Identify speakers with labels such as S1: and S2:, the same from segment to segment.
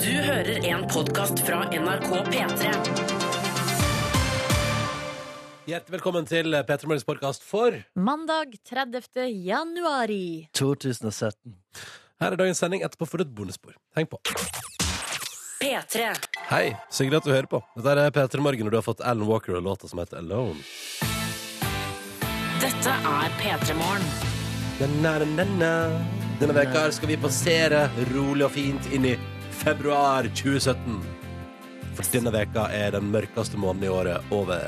S1: Du hører en podkast fra NRK P3.
S2: Hjertelig velkommen til Petter Morgens podkast for
S3: Mandag 30. januari.
S4: 2017.
S2: Her er dagens sending etterpå for et bonusspor. Heng på.
S1: P3.
S2: Hei, så hyggelig at du hører på. Dette er Petter Morgen, og du har fått Alan Walker og låta som heter Alone.
S1: Dette er P3 Morgen.
S2: Na, na, na, na. Denne veka her skal vi passere rolig og fint inn i februar 2017. For denne veka er den mørkeste måneden i året over.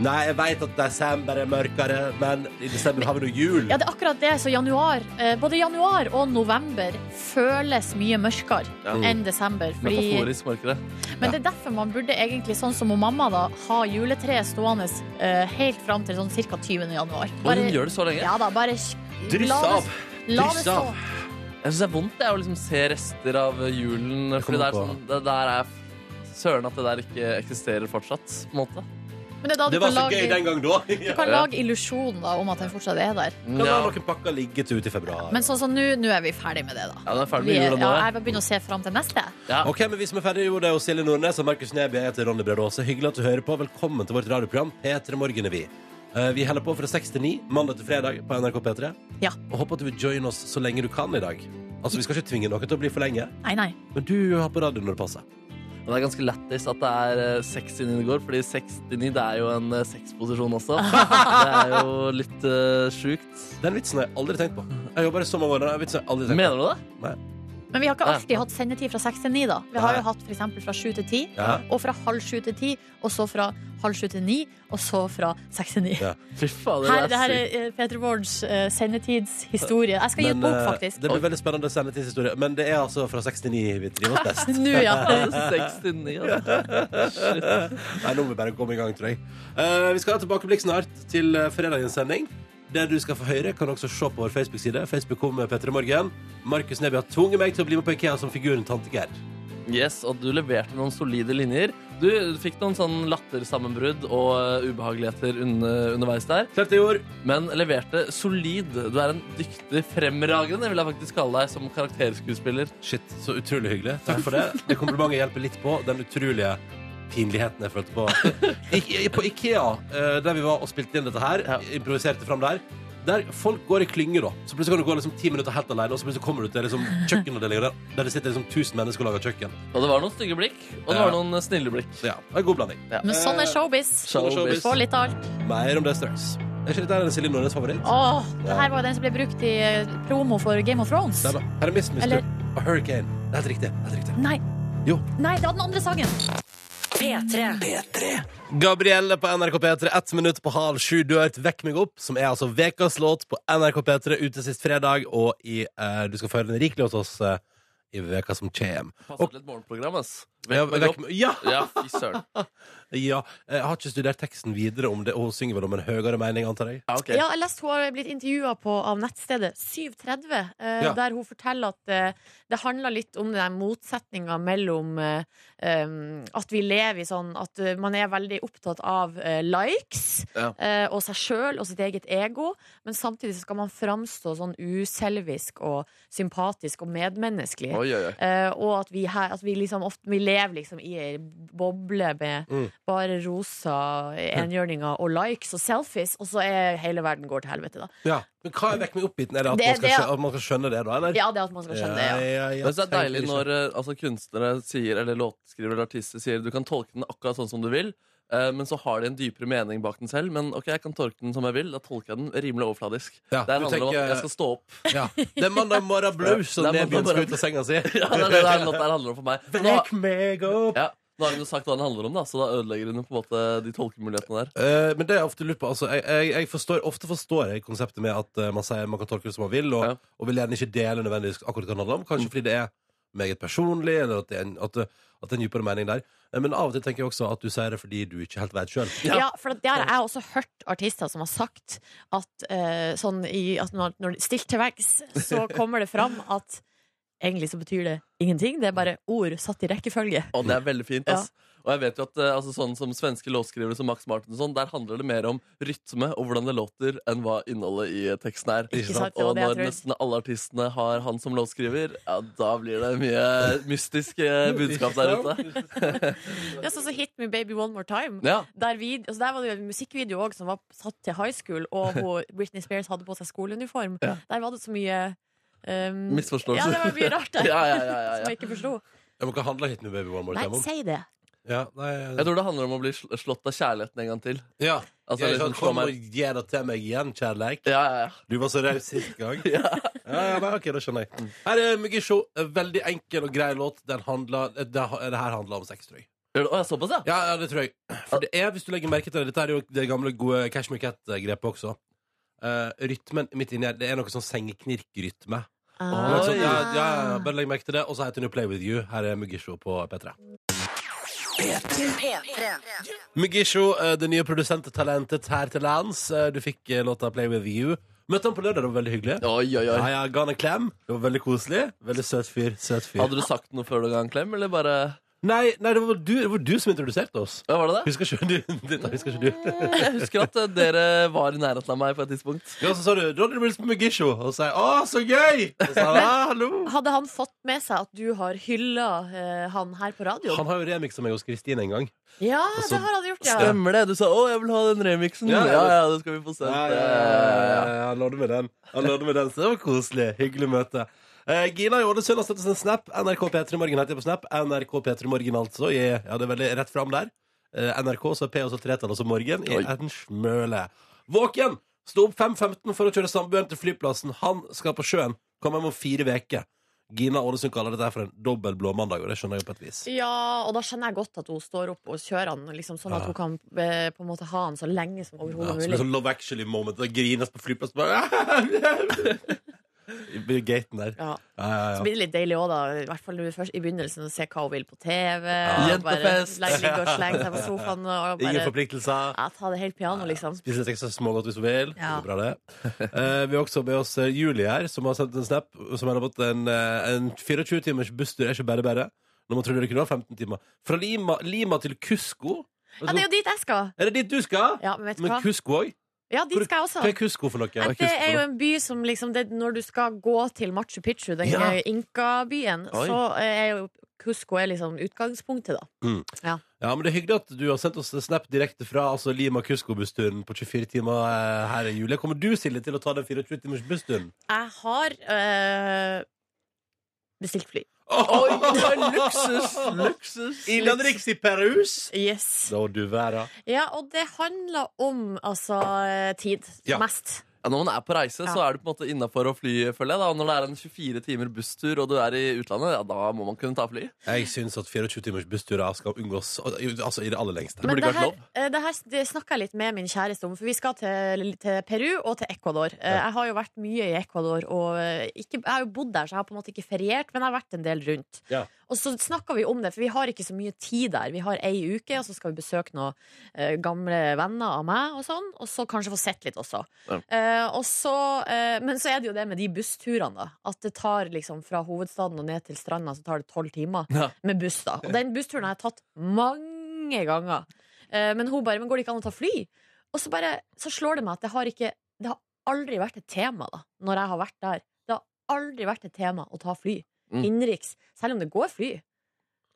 S2: Nei, jeg veit at desember er mørkere, men i desember har vi nå jul.
S3: Ja, det er akkurat det. Så januar, eh, både januar og november føles mye mørkere enn desember. Fordi,
S4: Metaforisk mørkere.
S3: men det er derfor man burde egentlig, sånn som hun mamma, da, ha juletreet stående eh, helt fram til sånn ca. 20. januar.
S4: Og hun gjør det så lenge.
S3: Ja da, bare
S2: Dryss
S3: la det-
S2: av.
S3: La
S2: Dryss
S3: det stå.
S2: av.
S4: Jeg syns det er vondt det, å liksom se rester av julen. Fordi det
S2: kommer
S4: er
S2: på.
S4: sånn, det der er Søren at det der ikke eksisterer fortsatt. på en måte.
S3: Men det er da du
S2: Det var
S3: kan
S2: så gøy
S3: lage,
S2: den gang da.
S3: du kan
S4: Ja.
S3: lage illusjonen da, om at den fortsatt er der.
S2: Kan la
S4: Ja,
S2: noen pakker ligge til ut i februar.
S3: Men sånn som nå, nå er vi ferdig med det, da.
S4: ja den er ferdig
S3: Vi
S4: med
S3: er,
S4: jula nå.
S3: ja,
S4: ja.
S3: jeg begynner å se fram til neste.
S4: Ja.
S2: Ok, men vi som er ferdige, jo, det er jo Silje Nordnes og Markus Neby. Jeg heter Ronny Brede Aase. Hyggelig at du hører på. Velkommen til vårt radioprogram P3 Morgen er vi. Eh, Vi holder på fra 6 til 9 mandag til fredag på NRK P3.
S3: Ja.
S2: Og håper at du vil joine oss så lenge du kan i dag. Altså, Vi skal ikke tvinge noen til å bli for lenge,
S3: Nei, nei.
S2: men du har på radioen når det passer.
S4: Men det er ganske lættis at det er eh, 69 det går, fordi 69 det er jo en eh, sexposisjon også. Det er jo litt uh, sjukt.
S2: Den vitsen har jeg aldri tenkt på. Jeg jobber i så mange år, og den vitsen har jeg aldri tenkt
S4: Mener du det?
S2: på. Nei.
S3: Men vi har ikke
S4: Ja.
S3: alltid hatt sendetid fra seks til ni, da. Vi har
S2: Nei.
S3: jo hatt for eksempel fra sju til ti,
S2: Ja.
S3: og fra halv sju til ti, og så fra halv sju til ni, og så fra seks til ni.
S2: Ja.
S4: Fy faen, det,
S3: Her, det
S4: det
S3: her
S4: er sykt.
S3: er eh, Peter Wards eh, sendetidshistorie. Jeg skal gi ut bok,
S2: eh,
S3: faktisk.
S2: Det blir veldig spennende sendetidshistorie. Men det er altså fra 69 vi driver oss best.
S3: Nå, ja.
S4: 69, altså.
S2: Nei, nå må vi bare komme i gang, tror jeg. Eh, vi skal ha tilbakeblikk snart til eh, fredagens sending. Det du skal få høre, kan du også se på vår Facebook-side. Facebook kom med Petter i morgen. Markus Neby har tvunget meg til å bli med på Ikea som figuren Tante Gerd.
S4: Yes, og du leverte noen solide linjer. Du fikk noen sånn lattersammenbrudd og eh, ubehageligheter under, underveis der,
S2: Klart jeg gjorde.
S4: men leverte solid. Du er en dyktig fremragende, vil jeg faktisk kalle deg, som karakterskuespiller.
S2: Shit, så utrolig hyggelig. Takk for det. Det komplimentet hjelper litt på den utrolige pinligheten jeg følte på. I, i- på Ikea, eh, der vi var og spilte inn dette her,
S4: Ja.
S2: improviserte fram der, der folk går i klynge, da. Så plutselig kan du gå liksom ti minutter helt alene, og så plutselig kommer du til liksom, kjøkkenavdelinga der, der det sitter liksom 1000 mennesker og lager kjøkken.
S4: Og det var noen stygge blikk, og det
S2: Ja.
S4: var noen snille blikk.
S2: Så ja, det er en god blanding.
S3: Men sånn er showbiz.
S2: Sånn er showbiz.
S3: Få litt av alt.
S2: Mer om det straks. Er ikke dette en Silje Nordnes favoritt?
S3: Åh, det her var jo den som ble brukt i eh, promo for Game of Thrones.
S2: Der da. Her er Miss Mister
S3: Eller-
S2: og Hurricane. Det er helt riktig. Det er helt riktig.
S3: Nei.
S2: Jo.
S3: Nei, det var den andre sangen.
S1: P3.
S2: Gabrielle på NRK P3, ett minutt på halv sju. Du har hørt Vekk meg opp, som er altså vekas låt på NRK P3 ute sist fredag, og i, eh, du skal få høre den rikelig hos oss eh, i veka som kjem.
S4: Passet til et morgenprogram, ass.
S2: Ja,
S4: Vekk meg
S2: vekk
S4: opp.
S2: meg- ja!
S4: Ja, fy søren.
S2: ja! Jeg har ikke studert teksten videre om det, og hun synger vel om en høyere mening, antar jeg.
S4: Ja, ok.
S3: Ja, jeg leste hun har blitt intervjua av nettstedet 730, eh,
S2: Ja.
S3: der hun forteller at eh, det handler litt om den motsetninga mellom eh, em, at vi lever i sånn at eh, man er veldig opptatt av eh, likes
S4: Ja.
S3: eh, og seg sjøl og sitt eget ego, men samtidig så skal man framstå sånn uselvisk og sympatisk og medmenneskelig.
S4: Oi, oi, oi.
S3: Eh, og at vi, her, at vi liksom ofte Vi lever liksom i ei boble med
S2: Mm.
S3: bare rosa enhjørninger og likes og selfies, og så er hele verden går til helvete, da.
S2: Ja. Men hva er Vekk meg opp-biten? Er det at,
S3: Det-
S2: man skal,
S3: det-
S2: skjø- at man skal skjønne det, da? Eller?
S3: Ja, det at man skal skjønne det. Ja.
S2: ja, ja.
S4: Men så er det deilig
S2: Tenker ikke.
S4: når eh, altså, kunstnere sier, eller låtskrivere eller artister sier du kan tolke den akkurat sånn som du vil, eh, men så har de en dypere mening bak den selv. Men ok, jeg kan tolke den som jeg vil. Da tolker jeg den rimelig overfladisk.
S2: Ja,
S4: det
S2: du
S4: handler om
S2: tenker-
S4: at jeg skal stå opp.
S2: Ja. Det er mandag morgen blues, og
S4: Det er mandag
S2: Nebyen skal
S4: morgen.
S2: ut av senga si.
S4: Ja, det er det der, der handler om for meg. Men Nå,
S2: Vekk meg opp!
S4: ja, nå har hun jo sagt hva den handler om, da, så da ødelegger hun jo på en måte de tolkemulighetene der.
S2: Eh, men det jeg ofte lurer på altså, jeg, jeg, jeg forstår, Ofte forstår jeg konseptet med at eh, man sier man kan tolke det som man vil, og,
S4: Ja. Mm.
S2: og vil gjerne ikke dele nødvendigvis akkurat hva det handler om. Kanskje fordi det er meget personlig, eller at det er en, at, det- at det er en dypere mening der. Eh, Men av og til tenker jeg også at du sier det fordi du ikke helt vet sjøl.
S4: Ja.
S3: Ja, for at det har jeg også hørt artister som har sagt at, eh, sånn i, at når, når de stilt til veggs, så kommer det fram at egentlig så betyr det ingenting. Det er bare ord satt i rekkefølge.
S4: Og det er veldig fint. ass. Og jeg vet jo at eh, altså, sånn som Svenske låtskrivere som Max Martin, og sånn, der handler det mer om rytme og hvordan det låter, enn hva innholdet i eh, teksten er.
S3: Ikke sant, det var
S4: Og
S3: det jeg
S4: når
S3: trodde.
S4: nesten alle artistene har han som låtskriver, ja, da blir det mye mystisk eh, budskap der ute.
S3: Det er sånn som Hit Me Baby One More Time.
S4: Ja,
S3: Der, vid, altså der var det jo en musikkvideo også, som var satt til high school, og hun, Britney Spears hadde på seg skoleuniform. Der var det så mye um, Ja, det
S4: Misforståelser.
S3: var mye rart der
S4: Ja, ja, ja, ja, ja.
S3: som jeg ikke forsto.
S2: Ja, men Hva handler Hit Me Baby One More
S3: Nei,
S2: Time om?
S3: si det.
S2: Ja, nei,
S4: Jeg tror det handler om å bli sl- slått av kjærligheten en gang til.
S2: ja.
S4: Altså,
S2: ja,
S4: liksom,
S2: liksom,
S4: slå
S2: Kom
S4: meg.
S2: og gi det til meg igjen, kjærleik.
S4: Ja, ja, ja.
S2: Du var så raus sist gang. ja. Ja, nei, ok, da skjønner jeg. Her er Mugisho. en Veldig enkel og grei låt. Den handler, det, det her handler om sex, tror jeg.
S4: Gjør det- Å, ja, såpass, ja?
S2: Ja, ja, det tror jeg. For det er, hvis du legger merke til det, dette er jo det gamle, gode Cashmere Cat-grepet også. Eh, rytmen midt inni her, det er noe sånn sengeknirkrytme. Det er
S4: Oi.
S2: Sånn, ja, ja, ja, bare legg merke til det. Og så heter hun jo Play With You. Her er Mugisho på P3. Mugisho, eh, det nye produsenttalentet her til lands. Eh, Du fikk eh, låta Play With You. Møtte han på lørdag, det var veldig hyggelig.
S4: Oi, oi,
S2: Ja,
S4: oi.
S2: ja, Ga han en klem. Det var veldig koselig. Veldig søt fyr. Søt fyr.
S4: Hadde du sagt noe før du ga en klem, eller bare
S2: Nei, nei det, var du, det var du som introduserte oss.
S4: ja, Var det det?
S2: Husker ikke du? Dette husker ikke du.
S4: Jeg husker at eh, dere var i nærheten av meg på et tidspunkt.
S2: Ja, så sa du Ronny Wilson på Mugisho, og så sa jeg Å, så gøy! Og så sa han, «Ah, hallo
S3: Hadde han fått med seg at du har hylla eh, han her på radioen?
S2: Han har jo remiksa meg hos Kristine en gang.
S3: Ja,
S2: Altså,
S3: det har han gjort, ja.
S4: Stemmer det. Du sa 'Å, jeg vil ha den remixen'.
S2: Ja,
S4: Ja,
S2: ja.
S4: ja, det skal vi få se.
S2: Han nådde med den. Han nådde med den, Så det var koselig. Hyggelig møte. Eh, Gina i Ålesund har sendt oss en snap. NRK P3 Morgen heter jeg på snap. NRK P3 Morgen, altså. I, ja, det er veldig rett fram der. Eh, NRK, så P og så tretall, og så Morgen. I
S4: Oi.
S2: en smøle. Våken! Sto opp 5.15 for å kjøre samboeren til flyplassen. Han skal på sjøen. Kommer hjem om fire uker. Gina Ålesund kaller dette her for en dobbel blåmandag, og det skjønner jeg jo på et vis.
S3: Ja, og da skjønner jeg godt at hun står opp og kjører han, liksom, sånn at hun kan eh, på en måte ha han så lenge som
S2: Ja,
S3: overhodet
S2: som en
S3: mulig.
S2: sånn Love Actually-moment. Da grines på flyplassen bare I gaten der.
S3: Ja.
S2: Ja, ja,
S3: Så
S2: ja.
S3: blir det litt deilig òg, da. I hvert fall når vi først, i begynnelsen. å Se hva hun vil på TV. og
S4: Jentefest.
S3: Bare ligge og slenge seg på sofaen
S2: Ingen
S3: og bare
S2: forpliktelser.
S3: ja, ta det helt piano, liksom.
S2: Spise litt ekstra smågodt hvis hun vil. Det
S3: Ja.
S2: går bra, det. Eh, vi har også med oss eh, Julie her, som har sendt en snap som har fått en, eh, en 24-timers busstur. Er ikke bare bare. Når man trodde det kunne være 15 timer. Fra Lima, Lima til Kusko.
S3: Ja, det er jo dit jeg skal!
S2: Er det dit du skal?
S3: Ja, men vet du
S2: Men
S3: hva?
S2: Kusko òg?
S3: Ja, dit skal jeg også.
S2: Hva er Kusko for noe?
S3: Nei, det er jo en by som liksom det, Når du skal gå til Machu Picchu, den
S2: Ja.
S3: eh, inkabyen,
S4: Oi.
S3: så er jo Cusco er liksom utgangspunktet, da.
S2: Ja, men Det er hyggelig at du har sendt oss en snap direkte fra altså, Lima Kusko-bussturen på 24 timer eh, her i juli. Kommer du, Silje, til å ta den 24 timers bussturen?
S3: Jeg har eh, bestilt fly.
S4: Oi, det er luksus! Luksus!
S2: Innenriks i Perus?
S3: Yes.
S2: Da du verda.
S3: Ja, og det handler om altså eh, tid.
S2: Ja.
S3: Mest.
S4: Ja, når man er på reise, så
S3: Ja.
S4: er du på en måte innafor å fly, føler jeg. da Og Når det er en 24 timer busstur og du er i utlandet, ja, da må man kunne ta fly.
S2: Jeg syns at 24 timers bussturer skal unngås altså i det aller lengste.
S4: Men- burde
S3: det
S4: ikke vært
S3: her,
S4: lov.
S3: eh, det her det snakker jeg litt med min kjæreste om, for vi skal til, til Peru og til Ecuador. Eh, Jeg har jo vært mye i Ecuador, og eh, ikke, jeg har jo bodd der, så jeg har på en måte ikke feriert, men jeg har vært en del rundt.
S2: Ja.
S3: Og så snakka vi om det, for vi har ikke så mye tid der. Vi har ei uke, og så skal vi besøke noen eh, gamle venner av meg, og sånn, og så kanskje få sett litt også.
S4: Ja.
S3: Eh, og så, eh, men så er det jo det med de bussturene, da. At det tar liksom fra hovedstaden og ned til stranda, så tar det tolv timer
S4: Ja.
S3: med buss, da. Og den bussturen har jeg tatt mange ganger. Eh, Men hun bare Men går det ikke an å ta fly? Og så bare Så slår det meg at det har ikke Det har aldri vært et tema, da, når jeg har vært der. Det har aldri vært et tema å ta fly.
S4: Mm.
S3: Innenriks. Selv om det går fly.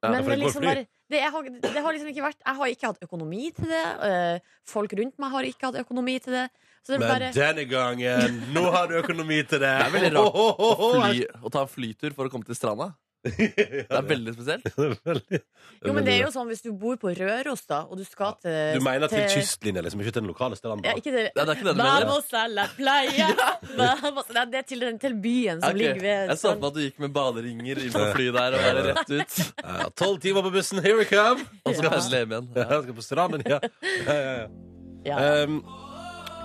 S4: Ja,
S3: Men
S2: for
S3: det
S2: det går
S3: liksom
S2: fly.
S3: bare det, jeg har, det har liksom ikke vært Jeg har ikke hatt økonomi til det. eh, Folk rundt meg har ikke hatt økonomi til det. Så det er
S2: Men
S3: bare
S2: denne gangen, nå har du økonomi til det!
S4: Det er veldig rart
S2: Ho, ho,
S4: å,
S2: ho, ho.
S4: fly, å ta en flytur for å komme til stranda. Det er veldig spesielt.
S2: Det er veldig-
S3: Jo, men det er jo sånn hvis du bor på Røros, da, og du skal til
S2: Du mener til kystlinja, liksom, ikke til den lokale stranda?
S3: Ja, ikke det.
S4: Nei, det er ikke det du mener.
S3: Vamos a la playa! Vamos. Nei, det er til, den, til byen som
S4: Ok,
S3: ligger sånn. ved
S4: Jeg så for meg at du gikk med baderinger inn på flyet der og bare rett ut.
S2: Ja, Eh, Tolv timer på bussen, here we come!
S4: Og så pendle hjem igjen.
S2: Ja,
S4: Ja.
S2: jeg skal på stranden, ja. ja, ja, ja.
S3: Ja.
S2: Um,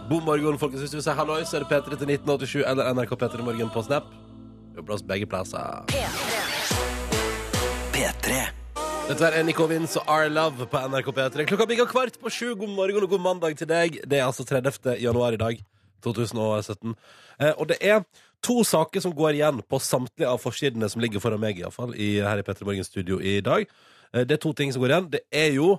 S2: God morgen, folkens. Hvis du sier halloi, så er det P3 til 1987 eller NRK P3 Morgen på Snap. Jobber oss begge plasser. Dette er Nico Vince og Our Love på NRK P3. Klokka bikka kvart på sju. God morgen og god mandag til deg. Det er altså 30. januar i dag. 2017. Eh, og det er to saker som går igjen på samtlige av forsidene som ligger foran meg, iallfall, i, her i Petter Morgens studio i dag. Eh, det er to ting som går igjen. Det er jo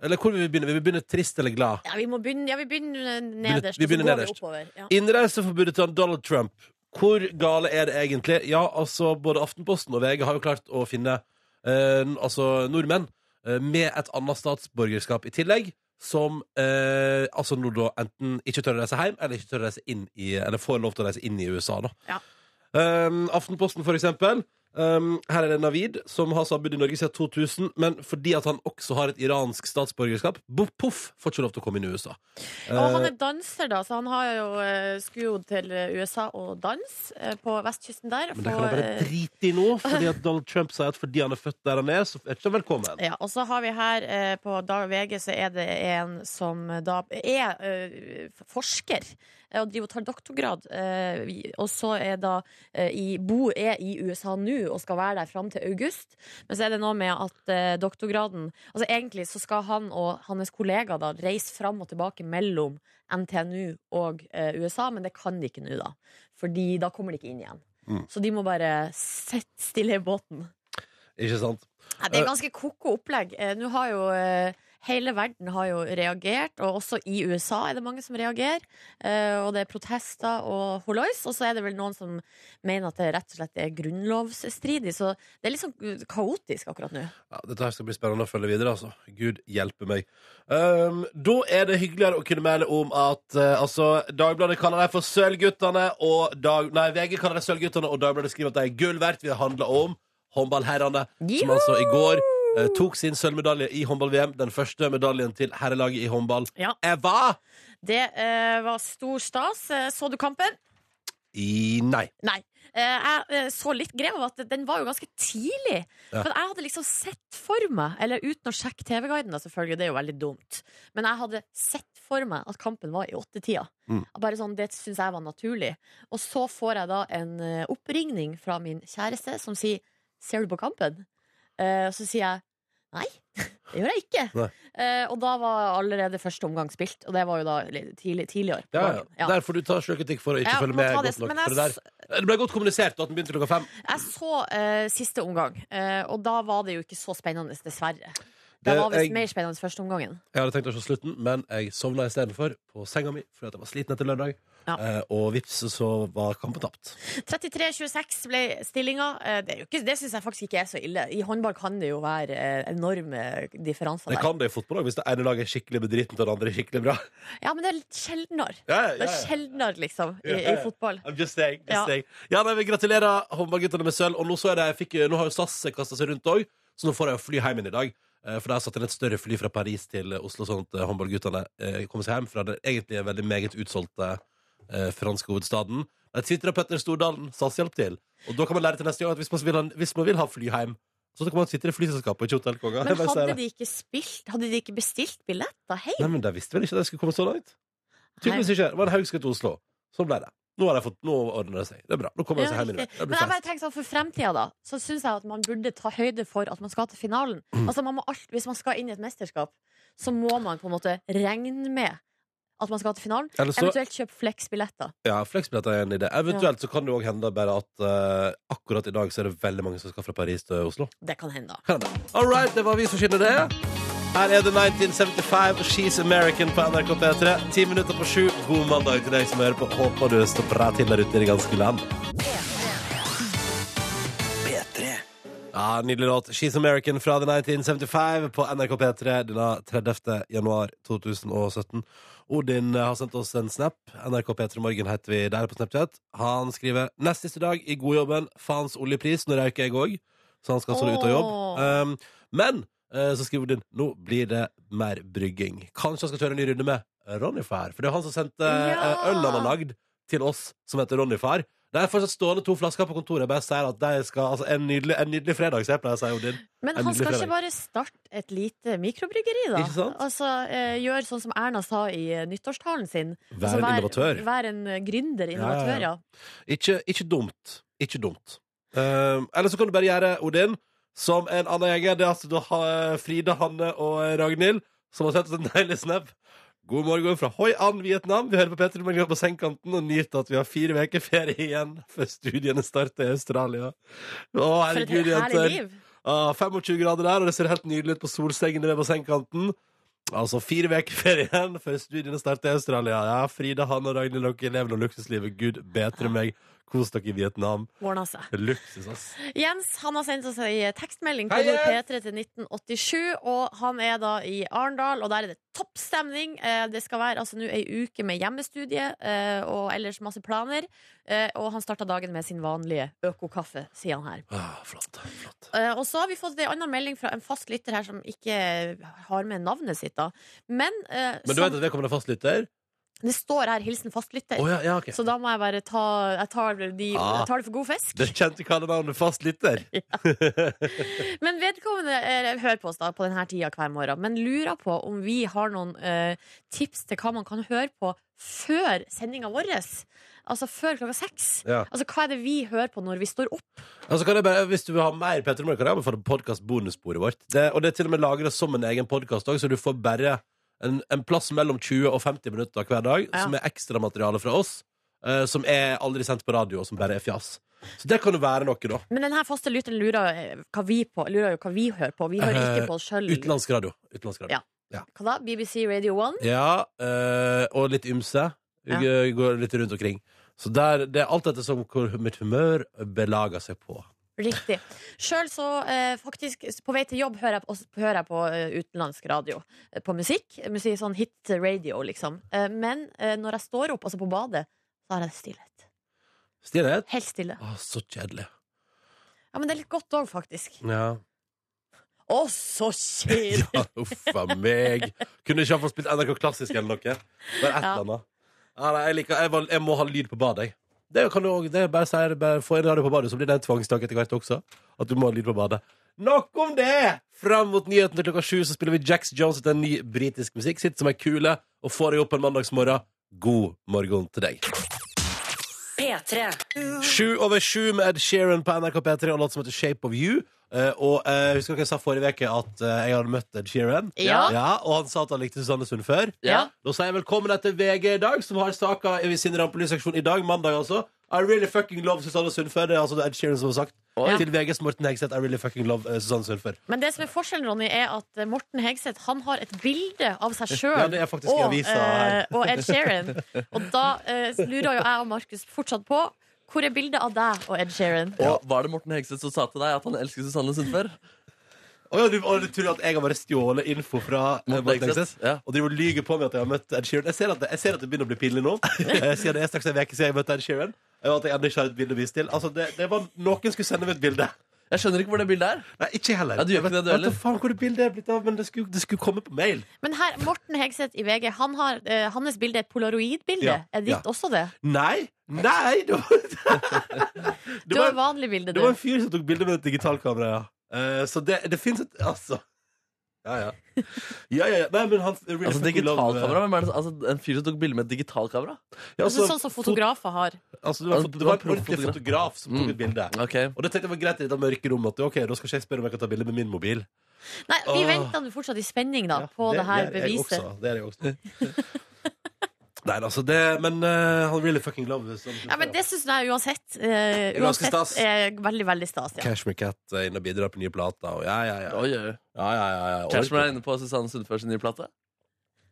S2: Eller hvor vil vi begynne? Vil vi begynne trist eller glad?
S3: Ja, vi må begynne, ja, vi begynner nederst,
S2: vi
S3: og så
S2: begynner
S3: går
S2: nederst.
S3: vi oppover. Ja.
S2: Innreiseforbudet til Donald Trump. Hvor gale er det egentlig? Ja, altså, både Aftenposten og VG har jo klart å finne eh, n- altså, nordmenn eh, med et annet statsborgerskap i tillegg, som eh, altså nå da enten ikke tør å reise hjem, eller ikke tør å reise inn i Eller får lov til å reise inn i USA, da.
S3: Ja.
S2: Um, Aftenposten, for eksempel. Um, her er det Navid, som har bodd i Norge siden 2000, men fordi at han også har et iransk statsborgerskap, bo- poff, får ikke lov til å komme inn i Eh. USA.
S3: Og han er danser, da, så han har jo, eh, skulle jo til eh, USA og danse eh, på vestkysten der.
S2: Men det
S3: få,
S2: kan han bare
S3: eh,
S2: drite i nå, fordi at Donald Trump sier at fordi han er født der han er, så er ikke han velkommen.
S3: Ja, og så har vi her eh, på Dag VG så er det en som da er eh, forsker eh, og driver og tar doktorgrad. Eh, vi- og så er da eh, i, bo er i USA nå og skal være der fram til august. Men så er det noe med at eh, doktorgraden Altså egentlig så skal han og hans kollega da reise fram og tilbake mellom NTNU og eh, USA, men det kan de ikke nå, da. Fordi da kommer de ikke inn igjen.
S2: Mm.
S3: Så de må bare sitte stille i båten.
S2: Ikke sant?
S3: Ja, det er ganske koko opplegg. Eh, Nå har jo eh, Hele verden har jo reagert, og også i USA er det mange som reagerer. Eh, Og det er protester og holois, og så er det vel noen som mener at det rett og slett er grunnlovsstridig. Så det er litt sånn uh, kaotisk akkurat nå.
S2: Ja, dette her skal bli spennende å følge videre, altså. Gud hjelpe meg. Um, da er det hyggeligere å kunne melde om at eh, altså, Dagbladet kaller dem for Sølvguttene, og dag, nei, VG kaller dem Sølvguttene, og Dagbladet skriver at de er gull verdt. Vi har handla om håndballherrene, som
S3: Juhu!
S2: altså i går eh, tok sin sølvmedalje i håndball-VM. Den første medaljen til herrelaget i håndball.
S3: Ja.
S2: Eva!
S3: Det eh, var stor stas. Eh, Så du kampen?
S2: I nei.
S3: Nei. Eh, Jeg eh, så litt greia av at den var jo ganske tidlig.
S2: Ja.
S3: For jeg hadde liksom sett for meg, eller uten å sjekke TV-guiden, da selvfølgelig, det er jo veldig dumt, men jeg hadde sett for meg at kampen var i åttetida.
S2: Mm.
S3: Bare sånn, Det syns jeg var naturlig. Og så får jeg da en eh, oppringning fra min kjæreste som sier 'Ser du på kampen?' Eh, Og så sier jeg Nei, det gjør jeg ikke.
S2: Nei.
S3: Eh, og da var allerede første omgang spilt, og det var jo da litt tidlig, tidligere. på
S2: Ja, ja.
S3: dagen. Ja.
S2: Der får du ta sjølkritikk for å ikke
S3: Ja,
S2: følge
S3: må
S2: med
S3: ta det,
S2: godt nok.
S3: men jeg
S2: for det, der. det ble godt kommunisert at den begynte klokka fem.
S3: Jeg så eh, siste omgang, eh, og da var det jo ikke så spennende, dessverre. Det,
S2: Det-
S3: var visst
S2: jeg-
S3: mer spennende første omgangen.
S2: Jeg hadde tenkt å se slutten, men jeg sovna istedenfor på senga mi fordi at jeg var sliten etter lørdag.
S3: Ja.
S2: Eh, og vips, så var kampen tapt.
S3: 33-26 ble stillinga. Eh, det er jo ikke- det syns jeg faktisk ikke er så ille. I håndball kan det jo være eh, enorme differanser
S2: Det
S3: der.
S2: kan det i fotball òg, hvis det ene laget er skikkelig bedritent og det andre er skikkelig bra.
S3: Ja, men det er litt sjeldnere.
S2: Ja,
S3: Det er sjeldnere, liksom, i,
S2: Ja, ja,
S3: i
S2: ja.
S3: fotball.
S2: I'm just saying, just
S3: Ja.
S2: saying. Ja, nei, vi Gratulerer håndballguttene med sølv. Og nå, så er det, jeg fikk, eh, nå har jo SAS kasta seg rundt òg, så nå får jeg jo fly hjem igjen i dag. Eh, For de har satt inn et større fly fra Paris til Oslo, sånn at eh, håndballguttene eh, kommer seg hjem fra den egentlig veldig meget utsolgte eh, franske hovedstaden. Jeg tvitra Petter Stordalen, SAS hjelp til. Og da kan man lære til neste gang at hvis man vil, ha- hvis man vil ha fly hjem, så kan man sitte i flyselskapet, ikke hotellkonga.
S3: Men
S2: Jeg bare sier det.
S3: hadde de ikke spilt Hadde de ikke bestilt billetter
S2: Nei,
S3: hjem?
S2: men de visste vel ikke at de skulle komme så langt? Tydeligvis ikke. Det var en haug til Oslo. Sånn ble det. Nå har de fått, nå ordner det seg. Det er bra. Nå kommer de
S3: Ja,
S2: seg hjem. i dag.
S3: riktig.
S2: Det
S3: Men
S2: blir
S3: jeg
S2: fest.
S3: bare tenker sånn, for fremtida da Så synes jeg at man burde ta høyde for at man skal til finalen
S2: Mm.
S3: Altså man må alt, Hvis man skal inn i et mesterskap Så må man på en måte regne med At man skal til finalen
S2: Eller så-
S3: Eventuelt kjøpe fleksbilletter
S2: Ja, fleksbilletter er en idé. Eventuelt så kan det òg hende bare at eh, akkurat i dag så er det veldig mange som skal fra Paris til Oslo.
S3: Det kan hende da
S2: Kan det? All right, det var vi som skinner det. Her er det 1975 og She's American på NRK P3. Ti minutter på sju. God mandag til deg som hører på. Håper du står bra til der ute i det ganske land. Ja, Nydelig låt. She's American fra The 1975 på NRK P3 denne 30. januar 2017. Odin eh, har sendt oss en snap. NRK P3 Morgen heter vi der på Snapchat. Han skriver nest siste dag i godjobben. Faens oljepris. Nå røyker jeg òg, så han skal altså ut av jobb.
S3: Åh.
S2: Um, men eh, så skriver Odin nå blir det mer brygging. Kanskje han skal kjøre en ny runde med Ronny-far. For det er han som sendte eh,
S3: Ja.
S2: øl han har lagd til oss, som heter Ronny-far. Det er fortsatt stående to flasker på kontoret. Jeg bare sier at de skal, altså, en, nydelig, en nydelig fredag, så jeg pleier å si, Odin.
S3: Men
S2: En
S3: han
S2: nydelig
S3: skal
S2: fredag.
S3: ikke bare starte et lite mikrobryggeri da
S2: Ikke sant?
S3: Altså eh, gjør sånn som Erna sa i eh, nyttårstalen sin Altså,
S2: Vær en innovatør.
S3: Vær en eh, gründer,
S2: ja,
S3: innovatør, ja,
S2: ja. Ikke, ikke dumt. Ikke dumt. Um, eller så kan du bare gjøre Odin som en eh, annen jeger. Det er altså da, ha- Frida, Hanne og Ragnhild som har sendt oss en deilig snap. God morgen fra Hoi An, Vietnam. Vi hører på Petter Morgen på sengekanten og nyter at vi har fire uker ferie igjen før studiene starter i Australia. Å,
S3: For et
S2: herregud,
S3: herlig
S2: jenter.
S3: liv.
S2: Ah, 25 grader der, og det ser helt nydelig ut på solsengen ved bassengkanten. Altså fire uker ferie igjen før studiene starter i Australia. Ja, Frida, Hanne og Ragnhild, dere lever nå luksuslivet. Gud bedre meg. Kos dere i Vietnam.
S3: Ordna seg.
S2: Luksus, ass.
S3: Jens han har sendt oss ei tekstmelding på
S2: Hei, Jens!
S3: P3 til 1987. Og han er da i Arendal, og der er det toppstemning. Eh, Det skal være altså nå ei uke med hjemmestudie eh, og ellers masse planer. Eh, Og han starta dagen med sin vanlige økokaffe, sier han her.
S2: Ah, flott, flott.
S3: Eh, Og så har vi fått ei anna melding fra en fast lytter her som ikke har med navnet sitt, da. Men, eh,
S2: Men du
S3: som,
S2: vet at vedkommende er fastlytter?
S3: det står her 'hilsen fastlytter'.
S2: Å ja, ja, ok.
S3: Så da må jeg bare ta Jeg tar, de,
S2: Ah.
S3: jeg tar det for god fisk.
S2: Det kjente kallenavnet fastlytter.
S3: Men vedkommende eh, hører på oss da på denne tida hver morgen, men lurer på om vi har noen eh, tips til hva man kan høre på før sendinga vår. Altså før klokka seks.
S2: Ja.
S3: Altså Hva er det vi hører på når vi står opp?
S2: Altså kan jeg bare, Hvis du vil ha mer Petter Morgen, kan jeg anbefale podkast-bonussporet vårt. Det, og det er til og med lagra som en egen podkast òg, så du får bare en, en plass mellom 20 og 50 minutter hver dag
S3: Ja.
S2: som er ekstramateriale fra oss, eh, som er aldri sendt på radio, og som bare er fjas. Så det kan jo være noe, da.
S3: Men denne faste lytteren lurer, eh, hva vi på, lurer jo hva vi hører på. Vi hører
S2: Eh,
S3: ikke på oss sjøl.
S2: Utenlandsk radio. Utenlandsk radio.
S3: Ja. Hva da? BBC Radio 1?
S2: Ja, eh, og litt ymse.
S3: Ja.
S2: G- Går litt rundt omkring. Så der, det er alt etter som hvor mitt humør belager seg på.
S3: Riktig. Sjøl så eh, faktisk På vei til jobb hører jeg, også, hører jeg på eh, utenlandsk radio. eh, På musikk. musikk sånn hit radio, liksom. Eh, men eh, når jeg står opp, altså på badet, så har jeg stillhet.
S2: Stillhet?
S3: Helt stille.
S2: Å, så kjedelig.
S3: Ja, Men det er litt godt òg, faktisk.
S2: Ja.
S3: Å, så kjedelig!
S2: Ja, uff a meg. Kunne ikke han få spilt NRK Klassisk eller noe? Bare et
S3: Ja.
S2: eller annet. Ja, nei, jeg, liker, jeg, val- jeg må ha lyd på badet, jeg. Det kan du òg. Bare, si- bare få en radio på badet, så blir det en tvangstanke etter hvert også. At du må ha lyd på badet. Nok om det! Fram mot nyheten til klokka sju så spiller vi Jax Jones til en ny britisk musikk. Sitt som ei kule og få deg opp en mandagsmorgen. God morgen til deg.
S1: P3.
S2: Sju over sju med Ed Sheeran på NRK P3 og låt som heter Shape of You. Eh, og eh, Husker dere jeg sa forrige uke at eh, jeg hadde møtt Ed Sheeran?
S3: Ja.
S2: Og han sa at han likte Susanne Sund før.
S3: Ja.
S2: Da sier jeg velkommen etter VG i dag, som har saka i sin rampelysseksjon i dag, mandag altså. I really fucking love Susanne Sundfør. Det er altså Ed Sheeran som har sagt
S4: Oi.
S2: til VGs Morten Hegseth I really fucking love eh, Susanne Sundfør.
S3: Men det som er forskjellen, Ronny, er at eh, Morten Hegseth han har et bilde av seg sjøl
S2: Ja, det er faktisk i
S3: og,
S2: avisa her.
S3: eh, og Ed Sheeran. Og da eh, lurer jo jeg og Markus fortsatt på hvor er bildet av deg og Ed Sheeran?
S4: Og var det Morten Hegseth som sa til deg at han elsker Susanne Sundfør?
S2: Å ja, du, å, du tror at jeg har bare stjålet info fra eh,
S4: Morten
S2: Morten
S4: Hegseth,
S2: Hegseth?
S4: ja.
S2: Og driver og lyver på meg at jeg har møtt Ed Sheeran? Jeg ser at det, jeg ser at det begynner å bli pinlig nå. Eh, siden det er straks en uke siden jeg møtte Ed Sheeran. Og at jeg ennå ikke har et bilde å vise til. Altså, det, det var, noen skulle sende meg et bilde.
S4: Jeg skjønner ikke hvor det bildet er.
S2: Nei, ikke jeg heller.
S4: Ja, du gjør ikke det, du
S2: Jeg vet- vet
S4: heller.
S2: da faen hvor det bildet er blitt av, men det skulle, det skulle komme på mail.
S3: Men her, Morten Hegseth i VG, han har, eh, hans bilde er et polaroidbilde.
S2: Ja,
S3: Er ditt
S2: ja.
S3: også det?
S2: Nei! Nei! Det var,
S3: Du
S2: det var,
S3: har vanlig bilde,
S2: det
S3: du.
S2: var en fyr som tok bilde med et digitalkamera, ja. Eh, så det, det fins et Altså. Ja, ja. ja, ja, ja. Nei, men han really
S4: Altså,
S2: fucking love-
S4: digitalkamera? Hvem er det? som- Altså, en fyr som tok bilde med et digitalkamera?
S2: Ja,
S3: Altså,
S2: altså,
S3: sånn som fotografer har.
S2: altså, det var,
S4: Altså,
S2: det var
S4: det
S2: en
S4: var
S2: ordentlig
S4: proffotograf.
S2: fotograf som tok
S4: Mm.
S2: et bilde.
S4: Ok.
S2: Og det tenkte jeg var greit i det mørke rommet. At, ok, da skal ikke jeg spørre om jeg kan ta bilde med min mobil.
S3: Nei, vi
S2: Åh.
S3: venter nå fortsatt i spenning da, på det, her
S2: er jeg
S3: beviset.
S2: også, Det er jeg også. Nei, altså, det Men eh, han really fucking love som-
S3: Ja, men Det syns jeg uansett,
S2: er
S3: eh,
S2: ganske
S3: uansett
S2: stas.
S3: er veldig, veldig stas. Ja.
S2: Cashmere Cat er inne og bidrar på nye plater. Og ja, ja, ja.
S4: Oi, oi, oi.
S2: ja, ja, ja, ja.
S4: Cashman er inne på Susanne Sundfør sin nye plate.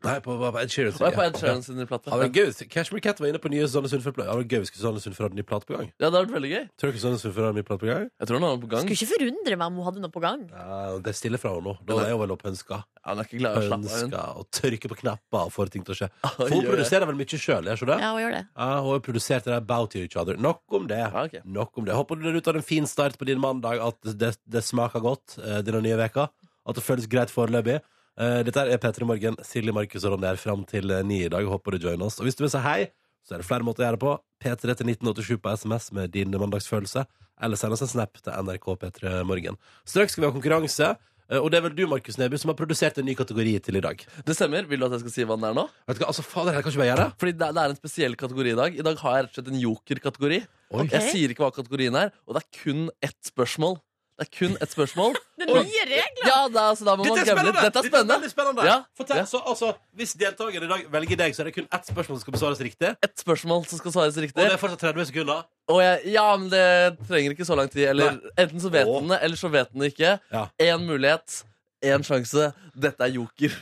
S2: Nei, på, på, på Ed Sheeran.
S4: Og er på
S2: ja.
S4: Ed Sheeran sin nye plate.
S2: Ja, men gøy, Cashmere Cat var inne på nye Susanne Sundfør. Ja, men gøy hvis Susanne Sundfør hadde ny plate på gang.
S4: Ja, det har vært veldig gøy.
S2: Tror du ikke Susanne Sundfør har ny plate på gang?
S4: Jeg tror han har den på gang.
S3: Skulle ikke forundre meg om hun hadde noe på gang.
S2: Ja, det stiller fra henne nå. Da er hun vel oppe ønska.
S4: Ja, han er ikke glad i å slappe av. hun.
S2: Ønska og tørke på knapper og får ting til å skje.
S4: Oi,
S2: For hun
S4: oi, oi.
S2: produserer vel mye sjøl, gjør hun det?
S3: Ja, hun gjør det.
S2: Ja, hun har produsert det der Bow to Each Other. Nok om det.
S4: Ja, ok.
S2: Nok om det. Håper du der ute har en fin start på din mandag, at det, det smaker godt eh, denne nye veka At det føles greit foreløpig. Eh, dette er P3 Morgen. Silje, Markus og Ronny er fram til eh, ni i dag. Håper du joiner oss. Og hvis du vil si hei, så er det flere måter å gjøre det på. P3 til 1987 på SMS med din mandagsfølelse. Eller send oss en snap til NRK P3 Morgen. Straks skal vi ha konkurranse. eh, Og det er vel du, Markus Neby, som har produsert en ny kategori til i dag.
S4: Det stemmer. Vil du at jeg skal si hva den er nå?
S2: Vet du hva, altså fader, her kan ikke vi gjøre det.
S4: Fordi det, det er en spesiell kategori i dag. I dag har jeg rett og slett en joker-kategori.
S2: Oi.
S4: Jeg sier ikke hva kategorien er, og det er kun ett spørsmål. Det er kun ett spørsmål.
S3: Det er
S4: Oi.
S3: nye regler!
S4: Ja, da, så da må man gamble. Dette er spennende!
S2: veldig spennende.
S4: Ja.
S2: Fortell,
S4: Ja.
S2: Så, altså, hvis deltakeren i dag velger deg, så er det kun ett spørsmål som skal besvares riktig.
S4: Ett spørsmål som skal svares
S2: Og
S4: riktig.
S2: det er fortsatt 30 sekunder.
S4: Og jeg, ja, men det trenger ikke så lang tid. Eller, enten så vet
S2: Åh.
S4: den det, eller så vet den det ikke.
S2: Ja.
S4: Én mulighet, én sjanse. Dette er joker.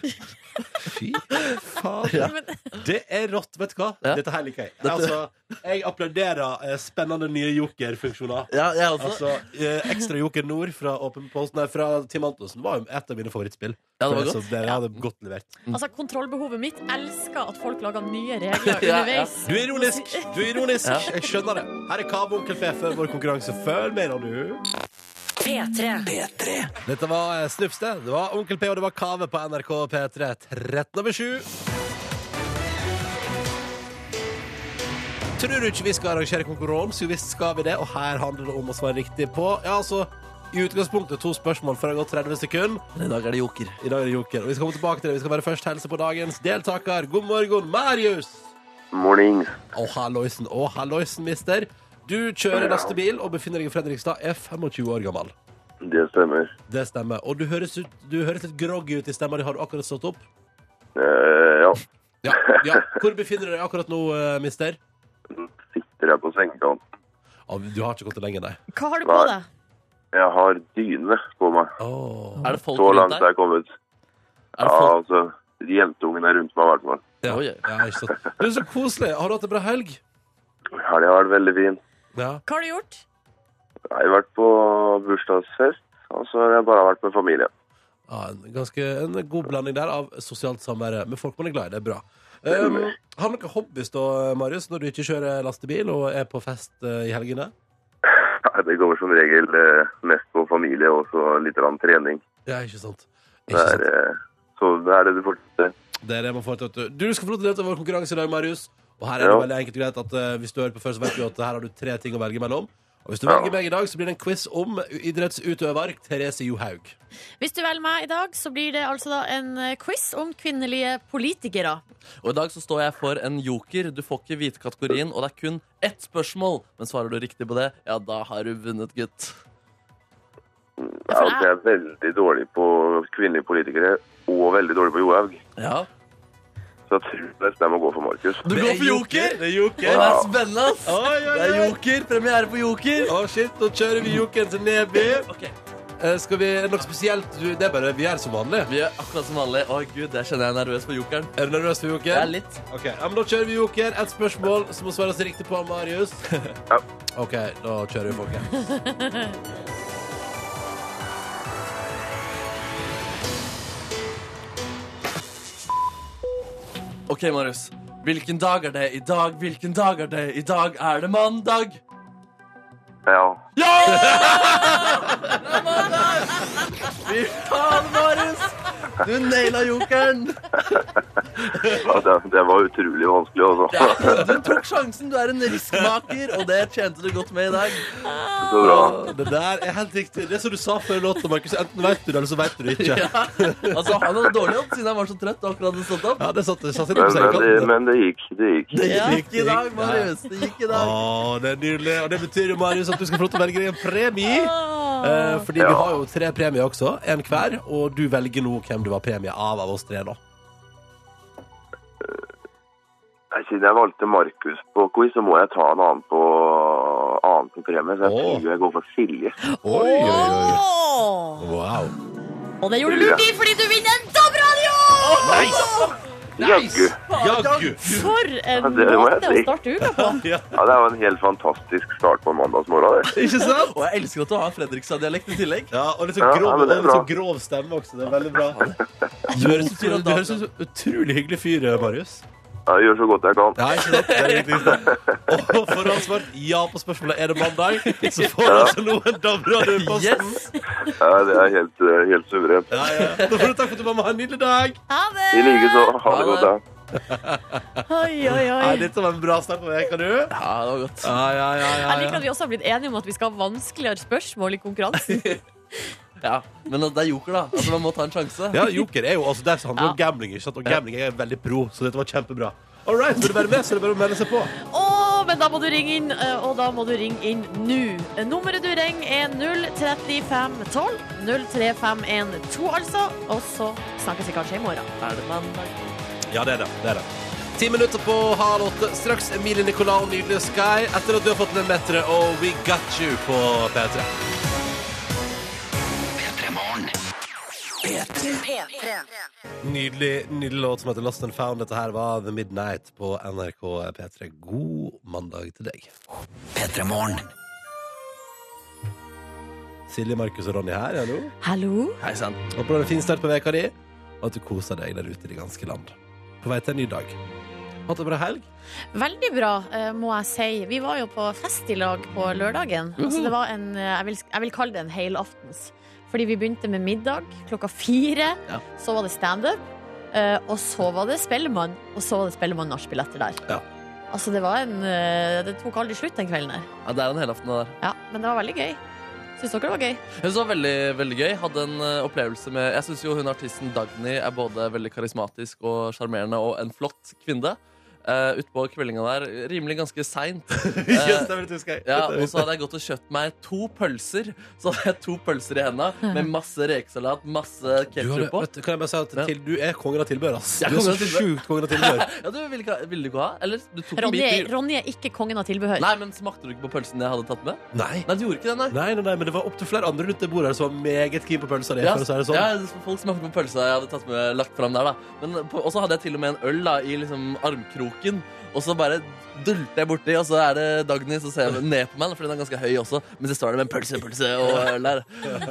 S2: Fy faen. Det er rått, vet du hva.
S4: Ja.
S2: Dette her liker jeg. Altså, jeg applauderer eh, spennende nye jokerfunksjoner.
S4: Ja, jeg også.
S2: Altså, eh, Ekstra Joker Nord fra, Open Post, nei, fra Tim Antonsen var jo et av mine favorittspill.
S4: Ja, det var
S2: Så
S4: godt.
S2: det hadde godt levert.
S3: Altså, kontrollbehovet mitt elsker at folk lager nye regler
S4: Ja, ja.
S3: underveis.
S2: Du er ironisk! Du er ironisk.
S4: Ja.
S2: Jeg skjønner det. Her er Kavo Onkel Fe før vår konkurranse. Følg med nå, du.
S1: P3.
S2: Dette var eh, Snups, det. Det var Onkel P, og det var Kave på NRK P3 13 over 7. Tror du ikke vi skal arrangere konkurranse? Jo visst skal vi det, og her handler det om å svare riktig på Ja, altså, i utgangspunktet to spørsmål før det har gått 30 sekunder.
S4: Men I dag er det joker.
S2: I dag er det Joker, og vi skal komme tilbake til det. Vi skal bare først helse på dagens deltaker. God morgen, Marius!
S5: Mornings.
S2: Og halloisen, og halloisen, mister. Du kjører lastebil og befinner deg i Fredrikstad, er 25 år gammel.
S5: Det stemmer.
S2: Det stemmer. Og du høres, ut, du høres litt groggy ut i stemma di. Har du akkurat stått opp?
S5: Eh, ja.
S2: Ja. ja. Hvor befinner du deg akkurat nå, eh, mister?
S5: Sitter jeg på sengekanten.
S2: Å, du har ikke gått det lenge, nei.
S3: Hva har du på
S5: Nei.
S3: deg?
S5: Jeg har dyne på meg.
S2: Åh.
S4: Er det folk
S5: Så
S4: rundt
S5: langt
S4: deg?
S5: jeg er kommet.
S4: Er
S5: Ja,
S4: det folk?
S5: altså, jentungen er rundt meg i hvert fall.
S2: Ja.
S4: Oi, oi.
S2: Ja, ikke sant. Du, så koselig. Har du hatt en bra helg?
S5: Helga har vært veldig fin.
S2: Ja.
S3: Hva har du gjort?
S5: Jeg har vært på bursdagsfest, og så har jeg bare vært med familie.
S2: Ja, en, ganske, en god blanding der av sosialt samvær med folk man er glad i. Det er bra. Um, har du noen hobbys da, Marius, når du ikke kjører lastebil og er på fest eh, i helgene?
S5: Nei, Det går som regel eh, mest på familie og så litt grann trening.
S2: Ja, ikke sant?
S5: Det
S2: Ikke
S5: er,
S2: sant?
S5: eh, så det er det du fortsetter.
S2: Det er det man får til. vet Du Du skal få lov til å delta i vår konkurranse i dag, Marius. Og her er det
S5: Ja.
S2: veldig enkelt og greit at eh, hvis du hører på før, så vet du at her har du tre ting å velge mellom. Og hvis du
S5: Ja.
S2: velger meg i dag, så blir det en quiz om idrettsutøver Therese Johaug.
S3: Hvis du velger meg i dag, så blir det altså da en eh, quiz om kvinnelige politikere.
S4: Og i dag så står jeg for en joker. Du får ikke vite kategorien, og det er kun ett spørsmål. Men svarer du riktig på det, ja, da har du vunnet, gutt.
S3: Ja,
S5: Ja,
S3: for
S5: altså, jeg er veldig dårlig på kvinnelige politikere og veldig dårlig på Johaug.
S4: Ja.
S5: Så jeg tror nesten jeg må gå for Markus.
S4: Du
S2: Det
S4: går
S2: er
S4: for
S2: Det er
S4: joker! Å, det
S2: joker.
S4: er spennende, ass!
S2: Oi, oi,
S4: Det er
S2: oi.
S4: joker! Premiere på joker!
S2: Å, shit, nå kjører vi jokeren til Neby.
S4: Ok,
S2: Eh, Skal vi, er det noe spesielt? Du, Det er bare vi er som vanlig.
S4: Vi gjør akkurat som vanlig. Å, gud, der kjenner jeg er nervøs for jokeren.
S2: Er du nervøs for
S4: Jeg er
S2: joker?
S4: litt.
S2: Ok, ja, men Da kjører vi joker. Ett spørsmål som må svares riktig på av Marius.
S5: Ja.
S2: OK, da kjører vi, folkens.
S4: Ok, Marius. Hvilken dag er det i dag? Hvilken dag er det i dag? Er det mandag?
S5: Ja,
S4: Ja! Det er mandag! Fy faen, Marius! Du naila jokeren!
S5: ja det, det var utrolig vanskelig, altså.
S4: Ja, du tok sjansen. Du er en riskmaker, og det tjente du godt med i dag.
S5: Så bra.
S2: Det der er helt riktig. Det som du sa før låta, Markus. Enten vet du det, eller så vet du det ikke.
S4: Ja. Altså, Han hadde dårlig jobb siden han var så trøtt og akkurat hadde stått opp.
S2: Ja, det satt, det satt inn på
S5: Men, men, det,
S2: sengekanten.
S5: men det gikk. Det gikk.
S4: Det
S2: Ja,
S4: gikk i dag, Marius. Det gikk i
S2: Å,
S4: dag.
S2: det er nydelig. Og det betyr jo, Marius, at du skal få lov til å velge deg en premie. Eh,
S3: Åh.
S2: fordi vi
S5: Ja.
S2: har jo tre premier også. En hver. Og du velger nå hvem du har premie av av oss tre, da.
S5: Nei, Siden jeg valgte Markus på quiz, så må jeg ta en annen på, annen på premie. Så jeg
S2: Åh.
S5: tror jeg går for Silje.
S2: Oi, oi, oi.
S3: Åh.
S2: Wow.
S3: Og det gjorde du lurt i, fordi du vinner en DAB-radio!
S5: Jaggu.
S2: Jaggu.
S3: For en
S5: det må jeg
S3: måte å
S5: si.
S3: starte uka på!
S5: Ja, det er jo en helt fantastisk start på en mandagsmorgen. det.
S2: Ikke sant?
S4: Og jeg elsker at du har Fredrikstad-dialekt i tillegg.
S2: Ja, og litt sånn
S5: Ja,
S2: grov,
S5: ja, men det
S2: og
S5: er
S2: litt sånn
S5: bra.
S2: grov stemme også. Det er veldig bra. Du høres ut som du høres ut som en utrolig hyggelig fyr, Marius.
S5: Ja, Jeg gjør så godt jeg kan.
S2: Ja, ikke sant? Det er det viktigste. Og for å ha svart ja på spørsmålet er det mandag, så får du altså nå en DAB-radio i posten.
S4: Yes!
S5: Ja, det er helt, eh, helt suverent.
S2: Ja, ja. Da får du takk for at du var med. Ha en nydelig dag.
S3: Ha det!
S5: I like så. Ha det godt, ja.
S3: Oi, oi,
S2: Nei,
S3: oi.
S2: dette var en bra start på veka, du.
S4: Ja, det var godt.
S2: Ja, ja, ja, ja,
S3: Jeg liker
S2: ja.
S3: at vi også har blitt enige om at vi skal ha vanskeligere spørsmål i konkurransen.
S4: Ja, Men det er joker, da. Altså, Man må ta en sjanse.
S2: Ja, Joker er jo altså der handler det om gambling, ikke sant? Og gambling er jeg veldig pro, så dette var kjempebra. All right, vil du være med, så er det bare å melde seg på.
S3: All men da må du ringe inn, eh, og da må du ringe inn nå. Eh, Nummeret du ringer er 03512. 03512, altså. Og så snakkes vi kanskje i morgen.
S4: Er det mandag?
S2: Ja, det er det. det, er det. Ti minutter på halv åtte. Straks Emilie Nicolau og Nydelige Sky etter at du har fått den lettere og We Got You på P3. Nydelig, nydelig låt som heter Lost and Found. Dette her var The Midnight på NRK P3. God mandag til deg. Silje, Markus og Ronny her. Hallo.
S3: Hallo?
S4: Hei sann.
S2: Håper du har en fin start på veka di, og at du koser deg der ute i det ganske land. På vei til en ny dag. Hatt en bra helg?
S3: Veldig bra, eh, må jeg si. Vi var jo på fest i lag på lørdagen. Altså, det var en, eh, jeg, vil, jeg vil kalle det en helaftens. Fordi vi begynte med middag klokka fire.
S4: Ja.
S3: Så var det standup. eh, Og så var det Spellemann. Og så var det Spellemann nachspiel-etter der.
S2: Ja.
S3: Altså, det var en eh, Det tok aldri slutt den kvelden der.
S4: Ja, det er en helaften det der.
S3: Ja, men det var veldig gøy. Syns dere det var gøy?
S4: Jeg synes det var veldig, veldig gøy. Hadde en eh, opplevelse med Jeg syns jo hun artisten Dagny er både veldig karismatisk og sjarmerende og en flott kvinne. Uh, Utpå kveldinga der, rimelig ganske seint. Eh,
S2: Yes, det er litt husker jeg.
S4: Ja, og så hadde jeg gått og kjøpt meg to pølser. Så hadde jeg to pølser i henda med masse rekesalat, masse
S2: Du har det-
S4: ketsjup på.
S2: vet du, kan jeg bare si at
S4: Ja.
S2: til, du er kongen av tilbør, ass.
S4: Jeg er
S2: Du er så
S4: kongen av tilbør.
S2: sjukt kongen av tilbør.
S4: Ja, du, ville, ikke ha- ville du ikke ha? Eller du tok en
S3: Ronny,
S4: bit?
S3: er-
S4: du-
S3: Ronny er ikke kongen av tilbehør.
S4: Nei, men smakte du ikke på pølsen jeg hadde tatt med?
S2: Nei.
S4: Nei, du gjorde ikke det, nei.
S2: Nei, nei, nei, men det var opptil flere andre rundt det bordet her som var meget keen på pølsa di.
S4: Ja,
S2: for å si det sånn.
S4: ja, folk smakte på pølsa jeg hadde tatt med, lagt fram der. da Men på- Og så hadde jeg til og med en øl da i liksom armkroken, og så bare dulter jeg borti, og så er det Dagny som ser ned på meg, for den er ganske høy også, mens jeg står der med en pølse, pølse og øl der.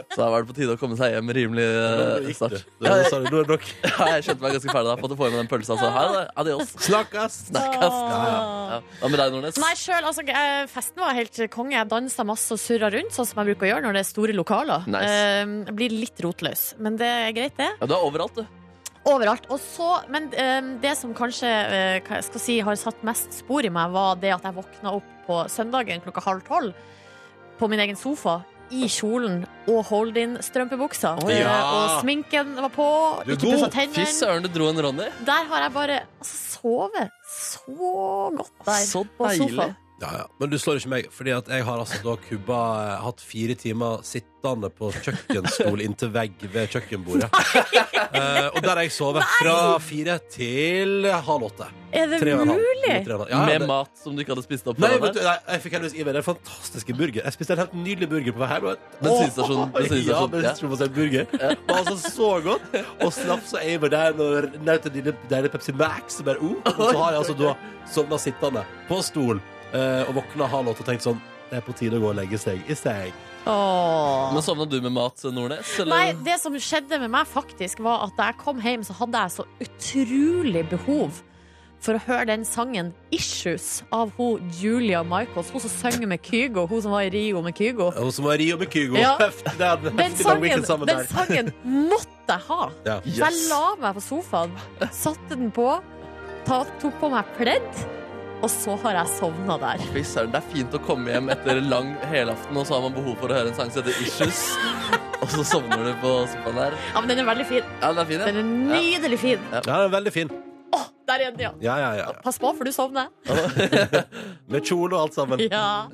S4: Så da var det på tide å komme seg hjem rimelig
S2: Nå
S4: eh,
S2: gikk
S4: snart.
S2: det.
S4: Ja,
S2: Nå
S4: jeg,
S2: sa du, nå er det nok.
S4: ja, jeg skjønte meg ganske ferdig da. Fått å få i meg den pølsa, så ha det. Adios.
S2: Snakkes!
S4: Snakkes.
S2: Ja, ja.
S4: Ja. Hva med deg, Nordnes?
S3: Nei, selv, altså, eh, festen var helt konge. Jeg dansa masse og surra rundt, sånn som jeg bruker å gjøre når det er store lokaler.
S4: Nice.
S3: Eh, jeg blir litt rotløs, men det er greit, det.
S4: Ja, du er overalt, du.
S3: Overalt. Og så, men eh, det som kanskje eh, hva jeg skal si, har satt mest spor i meg, var det at jeg våkna opp på søndagen klokka halv tolv på min egen sofa. I kjolen og hold-in-strømpebuksa.
S4: Oi.
S3: Eh,
S2: Ja.
S3: Og sminken var på.
S2: Du er
S3: ikke pussa
S2: god.
S4: Fy
S3: tennene.
S4: søren, du dro en Ronny.
S3: Der har jeg bare altså, sovet så godt der
S4: Så
S3: på sofaen.
S4: deilig.
S2: Ja, ja. Men du slår ikke meg, fordi at jeg har altså da kubba eh, hatt fire timer sittende på kjøkkenstol inntil vegg ved kjøkkenbordet. Eh, og der har jeg sovet fra fire til halv åtte.
S3: Er det
S2: Tre og en halv.
S3: mulig?
S2: Tre og en halv. Ja, ja,
S4: Med
S2: det-
S4: mat som du ikke hadde spist opp.
S2: Nei,
S4: foran
S2: vet
S4: deg.
S2: du, nei, jeg fikk heldigvis i meg den fantastiske burger. Jeg spiste en helt nydelig burger på vei hjem.
S4: Bensinstasjonen, bensinstasjonen,
S2: ja,
S4: sånn, ja.
S2: bensinstasjonen var en burger. Det var altså så godt. Og slapp så jeg meg der og nøt en lille deilig Pepsi Max. Og, bare, uh, og så har jeg altså da sovna sittende på stol eh, og våkna halv åtte og tenkt sånn det er på tide å gå og legge seg i seng.
S3: Åh.
S4: Men sovna du med mat, Nordnes? eller?
S3: Nei, det som skjedde med meg faktisk var at da jeg kom hjem så hadde jeg så utrolig behov for å høre den sangen Issues av hun Julia Michaels, hun som synger med Kygo, hun som var i Rio med Kygo.
S2: Og så må jeg ri opp med Kygo.
S3: Ja.
S2: Heftig, det er
S3: Den
S2: heftig lang
S3: sangen,
S2: weekend sammen
S3: den
S2: der.
S3: sangen måtte jeg ha.
S2: Ja.
S3: Så jeg la meg på sofaen, satte den på, ta, tok på meg pledd, og så har jeg sovna der.
S4: Fy søren, det er fint å komme hjem etter lang helaften, og så har man behov for å høre en sang som heter Issues. Og så sovner du på sofaen der.
S3: Ja, men den er veldig fin.
S4: Ja, den er fin, ja.
S3: Den er nydelig fin.
S2: Ja, den er veldig fin.
S3: Åh, der er den, ja.
S2: Ja, ja, ja.
S3: Pass på, for du sovner.
S2: Med kjole og alt sammen.
S3: Ja.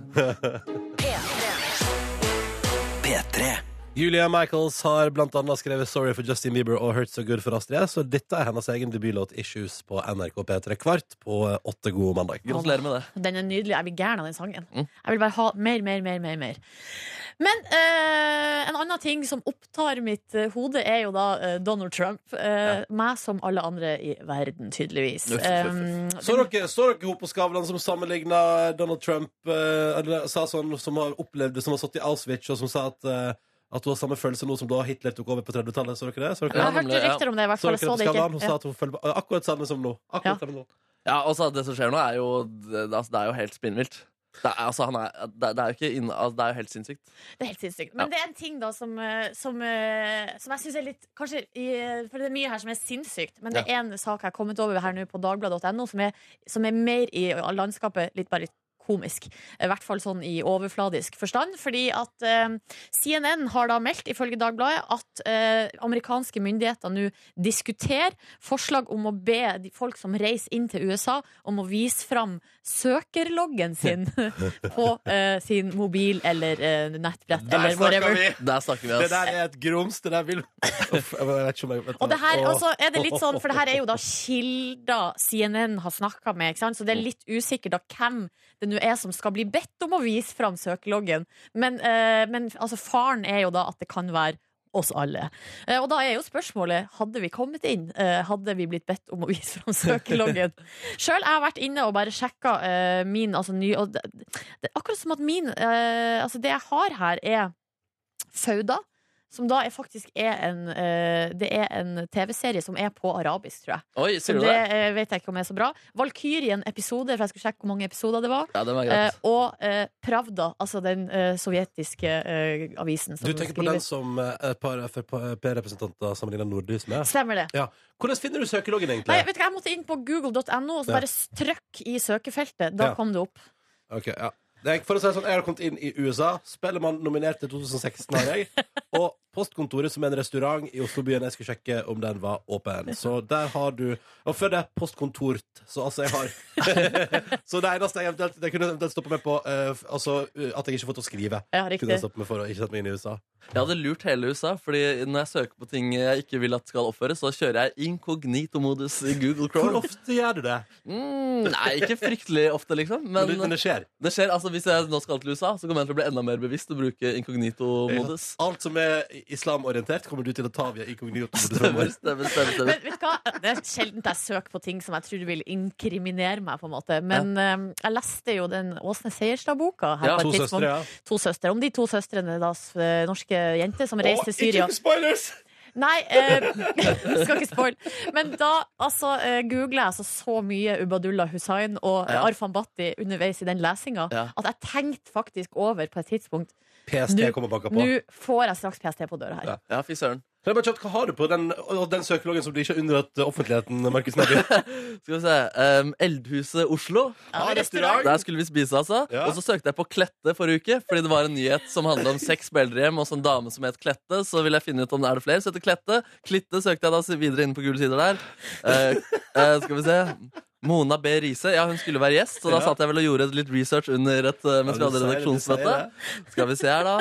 S2: Julia Michaels har blant annet skrevet Sorry for Justin Bieber og Hurt So Good for Astrid S, og dette er hennes egen debutlåt Issues på NRK P3 Kvart på eh, åtte gode mandag.
S4: Gratulerer med det.
S3: Den er nydelig. Jeg blir gæren av den sangen. Jeg vil bare ha mer, mer, mer. mer, mer. Men eh, en annen ting som opptar mitt eh, hode, er jo da eh, Donald Trump. Eh, Meg som alle andre i verden, tydeligvis.
S4: Uff, uff, uff.
S3: Um,
S2: Så dere, så dere hun på Skavlan som sammenligna Donald Trump eh, eller, sa sånn, som har opplevd det, som har sittet i Auschwitz, og som sa at, eh, at hun har samme følelse nå som da Hitler tok over på 30-tallet? Så dere det? Så dere,
S3: Eh, jeg
S2: det?
S4: Ja,
S3: har hørt
S4: nemlig, ja.
S3: rykter om det, i hvert
S2: så
S3: fall.
S2: dere
S3: Jeg
S2: det på
S3: så det
S2: Skavlan? Hun
S3: ikke.
S2: sa at hun føler på akkurat samme som nå. Akkurat
S3: Ja.
S2: samme nå.
S4: Ja, altså, det som skjer nå, er jo det, altså, det er jo helt spinnvilt. Det er, altså, han er, det, det er jo ikke inn, altså, det er jo helt sinnssykt.
S3: Det er helt sinnssykt. Men
S4: Ja.
S3: det er en ting da som, eh, som, eh, som jeg syns er litt Kanskje i- For det er mye her som er sinnssykt, men det er en sak jeg har kommet over her nå på dagbladet.no som, er- som er mer i landskapet litt bare komisk. I hvert fall sånn i overfladisk forstand. Fordi at eh, CNN har da meldt, ifølge Dagbladet, at eh, amerikanske myndigheter nå diskuterer forslag om å be de folk som reiser inn til USA, om å vise fram søkerloggen sin på eh, sin mobil eller eh, nettbrett
S2: Der
S3: eller
S2: snakker
S3: whatever.
S2: vi!
S4: Der snakker vi, altså.
S2: Det der
S4: ass.
S2: er et grums. Det der vil Uff, jeg vet ikke om jeg vet
S3: Og det her,
S2: Åh.
S3: og så er det litt sånn, for det her er jo da kilder CNN har snakka med, ikke sant? så det er litt usikkert da hvem det nå er som skal bli bedt om å vise fram søkeloggen. Men, eh, men altså, faren er jo da at det kan være oss alle. Eh, og da er jo spørsmålet hadde vi kommet inn, eh, hadde vi blitt bedt om å vise fram søkeloggen. Sjøl har jeg vært inne og bare sjekka eh, min altså, ny, og det, det, er Akkurat som at min eh, Altså, det jeg har her, er Fauda. Som da er faktisk er en eh, Det er en TV-serie som er på arabisk, tror jeg.
S4: Oi,
S3: Så
S4: sier du
S3: det
S4: det?
S3: eh, vet jeg ikke om er så bra. Valkyrien-episoder, for jeg skulle sjekke hvor mange episoder det var.
S4: Ja, det var
S3: Eh,
S4: greit.
S3: og eh, Pravda, altså den eh, sovjetiske eh, avisen. Som
S2: Du tenker på den som eh, et par Frp-representanter sammenligner nordlys med?
S3: Stemmer det.
S2: Ja. Hvordan finner du søkeloggen, egentlig?
S3: Nei, vet du hva, Jeg måtte inn på google.no og så
S2: Ja.
S3: bare strøkk i søkefeltet. Da
S2: Ja.
S3: kom det opp.
S2: Ok, ja det er, for å si det sånn, Jeg har kommet inn i USA. Spellemann nominert til 2016 har jeg. Og Postkontoret, som er en restaurant i Oslobyen. Jeg skulle sjekke om den var åpen. Så der har du Og før det, Postkontort. Så altså, jeg har Så det eneste jeg eventuelt Det kunne eventuelt stoppe meg på eh, f- Altså eh, at jeg ikke får til å skrive.
S3: Ja,
S2: Kunne
S3: riktig.
S2: jeg stoppe meg for å ikke sette meg inn i USA.
S4: Jeg hadde lurt hele USA, Fordi når jeg søker på ting jeg ikke vil at skal oppføres, så kjører jeg inkognito-modus i Google
S2: Hvor
S4: Chrome.
S2: ofte gjør du det?
S4: Mm, nei, ikke fryktelig ofte, liksom.
S2: Men, det-
S4: Men
S2: men det skjer.
S4: det skjer, altså hvis jeg nå skal til USA, så kommer jeg til å bli enda mer bevisst og bruke inkognito-modus.
S2: Alt som er islamorientert, kommer du til å ta via inkognito-modus
S4: Stemmer,
S2: fremover.
S4: stemmer, stemmer,
S3: Men
S4: stemmer.
S3: vet du hva? Det er sjelden jeg søker på ting som jeg tror vil inkriminere meg. på en måte Men eh, jeg leste jo den Åsne Seierstad-boka. her
S4: Ja,
S3: på
S2: To
S3: et
S2: søstre,
S3: tidspunkt.
S2: ja.
S3: to søstre. Om de to søstrene, da, s- eh, norske jenter, som reiste til Syria.
S2: Å, ikke spoilers!
S3: Nei, eh, skal ikke spoil. Men da altså, eh, googler jeg altså så mye Ubadullah Hussain og
S4: Ja.
S3: Arfan Bhatti underveis i den lesinga
S4: Ja.
S3: at jeg tenkte faktisk over på et tidspunkt
S2: PST
S3: Nå-
S2: kommer og banker på.
S3: Nå får jeg straks PST på døra her.
S2: Ja.
S4: Ja, fy søren.
S2: Kan jeg bare kjapt, Hva har du på den, og den søkeloggen som du ikke har unndratt offentligheten? Markus Neby?
S4: Skal vi se. em, Eldhuset Oslo.
S2: Ja, restaurant.
S4: Der skulle vi spise, altså.
S2: Ja.
S4: Og så søkte jeg på Klette forrige uke, fordi det var en nyhet som handla om seks spillerhjem og så en dame som het Klette. Så ville jeg finne ut om det er det flere som heter Klette. Klitte søkte jeg da videre inn på gule sider der. Eh, eh, skal vi se. Mona B. Riise. Ja, hun skulle være gjest, så da
S2: Ja.
S4: satt jeg vel og gjorde litt research under et, eh, mens vi
S2: Ja, du
S4: hadde
S2: sier det, du sier
S4: redaksjonsmøte. Skal vi se her, da.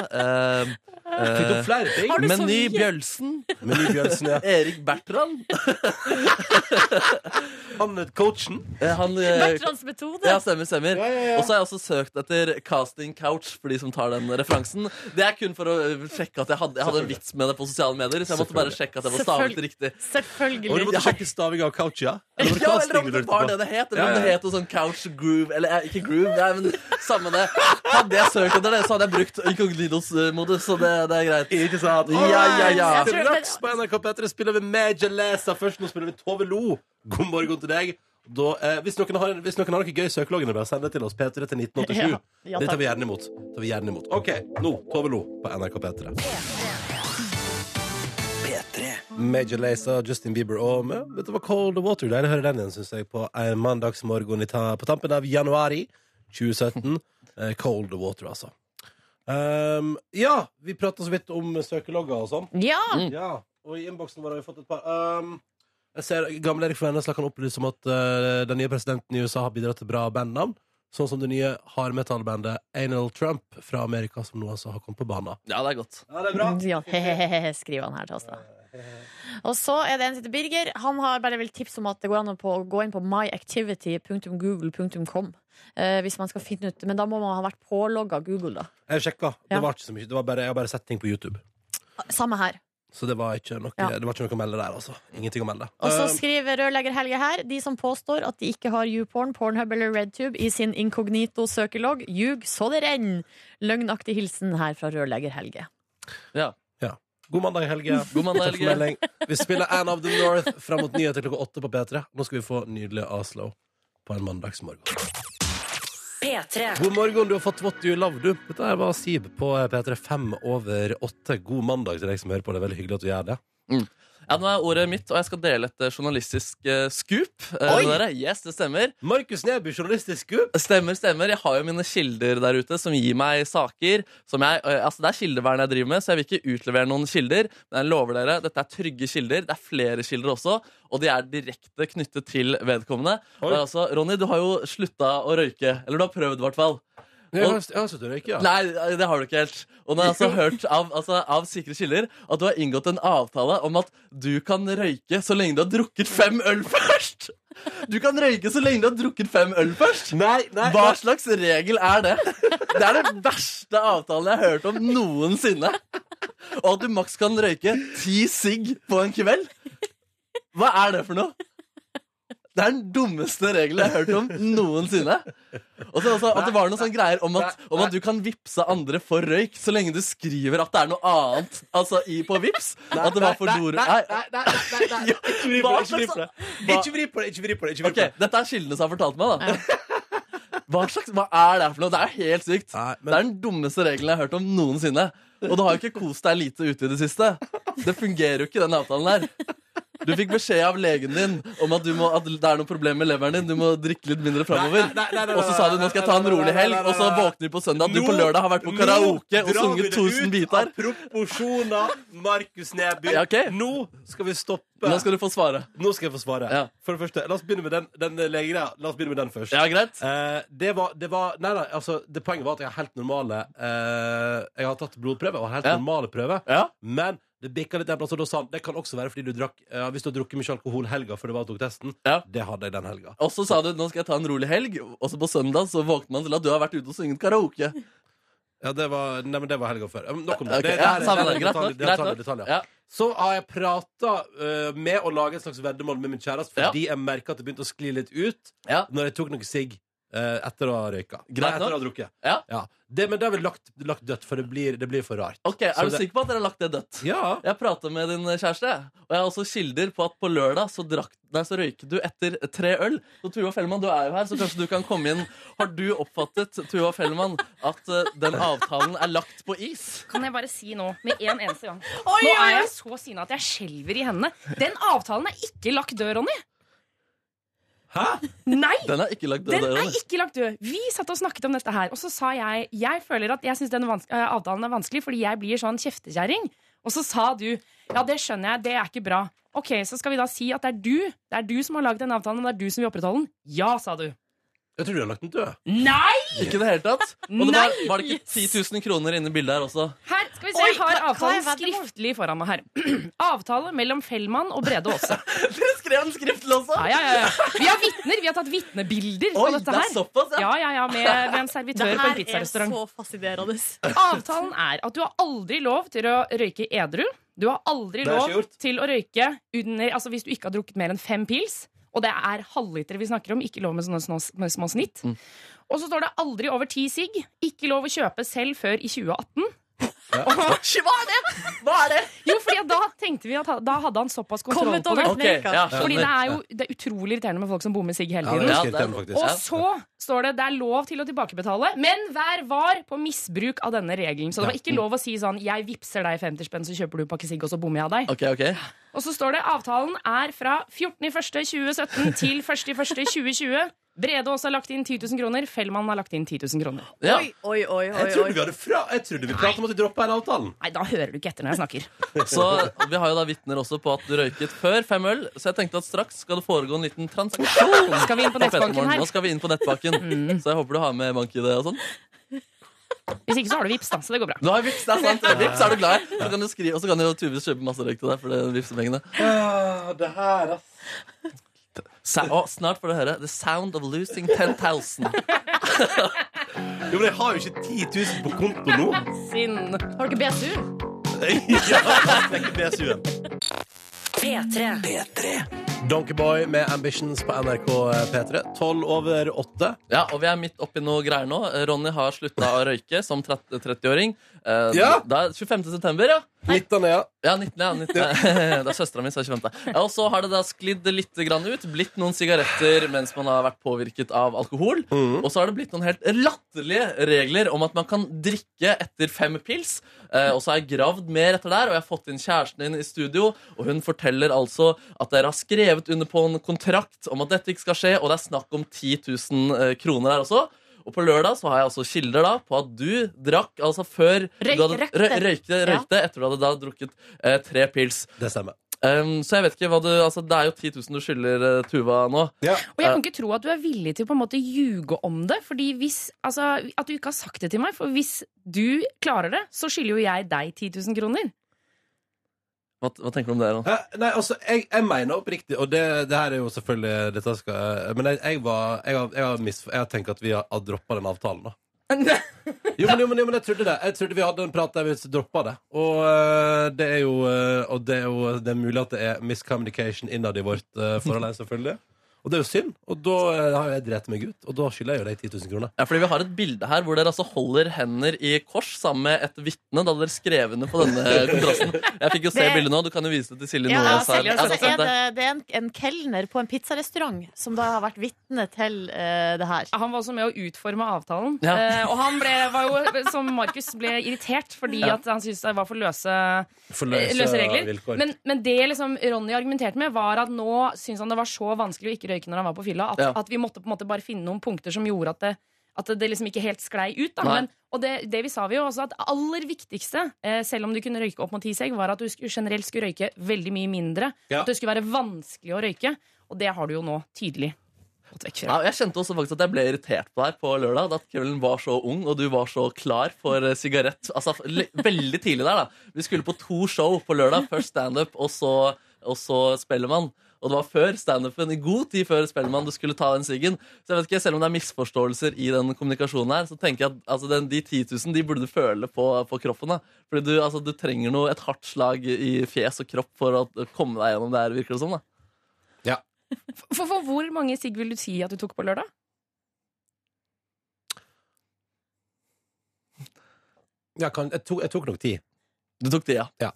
S4: Em,
S2: Fikk opp
S4: eh,
S2: flere ting.
S3: Har du så
S4: Meny
S3: mye?
S4: Bjølsen.
S2: Men i Bjørnsen, ja.
S4: Erik Bertrand.
S2: Han er coachen.
S4: Eh, Han eh,
S3: Bertrands metode.
S4: Ja, stemmer, stemmer.
S2: Ja, ja, ja.
S4: Og så har jeg også søkt etter casting couch for de som tar den referansen. Det er kun for å ø, sjekke at jeg hadde, jeg hadde en vits med det på sosiale medier. Så jeg måtte bare sjekke at jeg var stavet riktig.
S2: Og du
S3: Selvfølgelig.
S2: måtte sjekke stavinga av coucha.
S4: Ja,
S2: Eller var det
S4: eller
S2: casting
S4: om
S2: du
S4: det
S2: lurte
S4: var det
S2: på?
S4: det het. Eller om
S2: Ja, ja.
S4: det het noe sånn couch groove Eller eh, ikke groove, nei, men samme det. Hadde jeg søkt etter det, så hadde jeg brukt incognito-modus, så det, det er greit.
S2: Ikke sant?
S4: Ja, ja, ja.
S3: Jeg tror-
S2: Straks på NRK P3 spiller vi Major Lazer først. Nå spiller vi Tove Lo. God morgen til deg. Da, eh, hvis, noen har, hvis noen har noe gøy i søkeloggen, bare send det til oss. P3 til 1987.
S3: Ja. Ja,
S2: det tar
S3: takk.
S2: vi gjerne imot. Tar vi gjerne imot. OK, nå Tove Lo på NRK P3. Major Lazer, Justin Bieber og men, Dette var Cold Water. Deilig å høre den igjen, syns jeg, på en mandagsmorgen i ta, på tampen av januari 2017. Eh, Cold Water, altså. Um, ja, vi prata så vidt om søkelogger og sånn.
S3: Ja,
S2: Ja, og i innboksen vår har vi fått et par um, Jeg ser Gamle Erik fra Vennesla kan opplyse om at eh, den nye presidenten i USA har bidratt til bra bandnavn. Sånn som det nye hardmetallbandet Anal Trump fra Amerika, som nå altså har kommet på banen.
S4: Ja, det er godt.
S2: Ja, det er
S3: Ja, hehehe, skriver han her til oss da. Og så er det en som heter Birger. Han har bare vel tips om at det går an å på, gå inn på myactivity.google.com eh, hvis man skal finne ut Men da må man ha vært pålogga Google, da.
S2: Jeg sjekka.
S3: Ja.
S2: Det var ikke så mye. Det var bare, jeg har bare sett ting på YouTube.
S3: Samme her.
S2: Så det var ikke noe,
S3: Ja.
S2: det var ikke noe å melde der, altså. Ingenting å melde.
S3: Og så
S4: Eh,
S2: Um,
S3: skriver rørlegger Helge her de som påstår at de ikke har YouPorn, Pornhub eller RedTube i sin inkognito-søkelogg, ljug så det renner. Løgnaktig hilsen her fra rørlegger Helge.
S2: God mandag, Helge.
S4: God
S2: Takk
S4: mandag,
S2: for
S4: Helge.
S2: melding. Vi spiller Anne of the North fram mot nyheter klokka åtte på P3. Nå skal vi få nydelig Oslo på en mandagsmorgen.
S1: P3.
S2: God morgen, du har fått What You Love, du. Dette her var eh, Sib på P3 fem over åtte. God mandag til deg som hører på. Det er veldig hyggelig at du gjør det.
S4: Ja, Nå er ordet mitt, og jeg skal dele et eh, journalistisk eh, scoop. eh,
S2: Oi!
S4: med dere. Yes, det stemmer.
S2: Markus Neby, journalistisk scoop.
S4: Stemmer, stemmer. Jeg har jo mine kilder der ute som gir meg saker. Som jeg, øh, altså det er kildevern jeg driver med, så jeg vil ikke utlevere noen kilder. Men jeg lover dere, dette er trygge kilder. Det er flere kilder også, og de er direkte knyttet til vedkommende.
S2: Oi.
S4: Og det er altså, Ronny, du har jo slutta å røyke. Eller du har prøvd, i hvert fall.
S2: Jeg har, jeg har sluttet å røyke, ja.
S4: Nei, det har du ikke helt. Og nå har jeg altså hørt av, altså, av sikre kilder at du har inngått en avtale om at du kan røyke så lenge du har drukket fem øl først! Du kan røyke så lenge du har drukket fem øl først!
S2: Nei, nei,
S4: Hva slags regel er det? Det er den verste avtalen jeg har hørt om noensinne. Og at du maks kan røyke ti sigg på en kveld? Hva er det for noe? Det er den dummeste regelen jeg har hørt om noensinne. Og så også at det var noen sånne greier om at, om at du kan vippse andre for røyk så lenge du skriver at det er noe annet altså, i på vips. At det var for dor...
S2: Nei,
S4: Nei,
S2: nei, nei, nei, nei, nei. Ikke vri på
S4: Hva
S2: det, ikke vri på det.
S4: Hva-
S2: Ikke vri på det, ikke vri på det. Ikke vri på
S4: Ok,
S2: det.
S4: Dette er kildene som har fortalt meg, da. Hva, slags, hva er det her for noe? Det er helt sykt.
S2: Nei, men-
S4: Det er den dummeste regelen jeg har hørt om noensinne. Og du har jo ikke kost deg lite ute i det siste. Det fungerer jo ikke, den avtalen der. Du fikk beskjed av legen din om at, du må, at det er noe problem med leveren din. Du må drikke litt mindre framover.
S2: Nei, nei, nei, nei,
S4: Og så sa du nå skal jeg ta en
S2: nei, nei,
S4: rolig
S2: nei,
S4: helg,
S2: nei, nei,
S4: og så
S2: nei.
S4: våkner vi på søndag. at Du
S2: Nå-
S4: på lørdag har vært på
S2: nå
S4: karaoke
S2: drar
S4: og
S2: vi
S4: sunget
S2: det
S4: 1000
S2: ut
S4: biter.
S2: av Proporsjoner, Markus Neby.
S4: Ja, ok.
S2: Nå skal vi stoppe.
S4: Nå skal du få svare.
S2: Nå skal jeg få svare.
S4: Ja.
S2: For det første, La oss begynne med den, den legegreia. La oss begynne med den først.
S4: Ja, greit?
S2: Eh, det var, det var Nei, nei, altså det Poenget var at jeg har helt normale eh, Jeg har tatt blodprøve og har helt
S4: Ja.
S2: normale prøver.
S4: Ja.
S2: Men det bikka litt der, altså, da sa han, det kan også være fordi du drakk eh, Hvis du har drukket mye alkohol helga før du var og tok testen.
S4: Ja.
S2: Det hadde jeg den helga.
S4: Og så sa du nå skal jeg ta en rolig helg, og så på søndag så våkner man til at du har vært ute og sunget karaoke.
S2: Ja, det var, nei, men det var helga før. Eh, men Nok om det.
S4: Ok,
S2: det, det,
S4: ja,
S2: her er-
S4: samme
S2: det,
S4: det.
S2: er
S4: Greit
S2: detalj- det
S4: nok,
S2: er
S4: greit
S2: detalj-
S4: nok.
S2: detaljer.
S4: Ja.
S2: Så har jeg prata med å lage et slags veddemål med min kjæreste,
S4: Ja.
S2: fordi jeg merka at det begynte å skli litt ut
S4: Ja.
S2: når jeg tok noe sigg eh, etter å ha røyka.
S4: Greit
S2: Nei, etter
S4: nok.
S2: å ha drukket.
S4: Ja.
S2: Det, men det har vi lagt, lagt dødt, for det blir, det blir for rart.
S4: Ok, Er
S2: Så
S4: du
S2: det-
S4: sikker på at dere har lagt det dødt?
S2: Ja.
S4: Jeg prata med din eh, kjæreste, og jeg har også kilder på at på lørdag så, drakk, nei, så røyket du etter tre øl. Så Tuva Fellmann, du er jo her, så kanskje du kan komme inn. Har du oppfattet Tuva Fellmann, at eh, den avtalen er lagt på is?
S6: Kan jeg bare si nå, med en eneste gang
S3: Oi,
S6: Nå
S3: oi,
S6: er
S3: oi.
S6: jeg så sinna at jeg skjelver i hendene. Den avtalen er ikke lagt død, Ronny.
S2: Hæ?
S6: Nei!
S4: Den er ikke lagt død.
S6: Den er
S4: Ronny.
S6: ikke lagt død. Vi satt og snakket om dette her, og så sa jeg Jeg føler at jeg syns denne vans- eh, avtalen er vanskelig fordi jeg blir sånn kjeftekjerring. Og så sa du Ja, det skjønner jeg, det er ikke bra. Ok, Så skal vi da si at det er du Det er du som har lagd den avtalen, og det er du som vil opprettholde den? Ja, sa du.
S2: Jeg tror du har lagt den død.
S6: Nei!
S4: Ikke i det hele tatt. Og det var,
S6: Nei!
S4: var det ikke 10 000 kroner inne i bildet her også?
S6: Her, skal vi se,
S3: Oi,
S6: Jeg har
S3: hva- hva er
S6: avtalen
S3: veddemål?
S6: skriftlig foran meg her. Avtale mellom Fellmann og Brede Aase.
S4: Dere skrev den skriftlig også!
S6: Ja, ja, ja, ja. Vi har vitner. Vi har tatt vitnebilder på
S4: Oi, det
S6: dette
S4: er
S6: her.
S4: såpass, ja.
S6: Ja, ja, ja, med, med en
S3: Det
S6: servitør på en
S3: her er
S6: pizzarestaurant.
S3: så fascinerende.
S6: Avtalen er at du har aldri lov til å røyke edru. Du har aldri
S2: Det er ikke
S6: lov
S2: gjort.
S6: til å røyke under, altså hvis du ikke har drukket mer enn fem pils. Og det er halvlitere vi snakker om, ikke lov med sånne små, med små snitt.
S2: Mm.
S6: Og så står det aldri over ti sigg. Ikke lov å kjøpe selv før i 2018.
S4: Hva er det?! Hva er det?
S6: Jo, fordi at da tenkte vi at ha- da hadde han såpass kontroll
S3: Kommet
S6: på
S3: over
S6: det.
S4: Ok, ja, skjønner.
S6: Fordi det er jo det er utrolig irriterende med folk som bommer sigg hele
S2: Ja,
S6: tiden.
S2: det
S4: Ja,
S2: skal jeg
S4: det er-
S2: tenne, faktisk.
S6: Og så står det det er lov til å tilbakebetale, men vær var på misbruk av denne regelen. Så det var ikke lov å si sånn 'jeg vippser deg 50 spenn, så kjøper du en pakke sigg, og så bommer jeg av deg'.
S4: Ok, ok.
S6: Og så står det avtalen er fra 14.1.2017 til 1.1.2020. Brede også har lagt inn 10 000 kroner. Fellmann har lagt inn 10 000 kroner.
S4: Ja.
S3: Oi, oi, oi, oi,
S2: Jeg trodde vi
S3: oi.
S2: hadde fra Jeg trodde vi pratet om at vi droppa hele avtalen.
S6: Nei, da hører du ikke etter når jeg snakker.
S4: Så Vi har jo da vitner også på at du røyket før fem øl, så jeg tenkte at straks skal det foregå en liten transaksjon.
S6: Skal vi inn på nettbanken her? Mm.
S4: Nå skal vi inn på nettbanken, så jeg håper du har med bank-ID og sånn.
S6: Hvis ikke så har du vips, da. Så det går bra.
S4: Du har vips, det er sant. Vips, er du glad i? Så kan du skrive, og så kan jo Tuve kjøpe masse røyk til deg for det vipsepengene.
S2: det her, ass.
S4: Sa å, snart får du høre The Sound of Losing 10,000.
S2: Jo, men jeg har jo ikke 10 000 på konto nå.
S6: Sinn.
S3: Har dere BSU?
S2: ja, det er ikke BSU-en.
S1: P3.
S2: Donkeyboy med Ambitions på NRK P3. 12 over 8.
S4: Ja, og vi er midt oppi noe greier nå. Ronny har slutta å røyke som 30-åring. Eh,
S2: Ja.
S4: Det er 25. september, ja.
S2: 19, ja.
S4: Ja, 19, ja. 19. Det er søstera mi, så jeg har ikke venta. Og så har det da sklidd litt grann ut. Blitt noen sigaretter mens man har vært påvirket av alkohol. Og så har det blitt noen helt latterlige regler om at man kan drikke etter fem pils. Eh, Og så har jeg gravd mer etter der, og jeg har fått inn kjæresten din i studio. Og hun forteller altså at dere har skrevet under på en kontrakt om at dette ikke skal skje, og det er snakk om 10 000 eh, kroner her også. Og på lørdag så har jeg altså kilder da på at du drakk altså før
S3: Røy-
S4: du hadde,
S3: røykte.
S4: røy- røykte, røykte etter du hadde da drukket eh, tre pils.
S2: Det stemmer.
S4: Um, så jeg vet ikke hva du Altså, det er jo 10 000 du skylder eh, Tuva nå.
S6: Og jeg kan ikke tro at du er villig til å på en måte ljuge om det. Fordi hvis, altså, At du ikke har sagt det til meg. For hvis du klarer det, så skylder jo jeg deg 10 000 kroner.
S4: Hva, hva tenker du om det? Ron?
S2: Hæ? Nei, altså, jeg, jeg mener oppriktig, og det, det her er jo selvfølgelig dette skal, Men jeg, jeg var Jeg har, jeg har, misf- jeg har tenkt at vi har, har droppa den avtalen, da. Jo men, jo, men, jo, men jeg trodde det. Jeg trodde vi hadde en prat der vi droppa det. Og øh, det er jo, øh, og det er jo det er mulig at det er miscommunication innad i vårt øh, forhold her, selvfølgelig. Og det er jo synd. Og da øh, har jo jeg drept meg ut, og da skylder jeg jo deg 10 000 kroner.
S4: Ja, fordi Vi har et bilde her hvor dere altså holder hender i kors sammen med et vitne. Da dere skrev under på denne kontrasten. Jeg fikk jo se
S3: Det-
S4: bildet nå. Du kan jo vise det til Silje
S3: Ja,
S4: Nordnes. her.
S3: altså,
S4: Ja,
S3: altså, er
S4: sant det.
S3: det, det er en, en kelner på en pizzarestaurant som da har vært vitne til eh, det her.
S6: Han var også med å utforme avtalen.
S4: Ja.
S6: Eh, og han ble, var jo, som Markus, ble irritert fordi
S4: Ja.
S6: at han syntes det var for løse, eh,
S2: For
S6: løse regler.
S2: vilkår.
S6: Men, men det liksom Ronny argumenterte med, var at nå syntes han det var så vanskelig å ikke røyke når han var på fylla, at,
S4: Ja.
S6: at vi måtte på en måte bare finne noen punkter som gjorde at det, at det liksom ikke helt sklei ut. Da.
S4: Nei.
S6: Men, og det, det vi sa vi jo også, at det aller viktigste, eh, selv om du kunne røyke opp mot ti seg, var at du skulle, generelt skulle røyke veldig mye mindre.
S2: Ja.
S6: At det skulle være vanskelig å røyke. Og det har du jo nå tydelig fått vekk fra.
S4: Ja, og jeg kjente også faktisk at jeg ble irritert på deg på lørdag. Da kvelden var så ung, og du var så klar for eh, sigarett. Altså, f- le- veldig tidlig der, da. Vi skulle på to show på lørdag. Først standup, og så, og så Spellemann. Og det var før standupen, i god tid før Spellemann, du skulle ta den siggen. Så jeg vet ikke, selv om det er misforståelser i den kommunikasjonen her, så tenker jeg at altså, den, de 10 000, de burde du føle på, på kroppen. da. Fordi du, altså, du trenger noe, et hardt slag i fjes og kropp for å komme deg gjennom det her, virker det som. da.
S6: For, for hvor mange sigg vil du si at du tok på lørdag?
S2: Ja, kan, jeg, tok, jeg tok nok ti.
S4: Du tok det, ja.
S2: Ja,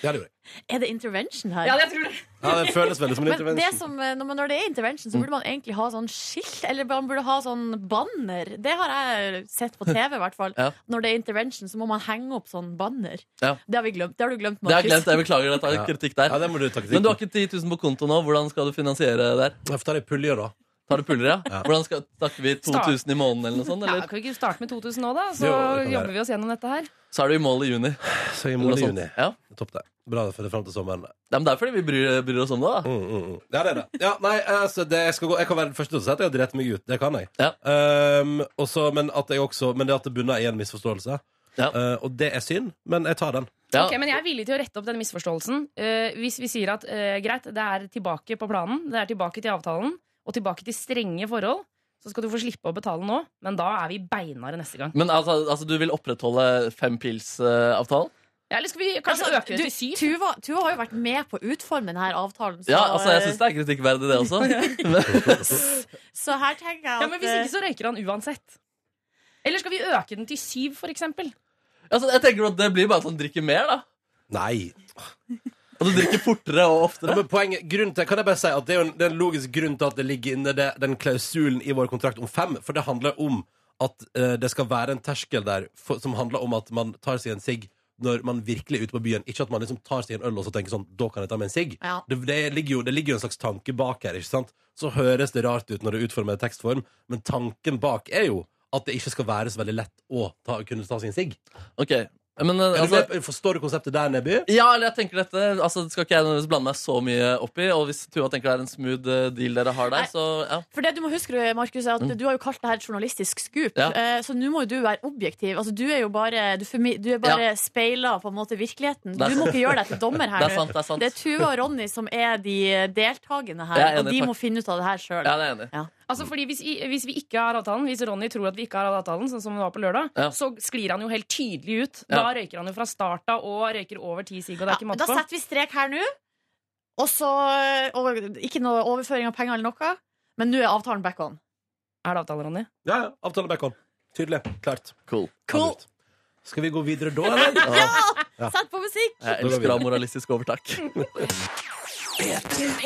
S2: det gjorde jeg.
S3: Er det intervention her?
S6: det tror jeg.
S2: Ja, det føles veldig som en
S3: Men det
S2: intervention.
S3: som, eh, når, man, når det er intervention, så burde man egentlig ha sånn skilt, eller man burde ha sånn banner. Det har jeg sett på TV, i hvert fall.
S4: Ja.
S3: Når det er intervention, så må man henge opp sånn banner.
S4: Ja.
S3: Det har vi glemt. Det har du glemt,
S4: Det har jeg
S3: Markus.
S4: glemt. Jeg beklager at jeg
S2: Ja.
S4: har kritikk der.
S2: Ja, det må du takke
S4: Men du har ikke 10 000 på konto nå. Hvordan skal du finansiere det der?
S2: Jeg får ta det i puljer, da.
S4: Tar du puller, ja? Hvordan skal, Snakker vi 2000 i måneden eller noe sånt?
S6: Ja,
S4: Eller?
S6: kan vi ikke starte med 2000 nå, da? Så
S2: Jo, det kan
S6: jobber
S2: være.
S6: vi oss gjennom dette her.
S4: Så er du i mål i juni. eller
S2: Så i
S4: noe
S2: måned i
S4: sånt.
S2: juni.
S4: Ja.
S2: Topp det. Bra for det er fram til sommeren.
S4: ja, men Det er fordi vi bryr, bryr oss om det, da.
S2: Mm, mm, mm. Ja, det er det. Ja, nei, altså, det jeg, skal gå, jeg kan være den første til å si at jeg har drept meg ut. Det kan jeg.
S4: Ja.
S2: Ehm, og så- men, at jeg også, men det at det bunner i en misforståelse.
S4: Ja.
S2: Eh, og det er synd, men jeg tar den.
S4: Ja.
S6: Ok, Men jeg er villig til å rette opp den misforståelsen. Eh, hvis vi sier at eh, greit, det er tilbake på planen, det er tilbake til avtalen, og tilbake til strenge forhold, så skal du få slippe å betale nå, men da er vi beinharde neste gang.
S4: Men altså, altså, du vil opprettholde fem pils-avtalen?
S6: Ja, eller skal vi kanskje
S3: Altså,
S6: øke
S3: du-
S6: det til syv?
S3: Tuva, Tuva har jo vært med på å utforme denne avtalen, så,
S4: ja, altså, jeg syns det er kritikkverdig, det også. Men,
S3: så her tenker jeg at eh,
S6: Ja, men Hvis ikke, så røyker han uansett. Eller skal vi øke den til syv, for eksempel?
S4: altså, jeg tenker at Det blir bare sånn drikke mer, da.
S2: Nei.
S4: At du drikker fortere og
S2: Ja,
S4: oftere.
S2: men poenget, grunnen til, kan jeg bare si at Det er jo en, det er en logisk grunn til at det ligger inne det, den klausulen i vår kontrakt om fem. For det handler om at eh, det skal være en terskel der for, som handler om at man tar seg en sigg når man virkelig er ute på byen. Ikke at man liksom tar seg en øl og så tenker sånn Da kan jeg ta meg en sigg.
S3: Ja.
S2: Det, det, ligger jo, det ligger jo en slags tanke bak her. ikke sant? Så høres det rart ut når det er utformet i tekstform, men tanken bak er jo at det ikke skal være så veldig lett å ta, kunne ta seg en sigg.
S4: Ok, men eh,
S2: Er du
S4: altså...
S2: med- Forstår du konseptet der, Neby?
S4: Ja, eller jeg tenker dette Altså, det skal ikke jeg nødvendigvis blande meg så mye opp i. Og hvis Tuva tenker det er en smooth eh, deal dere har
S3: Nei.
S4: der, så ja.
S3: For det du må huske, Markus, er at du har jo kalt det her et journalistisk skup.
S4: Mm. Ja.
S3: eh, Så nå må jo du være objektiv. Altså, du er jo bare, du formi- du er bare speila på en måte virkeligheten.
S4: Det er
S3: Du må ikke gjøre deg til dommer her
S4: Det er
S3: nå.
S4: sant. Det er sant.
S3: Det er Tuva og Ronny som er de deltakende her,
S4: Jeg er enig,
S3: og de
S4: takk.
S3: må finne ut av det her sjøl.
S4: Ja, det er jeg enig. i.
S6: Altså fordi hvis, vi- hvis vi ikke har avtalen Hvis Ronny tror at vi ikke har avtalen, sånn som det var på lørdag,
S4: Ja.
S6: så sklir han jo helt tydelig ut.
S4: Ja.
S6: Da røyker han jo fra starta og røyker over ti sigg, og det er
S3: Ja,
S6: ikke
S3: da
S6: måte på.
S3: setter vi strek her nå, og så eh, og Ikke noe overføring av penger eller noe, men nå er avtalen back on.
S6: Er det avtale, Ronny?
S2: Ja, ja. Avtale back on. Tydelig. Klart.
S4: Cool.
S2: Skal vi gå videre da, eller?
S4: Ja.
S2: Ja.
S3: Sett på musikk!
S2: Da går
S4: Jeg
S2: vi.
S4: elsker å ha moralistisk overtak.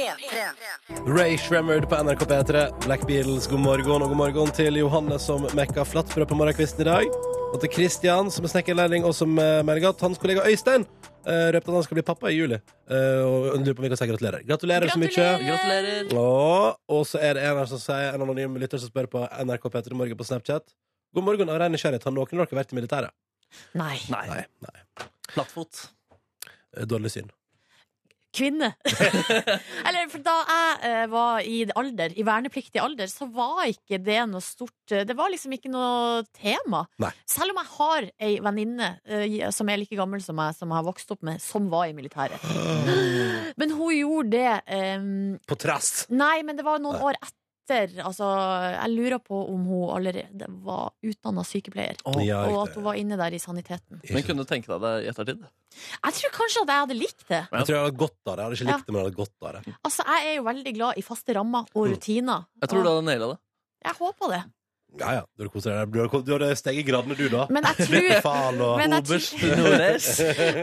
S2: Ray Shremmerd på NRK P3. Black Beatles, god morgen. Og god morgen til Johanne som mekka flatbrød på morgenkvisten i dag. Og til Christian som er snekkerlærling, og som eh, melder at hans kollega Øystein eh, røpte at han skal bli pappa i juli. Eh, og lurer på om vi kan si gratulerer. Gratulerer, så mye.
S4: Gratulerer.
S2: Og, og så er det en her som sier, en anonym lytter som spør på NRK P3 Morgen på Snapchat. God morgen av ren nysgjerrighet. Har noen av dere vært i militæret?
S3: Nei.
S4: Nei.
S2: Nei. nei.
S4: Plattfot.
S2: Eh, Dårlig syn.
S3: Kvinne. Eller, for da jeg eh, var i alder, i vernepliktig alder, så var ikke det noe stort eh, Det var liksom ikke noe tema.
S2: Nei.
S3: Selv om jeg har ei venninne eh, som er like gammel som meg, som jeg har vokst opp med, som var i militæret. Men hun gjorde det eh,
S2: På trass!
S3: Nei, men det var noen
S2: Nei.
S3: år etter. Altså, jeg lurer på om hun allerede var utdanna sykepleier.
S2: Ja,
S3: Og
S2: riktig.
S3: at hun var inne der i
S2: Ikke
S3: saniteten.
S4: Men
S2: sant.
S4: kunne du tenke deg det i ettertid?
S3: Jeg tror kanskje at jeg hadde likt det.
S2: Jeg tror jeg hadde godt av det. Jeg hadde ikke likt det, men jeg hadde godt av det.
S3: Altså, Jeg er jo veldig glad i faste rammer og
S2: Mm.
S3: rutiner.
S4: Jeg tror du hadde naila det.
S3: Jeg håper det.
S2: Ja, ja. Du har koset deg. Du har, du har steget gradene, du, da.
S3: Men jeg tror,
S2: Faen, og
S3: men jeg
S4: Oberst
S3: tror,
S4: Nordnes.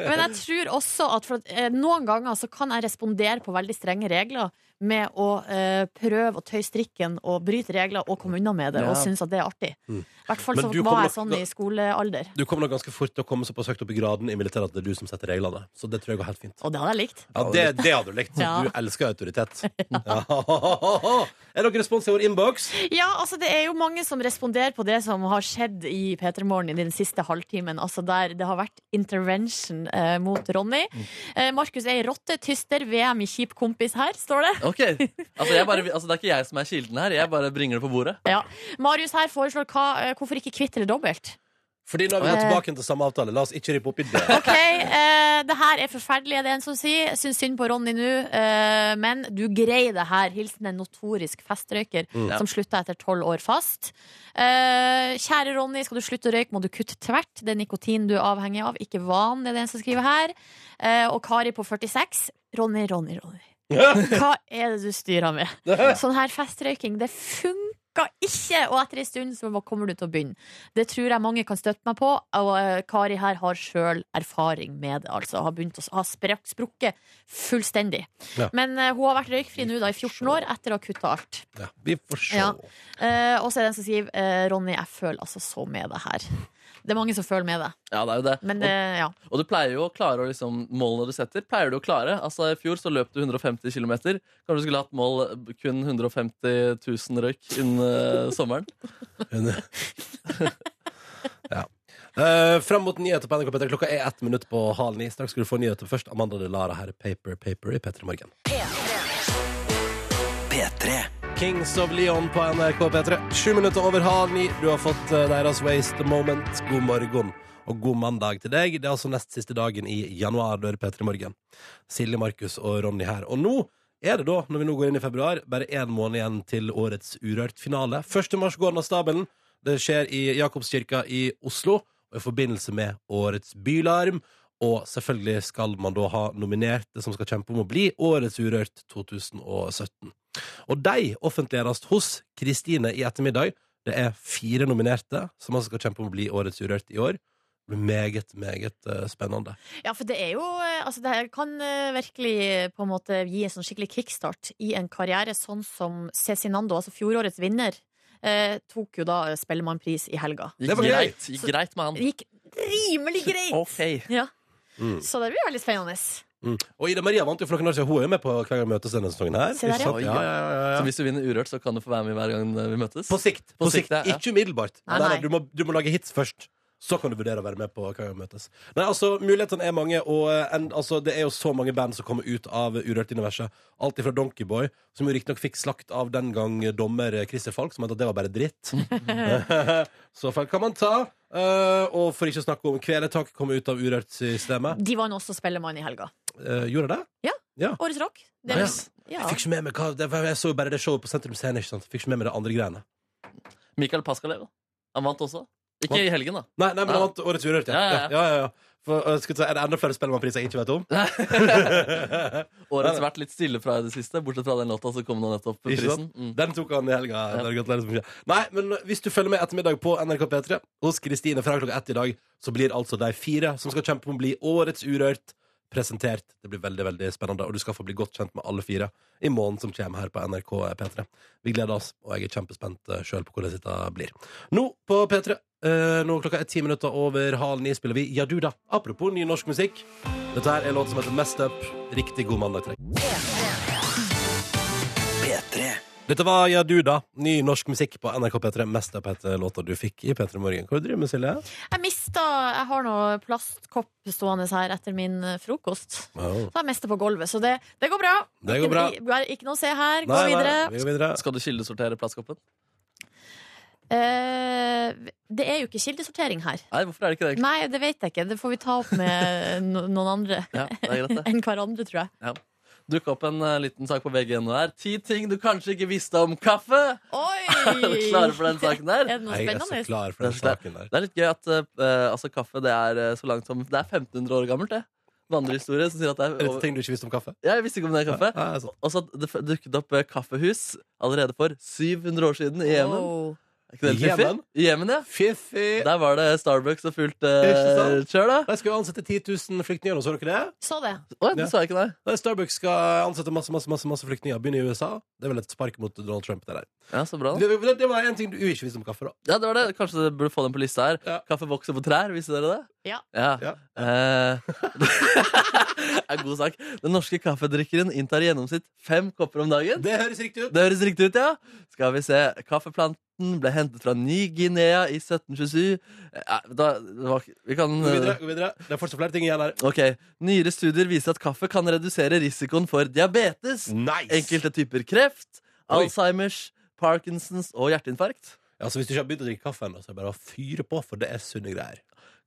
S3: men jeg tror også at for, at, eh, noen ganger så kan jeg respondere på veldig strenge regler med å eh, prøve å tøye strikken og bryte regler og komme unna med det
S4: Ja.
S3: og synes at det er artig.
S2: Mm.
S3: I hvert fall
S2: Men
S3: så
S2: du
S3: var
S2: kommer
S3: jeg sånn
S2: nok-
S3: i skolealder.
S2: Du kommer nok ganske fort til å komme såpass høyt opp i graden i militæret at det er du som setter reglene. Så det tror jeg går helt fint.
S3: Og det hadde jeg likt.
S2: Ja, Det, det hadde du likt.
S3: Ja.
S2: Du elsker autoritet. Ja. Er dere respons i vår innboks?
S3: Ja, altså det er jo mange som responderer på det som har skjedd i P3 Morgen i den siste halvtimen. Altså der det har vært intervention eh, mot Ronny.
S2: Mm.
S3: Eh, Markus er ei rotte, tyster, VM i kjip kompis her, står det.
S4: Ok, altså, jeg bare, altså Det er ikke jeg som er kilden her, jeg bare bringer det på bordet.
S3: Marius her foreslår hva, eh, hvorfor ikke kvitt eller dobbelt.
S2: Fordi nå er vi
S3: Eh.
S2: tilbake til samme avtale. La oss ikke rippe opp i det.
S3: Ok, eh, det her er forferdelig, er det en som sier. Syns synd på Ronny nå, eh, men du greier det her. Hilsen en notorisk festrøyker
S2: Mm.
S3: som slutta etter tolv år fast. Eh, kjære Ronny, skal du slutte å røyke, må du kutte tvert. Det er nikotin du er avhengig av, ikke vanen, det er det en som skriver her. Eh, og Kari på 46. Ronny, Ronny, Ronny. Hva er det du styrer med? Sånn her festrøyking, det funka ikke! Og etter en stund så kommer du til å begynne. Det tror jeg mange kan støtte meg på. Og eh, Kari her har sjøl erfaring med det, altså. Har, begynt å, har sprak- sprukket fullstendig.
S2: Ja.
S3: Men eh, hun har vært røykfri nå da i 14 år etter å ha kutta alt.
S2: Ja, vi får se.
S3: Ja. Eh, og så er det en som sier eh, Ronny, jeg føler altså så med deg her. Det er mange som føler med deg.
S4: Ja, det er jo det.
S3: Men
S4: Og-
S3: eh, ja.
S4: Og du pleier jo å klare å liksom, målene du setter. Pleier du å klare? Altså, I fjor så løp du 150 km. Kanskje du skulle hatt mål eh, kun 150 000 røyk innen eh, sommeren?
S2: eh, ja. Eh, fram mot nyheter på NRK P3. Klokka er ett minutt på halv ni. Straks skal du få nyheter først. Amanda Delara her er Paper Paper i P3 Morgen. Kings of Leon på NRK P3. Sju minutter over halv ni. Du har fått eh, deres Waste the Moment. God morgen. Og god mandag til deg. Det er altså nest siste dagen i januar. Du er P3 Morgen. Silje, Markus og Ronny her. Og nå er det da, når vi nå går inn i februar, bare én måned igjen til årets Urørt-finale. 1. mars går den av stabelen. Det skjer i Jakobskirka i Oslo, og i forbindelse med årets bylarm. Og selvfølgelig skal man da ha nominert det som skal kjempe om å bli Årets Urørt 2017. Og de offentliggjøres hos Kristine i ettermiddag. Det er fire nominerte som altså skal kjempe om å bli Årets Urørt i år. Det blir meget, meget eh, spennende.
S3: Ja, for det er jo eh, Altså, det her kan eh, virkelig eh, på en måte gi en sånn skikkelig kickstart i en karriere, sånn som Cezinando, altså fjorårets vinner, eh, tok jo da eh, Spellemannpris i helga.
S2: Det
S4: Gikk
S2: var gøy.
S4: greit, gikk
S3: Så-
S4: greit med han.
S3: Det gikk rimelig greit!
S4: Ok.
S3: Ja.
S2: Mm.
S3: Så det blir veldig spennende.
S2: Mm. Og Ida Maria vant jo for noen år siden. Hun er jo med på Hver gang vi møtes denne sesongen her.
S3: Se der,
S2: Ikke sant?
S4: ja.
S2: ja, ja, ja, ja.
S4: Så hvis du vinner Urørt, så kan du få være med hver gang vi møtes?
S2: På sikt. På
S4: På
S2: sikt,
S4: sikt, ja.
S2: Ikke umiddelbart.
S3: Nei,
S2: Nei, nei,
S3: nei.
S2: du, må, du må lage hits først. Så kan du vurdere å være med på Hva gang vi møtes. Nei, altså, Mulighetene er mange, og eh, en, altså, det er jo så mange band som kommer ut av Urørt-universet. Alt ifra Donkeyboy, som jo riktignok fikk slakt av den gang dommer eh, Christer Falk, som mente at det var bare dritt. så feil kan man ta. Eh, og for ikke å snakke om Kveletak kom ut av Urørt-systemet.
S3: De vant også Spellemann i helga.
S2: Eh, gjorde det?
S3: Årets rock. Det er,
S4: Nice.
S3: ja.
S2: Jeg fikk ikke med meg hva det var, Jeg så jo bare det showet på Sentrum Scene. ikke sant? Fikk ikke med meg det andre greiene.
S4: Mikael Paskalev. Han vant også. Ikke
S2: Vant.
S4: i helgen, da.
S2: Nei, nei men
S4: Ja.
S2: han vant Årets Urørt, ja.
S4: Ja, ja,
S2: Ja,
S4: ja.
S2: ja, ja, For, øh, skal jeg si, er det enda flere Spellemannpriser jeg ikke vet om?
S4: Årets vært litt stille fra i det siste, bortsett fra den låta, så kom nå nettopp
S2: Ikke
S4: prisen.
S2: sant?
S4: Mm.
S2: Den tok han i helga. Eller gratulerer så mye. Nei, men hvis du følger med ettermiddag på NRK P3 hos Kristine fra klokka ett i dag, så blir altså de fire som skal kjempe om å bli Årets Urørt, presentert. Det blir veldig veldig spennende, og du skal få bli godt kjent med alle fire i måneden som kommer her på NRK P3. Vi gleder oss, og jeg er kjempespent sjøl på hvordan dette blir. Nå på P3, eh, nå klokka er ti minutter over halv ni, spiller vi Ja du da. Apropos ny norsk musikk. Dette her er låt som heter Messed Up. Riktig god mandag til deg. Dette var Ja du da, ny norsk musikk på NRK P3. Mest av P3 låta du fikk i P3 Morgen. Hva driver du med, Silje?
S3: Jeg mista Jeg har noe plastkopp stående her etter min eh, frokost. Så jeg mista på gulvet, så det, det går bra.
S2: Det går bra.
S3: Ikke, bli- ikke noe å se her. Gå
S2: Nei, nei,
S3: videre.
S2: vi går videre.
S4: Mm. Skal du kildesortere plastkoppen?
S3: Eh, det er jo ikke kildesortering her.
S4: Nei, hvorfor er det ikke det? egentlig?
S3: Nei, det vet jeg ikke. Det får vi ta opp med eh, no noen andre
S4: Ja, det er greit, det.
S3: enn hverandre, tror jeg.
S4: Dukka opp en eh, liten sak på VG1 her. Ti ting du kanskje ikke visste om kaffe.
S3: Oi!
S4: Er du klar for den saken der?
S3: Er det noe
S2: Jeg er så
S3: spennende?
S2: klar for den
S4: Det er så
S2: saken der.
S4: Det er litt gøy at eh, altså, kaffe det er eh, så langt som Det er 1500 år gammelt, det. Vandrehistorie som sier at det
S2: Er
S4: er
S2: det
S4: over...
S2: ting du ikke visste om kaffe?
S4: Ja, Jeg visste ikke om det er kaffe.
S2: Ja, det er sant.
S4: Og så at det f- dukket opp eh, kaffehus allerede for 700 år siden i Jemen.
S3: Wow.
S4: Er ikke det helt fiffig?
S2: Jemen?
S4: I Jemen, ja.
S2: Fiffi!
S4: Der var det Starbucks og fullt
S2: Ikke
S4: uh, kjør, da.
S2: De skal jo ansette 10 000 flyktninger nå, så dere det?
S3: Så det.
S4: Oi, det sa jeg ikke, nei.
S2: Nei, Starbucks skal ansette masse masse, masse, masse flyktninger. Begynne i USA. Det er vel et spark mot Donald Trump. Det der
S4: Ja, så bra da.
S2: Det, det, det var en ting du ikke visste om kaffe, da.
S4: Ja, det var det. Kanskje du burde få den på lista her.
S2: Ja.
S4: Kaffe vokser på trær, visste dere det?
S3: Ja.
S2: Ja.
S4: Eh, det er god sak. Den norske kaffedrikkeren inntar i gjennomsnitt fem kopper om dagen.
S2: Det høres riktig ut.
S4: Det høres riktig ut, ja. Skal vi se. Kaffeplanten ble hentet fra Ny-Guinea i 1727. Eh, da, det var, ikke- vi kan eh,
S2: Gå videre, gå videre. Det er fortsatt flere ting igjen her.
S4: Ok. Nyere studier viser at kaffe kan redusere risikoen for diabetes,
S2: Nice!
S4: enkelte typer kreft,
S2: Oi.
S4: Alzheimers, Parkinsons og hjerteinfarkt.
S2: Altså, hvis du ikke har begynt å drikke kaffe ennå, så er det bare å fyre på, for det er sunne greier.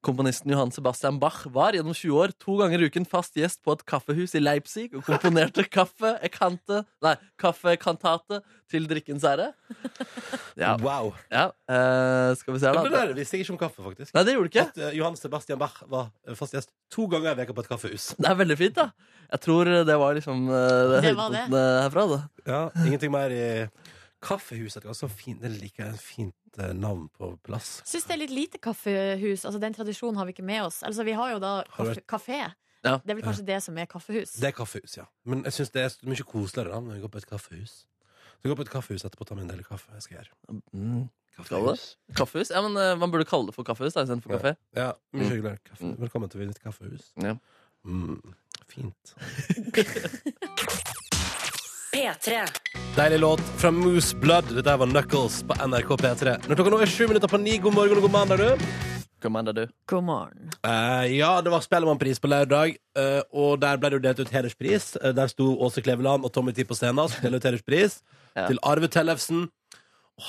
S4: Komponisten Johan Sebastian Bach var gjennom 20 år to ganger i uken fast gjest på et kaffehus i Leipzig og komponerte kaffe ekante, nei, kaffekantate til drikkens ære. Ja,
S2: Wow.
S4: ja. eh, skal vi se her,
S2: Men det
S4: da.
S2: der visste jeg ikke om kaffe, faktisk.
S4: Nei, det gjorde du ikke.
S2: At, eh, Johan Sebastian Bach var eh, fast gjest to ganger i veka på et kaffehus.
S4: Det er veldig fint, da. Jeg tror det var liksom eh,
S3: Det var det.
S4: høydepunktene herfra. Da.
S2: Ja, Ingenting mer i kaffehuset. Det var så fint. Det liker jeg. Fint eh, navn på plass.
S3: Syns det er litt lite kaffehus. Altså, den tradisjonen har vi ikke med oss. Altså, vi har jo da
S2: Har du
S3: kaffe, kafé.
S4: Ja.
S3: Det er vel kanskje det som er kaffehus.
S2: Det er kaffehus, ja. Men jeg syns det er så mye koseligere da, når vi går på et kaffehus. Så vi går på et kaffehus etterpå og tar med en del kaffe. Jeg skal gjøre.
S4: Mm. Skal det? Kaffehus? Ja, men eh, Man burde kalle det for kaffehus da, istedenfor kafé.
S2: Ja, mye
S4: Mm.
S2: hyggeligere. Kaffe.
S4: Mm.
S2: Velkommen til mitt kaffehus.
S4: Ja.
S2: Mm. Fint.
S1: P3.
S2: Deilig låt fra Moose Blood. Dette her var Knuckles på NRK P3. Når klokka nå er sju minutter på ni, god morgen og god mandag, du.
S4: Kom igjen, da, du.
S3: God morgen.
S2: Eh, ja, det var Spellemannpris på lørdag, eh, og der ble det jo delt ut hederspris. Eh, der sto Åse Kleveland og Tommy Tee på scenen og skulle dele ut hederspris
S4: Ja.
S2: til Arve Tellefsen.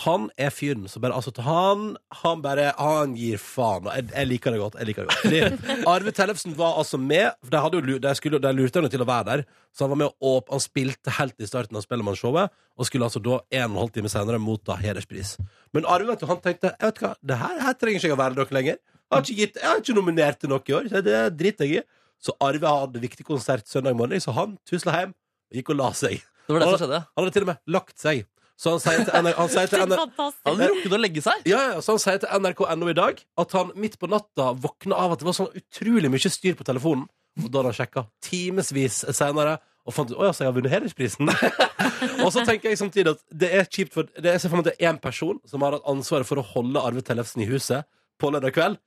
S2: Han er fyren som bare Altså, han, han bare Han gir faen. Og jeg, jeg liker det godt. Jeg liker det godt. Fordi Arve Tellefsen var altså med. For de, hadde jo, lu- de, skulle, de lurte henne til å være der, så han var med og åp- Han spilte helt i starten av Spellemannshowet, og skulle altså da en og en halv time senere motta hederspris. Men Arve vet du, han tenkte Jeg vet hva, det her, her trenger ikke jeg å være dere lenger. Jeg har ikke, gitt, jeg har ikke nominert til noe i år. Så det driter jeg i. Så Arve hadde viktig konsert søndag morgen, så han tusla hjem og gikk og la seg.
S4: Det var det som skjedde.
S2: Han hadde til og med lagt seg. Så han sier til NRK, han sier til NRK
S3: Fantastisk.
S4: Han hadde rukket å legge seg.
S2: ja, ja, så han sier til NRK.no i dag at han midt på natta våkna av at det var sånn utrolig mye styr på telefonen. Og da hadde han sjekka timevis senere og fant ut at så jeg har vunnet hedersprisen. og så tenker jeg samtidig at det er kjipt, for det er, jeg ser for meg at det er én person som har hatt ansvaret for å holde Arve Tellefsen i huset på lørdag kveld.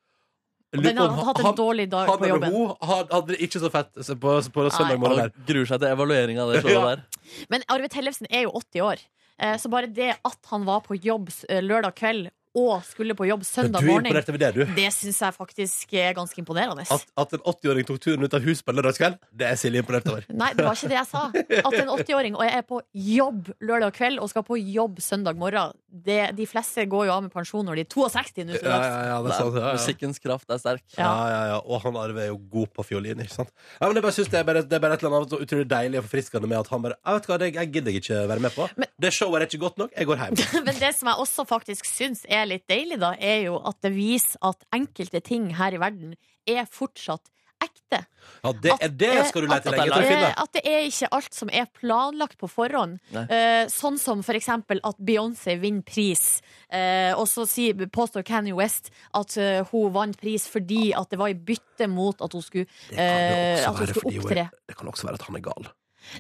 S3: Men han hadde hatt en dårlig dag
S2: han
S3: på
S2: eller
S3: jobben.
S2: hun had- hadde det ikke så fett på, på søndag morgen.
S4: Han
S2: Der.
S4: gruer seg til evaluering av det showet
S2: Ja.
S4: der.
S3: Men Arve Tellefsen er jo 80 år, eh, så bare det at han var på jobb s- eh, lørdag kveld og skulle på jobb søndag
S2: Du er
S3: morgen,
S2: imponert over det, du.
S3: det syns jeg faktisk er ganske imponerende.
S2: At, at en 80-åring tok turen ut av huset på lørdagskveld, det er Silje imponert over.
S3: Nei, det var ikke det jeg sa. At en 80-åring og jeg er på jobb lørdag kveld og skal på jobb søndag morgen,
S7: det, de fleste går jo av med pensjon når de er 62 nå.
S2: Ja,
S7: Ja,
S2: ja, ja, det er sant. Ja, ja.
S4: Musikkens kraft er sterk.
S2: Ja, ja, ja. Og han Arve er jo god på fiolin, ikke sant? Ja, men jeg bare synes det, er bare, det er bare et eller annet så utrolig deilig og forfriskende med at han bare Jeg vet hva, det, jeg gidder ikke være med på.
S7: Men-
S2: det showet er ikke godt nok. Jeg går hjem.
S7: Men det som jeg også faktisk syns er litt deilig, da, er jo at det viser at enkelte ting her i verden er fortsatt ekte.
S2: Ja, det,
S7: At-
S2: er det skal du
S7: at-
S2: lete lenge
S4: at
S2: etter å
S4: det
S2: finne.
S7: Eh, At det er ikke alt som er planlagt på forhånd.
S4: Nei.
S7: Eh, sånn som for eksempel at Beyoncé vinner pris, eh, og så sier, påstår Kanye West at eh, hun vant pris fordi at det var i bytte mot at hun skulle,
S2: Det
S7: eh, at
S2: kan jo også
S7: hun
S2: være
S7: skulle
S2: fordi hun
S7: opptre.
S2: er- det kan også være at han er gal.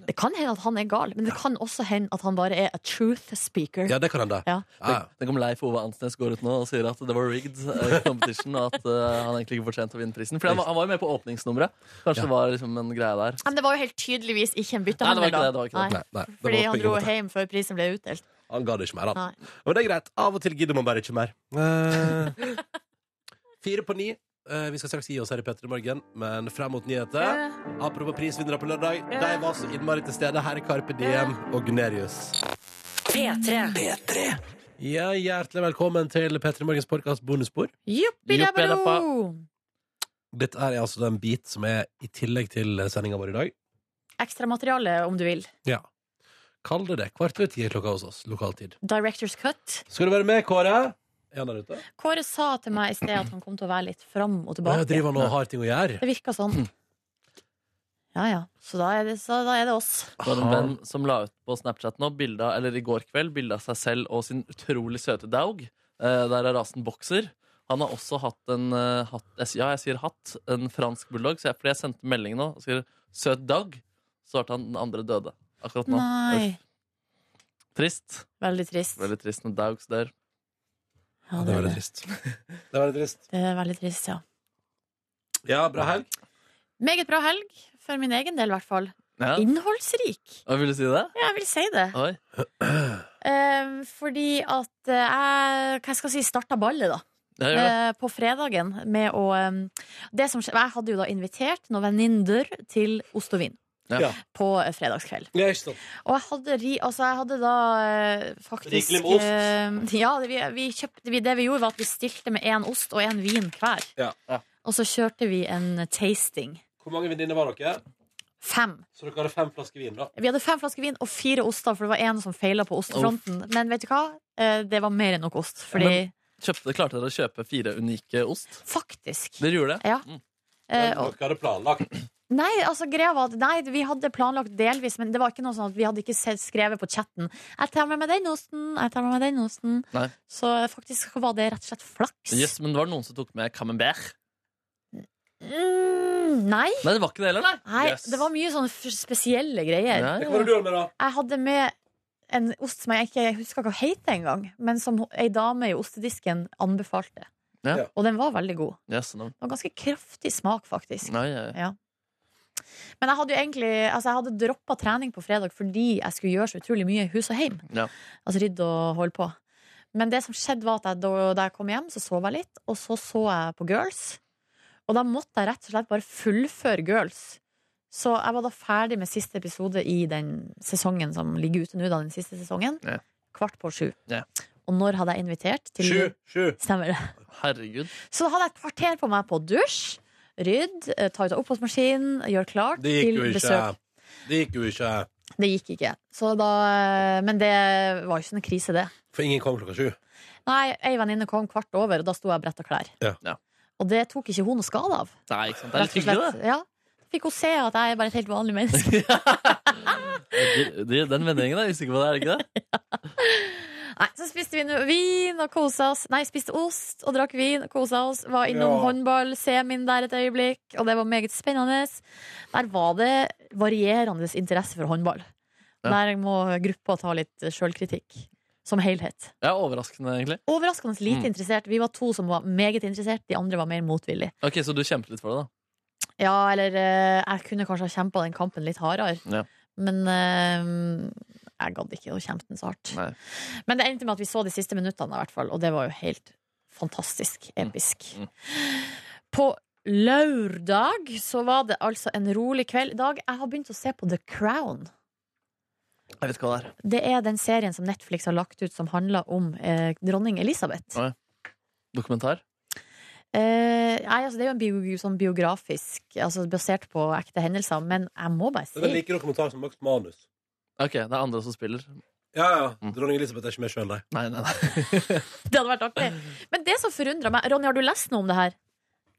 S7: Det kan hende at han er gal, men det kan også hende at han bare er a truth speaker.
S2: Ja, det kan hende.
S7: Ja.
S2: Ja, ja.
S4: Tenk om Leif Ove Ansnes går ut nå og sier at det var rigged eh, competition, og at eh, han egentlig ikke fortjente å vinne prisen. For han, var- han var jo med på åpningsnummeret. Kanskje
S2: Ja.
S4: det var liksom en greie der.
S7: Men det var jo helt tydeligvis ikke en
S4: Nei, det var
S7: byttehandel,
S4: ikke det, det var ikke det.
S2: Nei, nei, det var
S7: Fordi han
S2: oppbygging
S7: dro
S2: mot det.
S7: hjem før prisen ble utdelt.
S2: Han ga det ikke mer, han.
S7: Nei.
S2: Men det er greit. Av og til gidder man bare ikke mer. Eh, Fire på ni. Eh, vi skal straks gi oss her i Petter i morgen, men frem mot nyheter. Apropos prisvinnere på lørdag. De var så innmari til stede. Her er Carpe Diem og Gunerius.
S1: P3.
S2: Ja, hjertelig velkommen til Petter i morgens podkast Bonusspor.
S7: Juppidabro!
S2: Dette er altså den bit som er i tillegg til sendinga vår i dag.
S7: Ekstramateriale, om du vil.
S2: Kall det det. Kvart over ti er klokka hos oss. Lokaltid.
S7: Directors cut.
S2: Skal du være med, Kåre? Er han der ute?
S7: Kåre sa til meg i sted at han kom til å være litt fram
S2: Nei, Jeg
S7: og tilbake.
S2: driver nå og har ting å gjøre.
S7: Det virka sånn. Ja ja. Så da er det, så da er det oss.
S4: Det var en venn som la ut på Snapchat nå, bildet av- eller i går kveld, bilde av seg selv og sin utrolig søte daug. Eh, der er rasen bokser. Han har også hatt en eh, hatt, jeg s- Ja, jeg sier hatt. En fransk bulldog. Så jeg, fordi jeg sendte melding nå og sier 'søt daug', så svarte han den andre døde. Akkurat nå.
S7: Nei.
S4: Trist.
S7: Veldig trist.
S4: Veldig trist når daugs dør.
S7: Ja,
S2: Ja,
S7: det,
S2: det
S7: er
S2: var
S7: det.
S2: litt trist. Det var litt trist.
S7: det er Eh, veldig trist, ja.
S2: Ja, bra helg.
S7: Meget bra helg. For min egen del, i hvert fall.
S4: Ja.
S7: Innholdsrik.
S4: Hva vil du si det?
S7: Ja, jeg vil si det.
S4: Oi.
S7: Eh, fordi at eh, jeg Hva skal jeg si? Starta ballet, da.
S4: Ja, gjør det.
S7: Eh, på fredagen med å eh, det som, skje- Jeg hadde jo da invitert noen venninner til ost og vin
S4: Ja.
S2: Ja.
S7: på eh, fredagskveld.
S2: Ja, ikke sant.
S7: Og jeg hadde, ri, altså jeg hadde da eh, faktisk
S2: Rikelig med ost.
S7: eh, ja, det vi, vi kjøpte, vi, det vi gjorde, var at vi stilte med én ost og én vin hver.
S2: Ja,
S4: ja.
S7: Og så kjørte vi en tasting.
S2: Hvor mange venninner var dere?
S7: Fem.
S2: Så dere hadde fem flasker vin, da?
S7: Vi hadde fem flasker vin og fire oster, for det var én som feila på ostefronten. Men vet du hva? Eh, Det var mer enn nok ost. Fordi
S4: Kjøpte, klarte dere å kjøpe fire unike ost?
S7: faktisk
S4: Dere gjorde det?
S7: Ja. eh, og-
S2: Dere hadde planlagt.
S7: Nei, altså greia var at Nei, vi hadde planlagt delvis, men det var ikke noe sånn at vi hadde ikke sett- skrevet på chatten 'Jeg tar med meg den osten', 'Jeg tar med meg den osten'.
S4: Nei.
S7: Så eh, faktisk var det rett og slett flaks.
S4: Yes, men det var noen som tok med camembert.
S7: Mm, nei.
S4: Nei, det var ikke det heller, nei.
S7: Nei,
S4: Yes.
S7: det var mye sånne f- spesielle greier.
S4: Ja,
S2: Hva
S4: ja.
S2: var det du hadde med, da?
S7: Jeg hadde med en ost som jeg ikke jeg husker hva heter engang, men som ho- ei dame i ostedisken anbefalte.
S4: Ja.
S7: Og den var veldig god.
S4: Yes, no.
S7: Det var ganske kraftig smak, faktisk.
S4: Nei, ja, ja.
S7: Men jeg hadde jo egentlig altså Jeg hadde droppa trening på fredag fordi jeg skulle gjøre så utrolig mye i hus og hjem.
S4: Ja.
S7: Altså rydde og holde på. Men det som skjedde, var at jeg, da, da jeg kom hjem, så sov jeg litt, og så så jeg på Girls. Og da måtte jeg rett og slett bare fullføre Girls. Så jeg var da ferdig med siste episode i den sesongen som ligger ute nå, da, den siste sesongen.
S4: Ja.
S7: Kvart på sju.
S4: Ja.
S7: Og når hadde jeg invitert? Til
S2: Sju. Sju.
S7: Stemmer det.
S4: Herregud.
S7: Så da hadde jeg et kvarter på meg på dusj, rydd, eh, ta ut av oppvaskmaskinen, gjøre klart
S2: Det gikk
S7: til
S2: jo ikke.
S7: besøk.
S2: Det gikk jo ikke.
S7: Det gikk ikke. Så da, eh, men det var jo ikke noen krise, det.
S2: For ingen kom klokka sju.
S7: Nei, ei venninne kom kvart over, og da sto jeg og bretta klær.
S2: Ja.
S4: Ja.
S7: Og det tok ikke hun noe skade av.
S4: Nei, ikke sant? Det er
S7: rett
S4: litt
S7: og
S4: hyggelig,
S7: slett. Ja. Da Fikk hun se at jeg er bare et helt vanlig menneske.
S4: det. De, de, den vendingen er jeg usikker på, det, er det ikke det?
S7: Nei, så spiste vi noe vin og kosa oss. Nei, spiste ost og drakk vin og kosa oss. Var innom
S2: Ja.
S7: håndball, semien der et øyeblikk, og det var meget spennende. Der var det varierende interesse for håndball.
S4: Ja.
S7: Der må gruppa ta litt sjølkritikk. Som helhet.
S4: Ja, overraskende, egentlig.
S7: Overraskende lite
S4: Mm.
S7: interessert. Vi var to som var meget interessert, de andre var mer motvillige.
S4: Ok, Så du kjempet litt for det, da?
S7: Ja, eller eh, jeg kunne kanskje ha kjempa den kampen litt hardere.
S4: Ja.
S7: Men eh, jeg gadd ikke å kjempe den så hardt.
S4: Nei.
S7: Men det endte med at vi så de siste minuttene, i hvert fall, og det var jo helt fantastisk episk.
S4: Mm.
S7: På lørdag så var det altså en rolig kveld. I dag jeg har begynt å se på The Crown.
S4: Jeg vet ikke hva det er.
S7: Det er den serien som Netflix har lagt ut som handler om eh, dronning Elisabeth.
S4: Å. Dokumentar?
S7: Eh, nei, altså, det er jo en bio, sånn biografisk, altså basert på ekte hendelser, men jeg må bare
S2: Men jeg
S7: si
S2: liker noen kommentarer som Max Manus.
S4: Ok, det er andre som spiller.
S2: Ja, ja.
S4: Mm.
S2: Dronning Elisabeth er ikke med sjøl, nei.
S4: Nei, nei, nei.
S7: Det hadde vært artig. Men det som forundrer meg Ronny, har du lest noe om det her?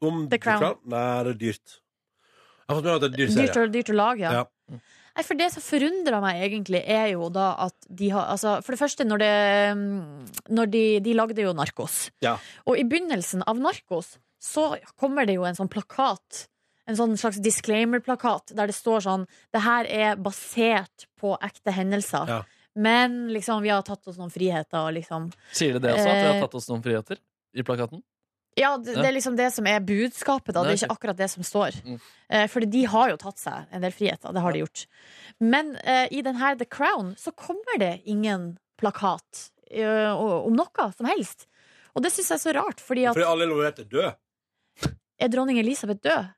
S2: Om
S7: The Crown.
S2: Nei, det er dyrt. Jeg har fått med meg at det er en dyr
S7: Dyrt,
S2: serie.
S7: å- dyrt å lage, ja.
S2: Ja.
S7: Nei, for det som forundrer meg egentlig, er jo da at de har altså, For det første, når, det, mm, når de, de lagde jo Narkos.
S2: Ja.
S7: Og i begynnelsen av Narkos så kommer det jo en sånn plakat. En sånn slags disclaimer-plakat der det står sånn Det her er basert på ekte hendelser.
S2: Ja.
S7: Men liksom, vi har tatt oss noen friheter, og liksom
S4: Sier de det også, at vi har
S7: Eh.
S4: tatt oss noen friheter i plakaten?
S7: Ja, det,
S4: Ja.
S7: det er liksom det som er budskapet, da.
S4: Nei,
S7: Det er ikke
S4: ok.
S7: akkurat det som står.
S4: Mm.
S7: Eh, fordi de har jo tatt seg en del friheter. Det har de gjort. Men eh, i den her The Crown så kommer det ingen plakat eh, om noe som helst. Og det syns jeg er så rart, fordi at
S2: Fordi alle involverte er døde.
S7: Er dronning Elisabeth død?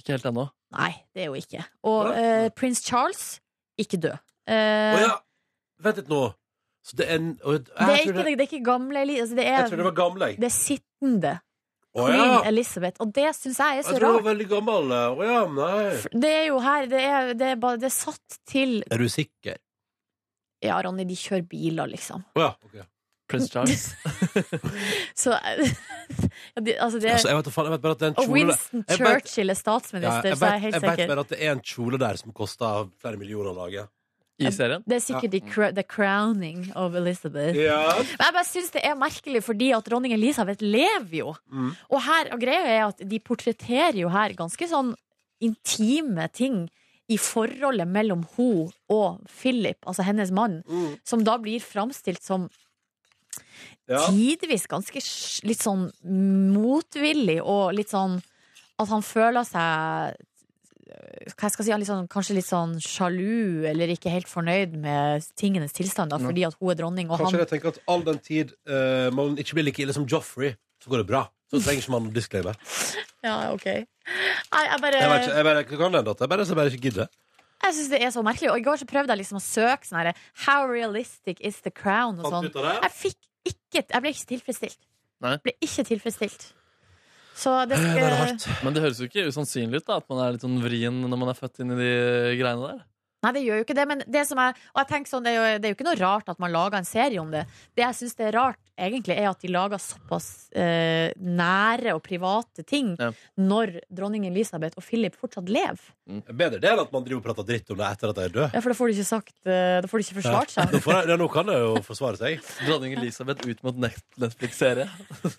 S4: Ikke helt ennå.
S7: Nei, det er hun ikke. Og
S2: Hva?
S7: eh, prins Charles ikke død. Eh,
S2: Å ja! Vent litt nå. Så det er en å, jeg,
S7: det, er
S2: trodde-
S7: ikke, det, er ikke gamle Elisabeth. Det
S2: jeg trodde det
S7: er,
S2: var gamle, jeg.
S7: det er sittende
S2: Å
S7: queen
S2: ja!
S7: Elizabeth. Og det syns jeg er
S2: Jeg
S7: så
S2: trodde det var
S7: rart.
S2: veldig gammel. eh. Å ja, nei.
S7: For Det er jo her Det er, det er, bare, det er satt til
S2: Er du sikker?
S7: Ja, Ronny, de kjører biler, liksom.
S2: Å ja. ok.
S4: Prince Charles.
S7: Så ja, de, Altså, det
S2: Altså, jeg, vet, da faen, jeg vet bare at det er en
S7: Og
S2: kjole
S7: Winston
S2: Jeg vet-
S7: Churchill er
S2: Ja,
S7: statsminister,
S2: jeg,
S7: så jeg er
S2: vet,
S7: helt
S2: jeg vet
S7: sikker.
S2: bare at det er en kjole der som koster flere millioner å lage.
S4: I serien.
S7: Det er sikkert the, cra the crowning of Elizabeth.
S2: Ja.
S7: Men jeg bare syns det er merkelig, fordi at dronning Elisabeth lever jo.
S2: Mm.
S7: Og, her, og greia er at de portretterer jo her ganske sånn intime ting i forholdet mellom hun og Philip, altså hennes mann,
S2: Mm.
S7: som da blir framstilt som
S2: Ja.
S7: tidvis ganske sj- litt sånn motvillig og litt sånn at han føler seg hva jeg skal si, han litt sånn, kanskje litt sånn sjalu eller ikke helt fornøyd med tingenes tilstand da, fordi at hun er dronning og
S2: Kanskje
S7: han
S2: jeg tenker at all den tid eh, man ikke blir like ille som Joffrey, så går det bra. Så trenger ikke man å disclaime.
S7: Ja, ok. Nei, jeg bare
S2: Jeg, vet ikke, jeg, bare, det kan hende at jeg bare, så jeg bare ikke gidder.
S7: Jeg syns det er så merkelig. Og i går så prøvde jeg liksom å søke sånn herre How realistic is the crown? og
S2: Fant
S7: sånn.
S2: du ut av det?
S7: Jeg fikk ikke Jeg ble ikke tilfredsstilt.
S4: Nei.
S7: Ble ikke tilfredsstilt. Så det
S2: Eh, Det er
S7: skal
S2: hardt.
S4: Men det høres jo ikke usannsynlig ut da, at man er litt sånn vrien når man er født inn i de greiene der.
S7: Nei, det gjør jo ikke det. Men det som er, og jeg tenker sånn, det er, jo, det er jo ikke noe rart at man lager en serie om det. Det jeg syns er rart, egentlig, er at de lager såpass eh, nære og private ting
S4: Ja.
S7: når dronning Elisabeth og Philip fortsatt lever.
S2: Bedre det enn at man driver og prater dritt om det etter at jeg er død.
S7: Ja, For da får de ikke sagt eh, Da får de ikke forsvart seg.
S2: Nå, får jeg, ja, nå kan jeg jo forsvare seg.
S4: Dronning Elisabeth ut mot net- Netflix-serie.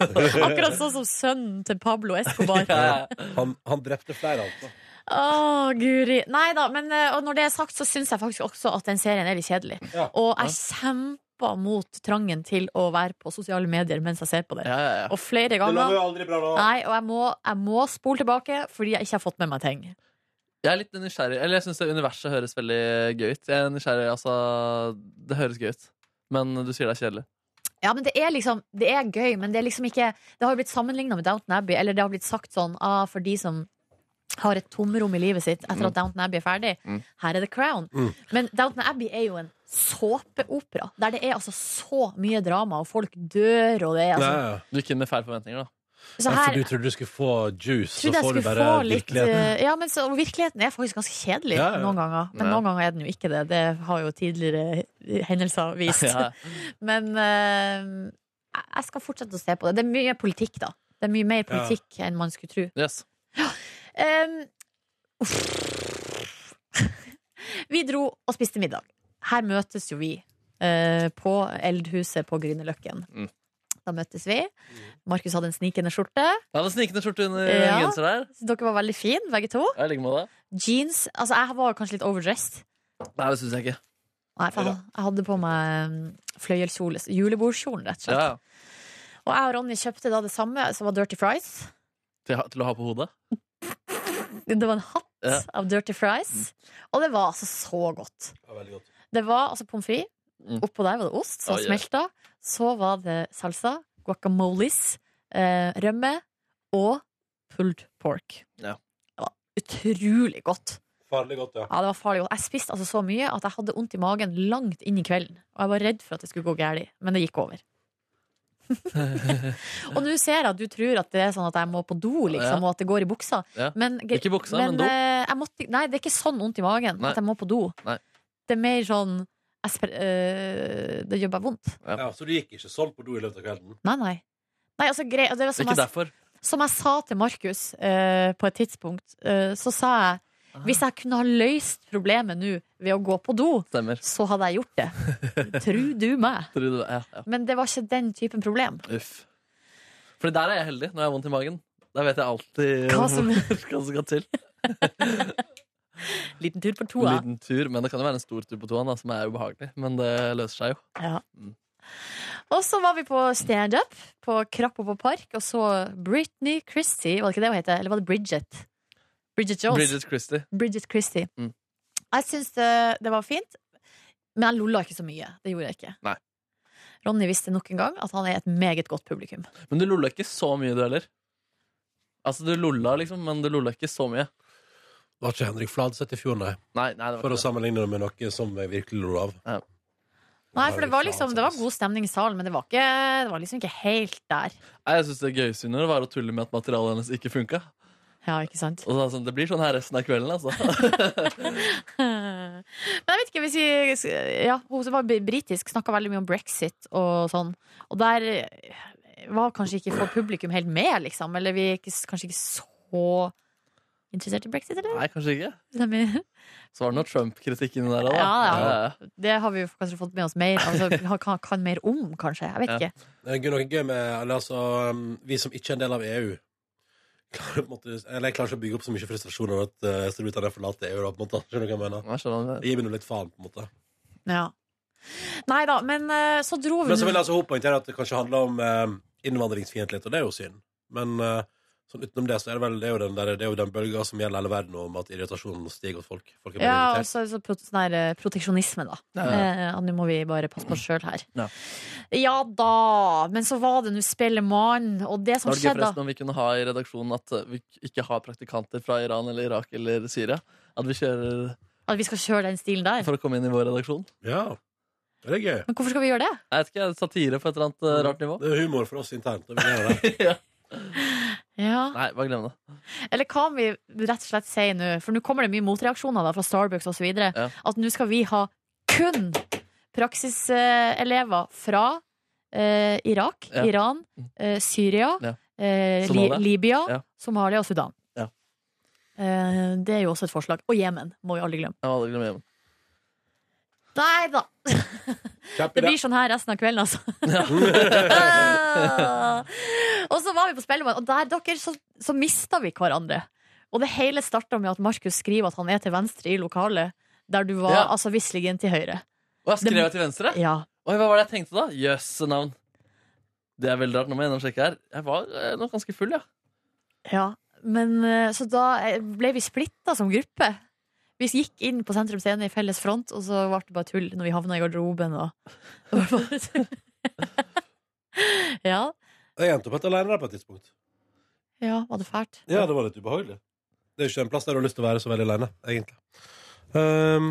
S7: Akkurat sånn som sønnen til Pablo Escobar.
S4: Ja, ja.
S2: Han, han drepte flere, altså.
S7: Å, guri. Nei da, men eh, og når det er sagt, så syns jeg faktisk også at den serien er litt kjedelig.
S2: Ja.
S7: Og jeg kjemper mot trangen til å være på sosiale medier mens jeg ser på det.
S4: Ja, ja, ja.
S7: Og flere
S2: Det lover
S7: ganger.
S2: jo aldri bra nå.
S7: Nei, og jeg må, jeg må spole tilbake fordi jeg ikke har fått med meg ting.
S4: Jeg er litt nysgjerrig. Eller jeg syns universet høres veldig gøy ut. Jeg er nysgjerrig, altså Det høres gøy ut. Men du sier det er kjedelig.
S7: Ja, men Det er liksom, det er gøy, men det er liksom ikke Det har jo blitt sammenligna med Downton Abbey, eller det har blitt sagt sånn ah, for de som har et tomrom i livet sitt etter at Downton Abbey er ferdig.
S4: Mm.
S7: Her er The Crown.
S2: Mm.
S7: Men Downton Abbey er jo en såpeopera, der det er altså så mye drama, og folk dør, og det er
S2: Nei,
S7: altså
S2: ja.
S4: Du gikk inn med feil forventninger, da.
S7: Så
S2: Ja, for
S7: her
S2: du trodde du skulle få juice, så
S7: trodde jeg
S2: får du
S7: skulle
S2: bare
S7: få litt
S2: virkeligheten.
S7: eh, Ja, men så, og virkeligheten er faktisk ganske kjedelig
S2: Ja, ja.
S7: noen ganger. Men
S4: Ja.
S7: noen ganger er den jo ikke det. Det har jo tidligere hendelser vist.
S4: Ja.
S7: Men eh, jeg- jeg skal fortsette å se på det. Det er mye politikk, da. Det er mye mer politikk enn man skulle tro.
S4: Yes.
S7: Em, uff. vi dro og spiste middag. Her møtes jo vi eh, på Eldhuset på Grünerløkken.
S4: Mm.
S7: Da møttes vi. Markus hadde en snikende skjorte.
S4: Jeg hadde snikende skjorte under
S7: Ja.
S4: genser der.
S7: Så dere var veldig fine, begge to.
S4: Jeg ligger med det.
S7: Jeans. Altså, jeg var kanskje litt overdressed.
S4: Nei, det syns jeg ikke.
S7: Nei, for jeg, jeg hadde på meg mm, fløyelskjole. Julebordskjolen, rett og
S4: Ja,
S7: slett.
S4: ja.
S7: Og jeg og Ronny kjøpte da det samme, som var Dirty Fries.
S4: Til, å ha- til å ha på hodet.
S7: Det var en hatt
S4: Ja.
S7: av Dirty Fries. Og det var altså så godt.
S2: Ja, veldig godt.
S7: Det var altså pommes frites.
S4: Mm.
S7: Oppå der var det ost som
S4: Oi, oi.
S7: smelta. Så var det salsa, guacamoles, eh, rømme og pulled pork.
S4: Ja.
S7: Det var utrolig godt.
S2: Farlig godt, ja.
S7: Ja, det var farlig godt. Jeg spiste altså så mye at jeg hadde vondt i magen langt inn i kvelden. Og jeg var redd for at det skulle gå galt, men det gikk over. og nå ser jeg at du tror at det er sånn at jeg må på do,
S4: Ja.
S7: liksom, og at det går i buksa.
S4: Ja.
S7: Men, ge-
S4: Ikke buksa, men do.
S7: eh, jeg måtte, nei, det er ikke sånn vondt i magen
S4: Nei.
S7: at jeg må på do.
S4: Nei.
S7: Det er mer sånn jeg spre- eh, Det gjør bare vondt.
S4: Ja.
S2: ja. Så du gikk ikke sånn på do i løpet av kvelden?
S7: Nei, nei. nei altså, grei, det var
S4: Det er
S7: som,
S4: ikke
S7: jeg,
S4: derfor.
S7: som jeg sa til Markus eh, på et tidspunkt, eh, så sa jeg
S4: Ah.
S7: hvis jeg kunne ha løst problemet nå ved å gå på do,
S4: Stemmer.
S7: så hadde jeg gjort det. Tru du meg.
S4: Tror du det? Ja, ja.
S7: Men det var ikke den typen problem.
S4: Uff. Fordi der er jeg heldig når jeg har vondt i magen. Der vet jeg alltid
S7: Hva som-
S4: hva som skal til.
S7: Liten tur på
S4: En
S7: toa.
S4: liten tur, men det kan jo være en stor tur på toan, da, som er ubehagelig. Men det løser seg jo.
S7: Ja.
S4: Mm.
S7: Og så var vi på standup på Krappa på Park og så Britney Christie, var det ikke det hun het? Eller var det Bridget? Bridget Jones. Bridget,
S4: Bridget Christie.
S7: Christie.
S4: Mm.
S7: Jeg syns det, det var fint, men jeg lolla ikke så mye. Det gjorde jeg ikke.
S4: Nei.
S7: Ronny visste nok en gang at han er et meget godt publikum.
S4: Men du lolla ikke så mye, du heller. Altså, du lolla, liksom, men du lolla ikke så mye.
S2: Var ikke Henrik Fladseth i fjor, nei.
S4: Nei, nei, det var
S2: For å
S4: ikke det.
S2: sammenligne det med noe som jeg virkelig lo av.
S4: Ja.
S7: Nei, for det var liksom Det var god stemning i salen, men det var, ikke, det var liksom ikke helt der.
S4: Nei, Jeg syns det gøyeste hun gjorde, var å tulle med at materialet hennes ikke funka.
S7: Ja, ikke sant?
S4: Og så, sånn, det blir sånn her resten av kvelden, altså.
S7: Men jeg vet ikke, hvis vi, ja, Hun som var britisk, snakka veldig mye om brexit og sånn. Og der eh, var kanskje ikke for publikum helt med, liksom. Eller vi er ikke, kanskje ikke så interessert i brexit, eller?
S4: Nei, kanskje ikke.
S7: Stemmer.
S4: Så var det noe Trump-kritikk inni der òg, da.
S7: Ja, ja. Det har vi jo kanskje fått med oss mer. Altså, vi kan, kan mer om, kanskje. Jeg vet
S4: Ja.
S7: ikke.
S2: Det er Eh, noe gøy med eller, altså, um, vi som ikke er en del av EU. Klarer, på en måte, eller jeg klarer ikke å bygge opp så mye frustrasjon over at uh, Storbritannia forlater EU. Da, på en måte. Skjønner du hva jeg mener?
S4: Ja, skjønner du.
S2: Det gir meg nå litt faen, på en måte.
S7: Ja. Nei da, men eh, så dro vi
S2: Men så vil altså hun poengtere at det kanskje handler om eh, innvandringsfiendtlighet, og det er jo synd. Men eh, sånn utenom det, så er det vel det er jo den, der, det er jo den bølga som gjelder hele verden, om at irritasjonen stiger hos folk. folk er
S7: Ja, og
S2: irritert.
S7: så, så pro- sånn her, eh, proteksjonisme, da.
S4: Ja, ja.
S7: Eh, at nå må vi bare passe på oss sjøl her.
S4: Ja.
S7: Ja da! Men så var det nå Spellemann, og det
S4: Det
S7: som
S4: var det gøy
S7: skjedde
S4: forresten om vi kunne ha i redaksjonen at eh, vi ikke har praktikanter fra Iran eller Irak eller Syria. At vi kjører
S7: At vi skal kjøre den stilen der.
S4: for å komme inn i vår redaksjon.
S2: ja. Det er gøy.
S7: Men hvorfor skal vi gjøre det?
S4: Jeg vet ikke, Satire på et eller annet eh, rart nivå.
S2: Det er humor for oss internt. Det vil jeg gjøre det.
S4: ja.
S7: Ja.
S4: Nei, bare glem det.
S7: Eller hva om vi rett og slett sier nå, for nå kommer det mye motreaksjoner da, fra Starbucks osv., videre
S4: Ja.
S7: at nå skal vi ha kun praksiselever fra eh, Irak,
S4: Ja.
S7: Iran, eh, Syria,
S4: Ja.
S7: eh, Li
S4: Somalia.
S7: Libya,
S4: Ja.
S7: Somalia og Sudan.
S4: Ja.
S7: Eh, det er jo også et forslag. Og Jemen, må vi aldri glemme.
S4: Jeg må aldri glemme hjem.
S7: Nei da!
S2: Kjapp
S7: Det
S2: idé.
S7: blir sånn her resten av kvelden, altså. og så var vi på Spellemann, og der dere, så, så mista vi hverandre. Og det hele starta med at Markus skriver at han er til venstre i lokalet, der du var
S4: Ja.
S7: altså Wislingen til høyre.
S4: Og jeg skrev jeg til venstre?
S7: Ja.
S4: Oi, hva var det jeg tenkte da? Jøsse navn. Det er veldig rart. Nå må jeg gjennom sjekke her. Jeg var eh, nok ganske full, ja.
S7: ja. Men eh, så da eh, ble vi splitta som gruppe. Vi gikk inn på Sentrum Scene i felles front, og så ble det bare tull når vi havna i garderoben. Og... Det var bare tull. ja.
S2: Jeg endte opp helt alene der på et tidspunkt.
S7: ja, var det fælt?
S2: Ja, det var litt ubehagelig. Det er ikke en plass der du har lyst til å være så veldig alene, egentlig. Ehm,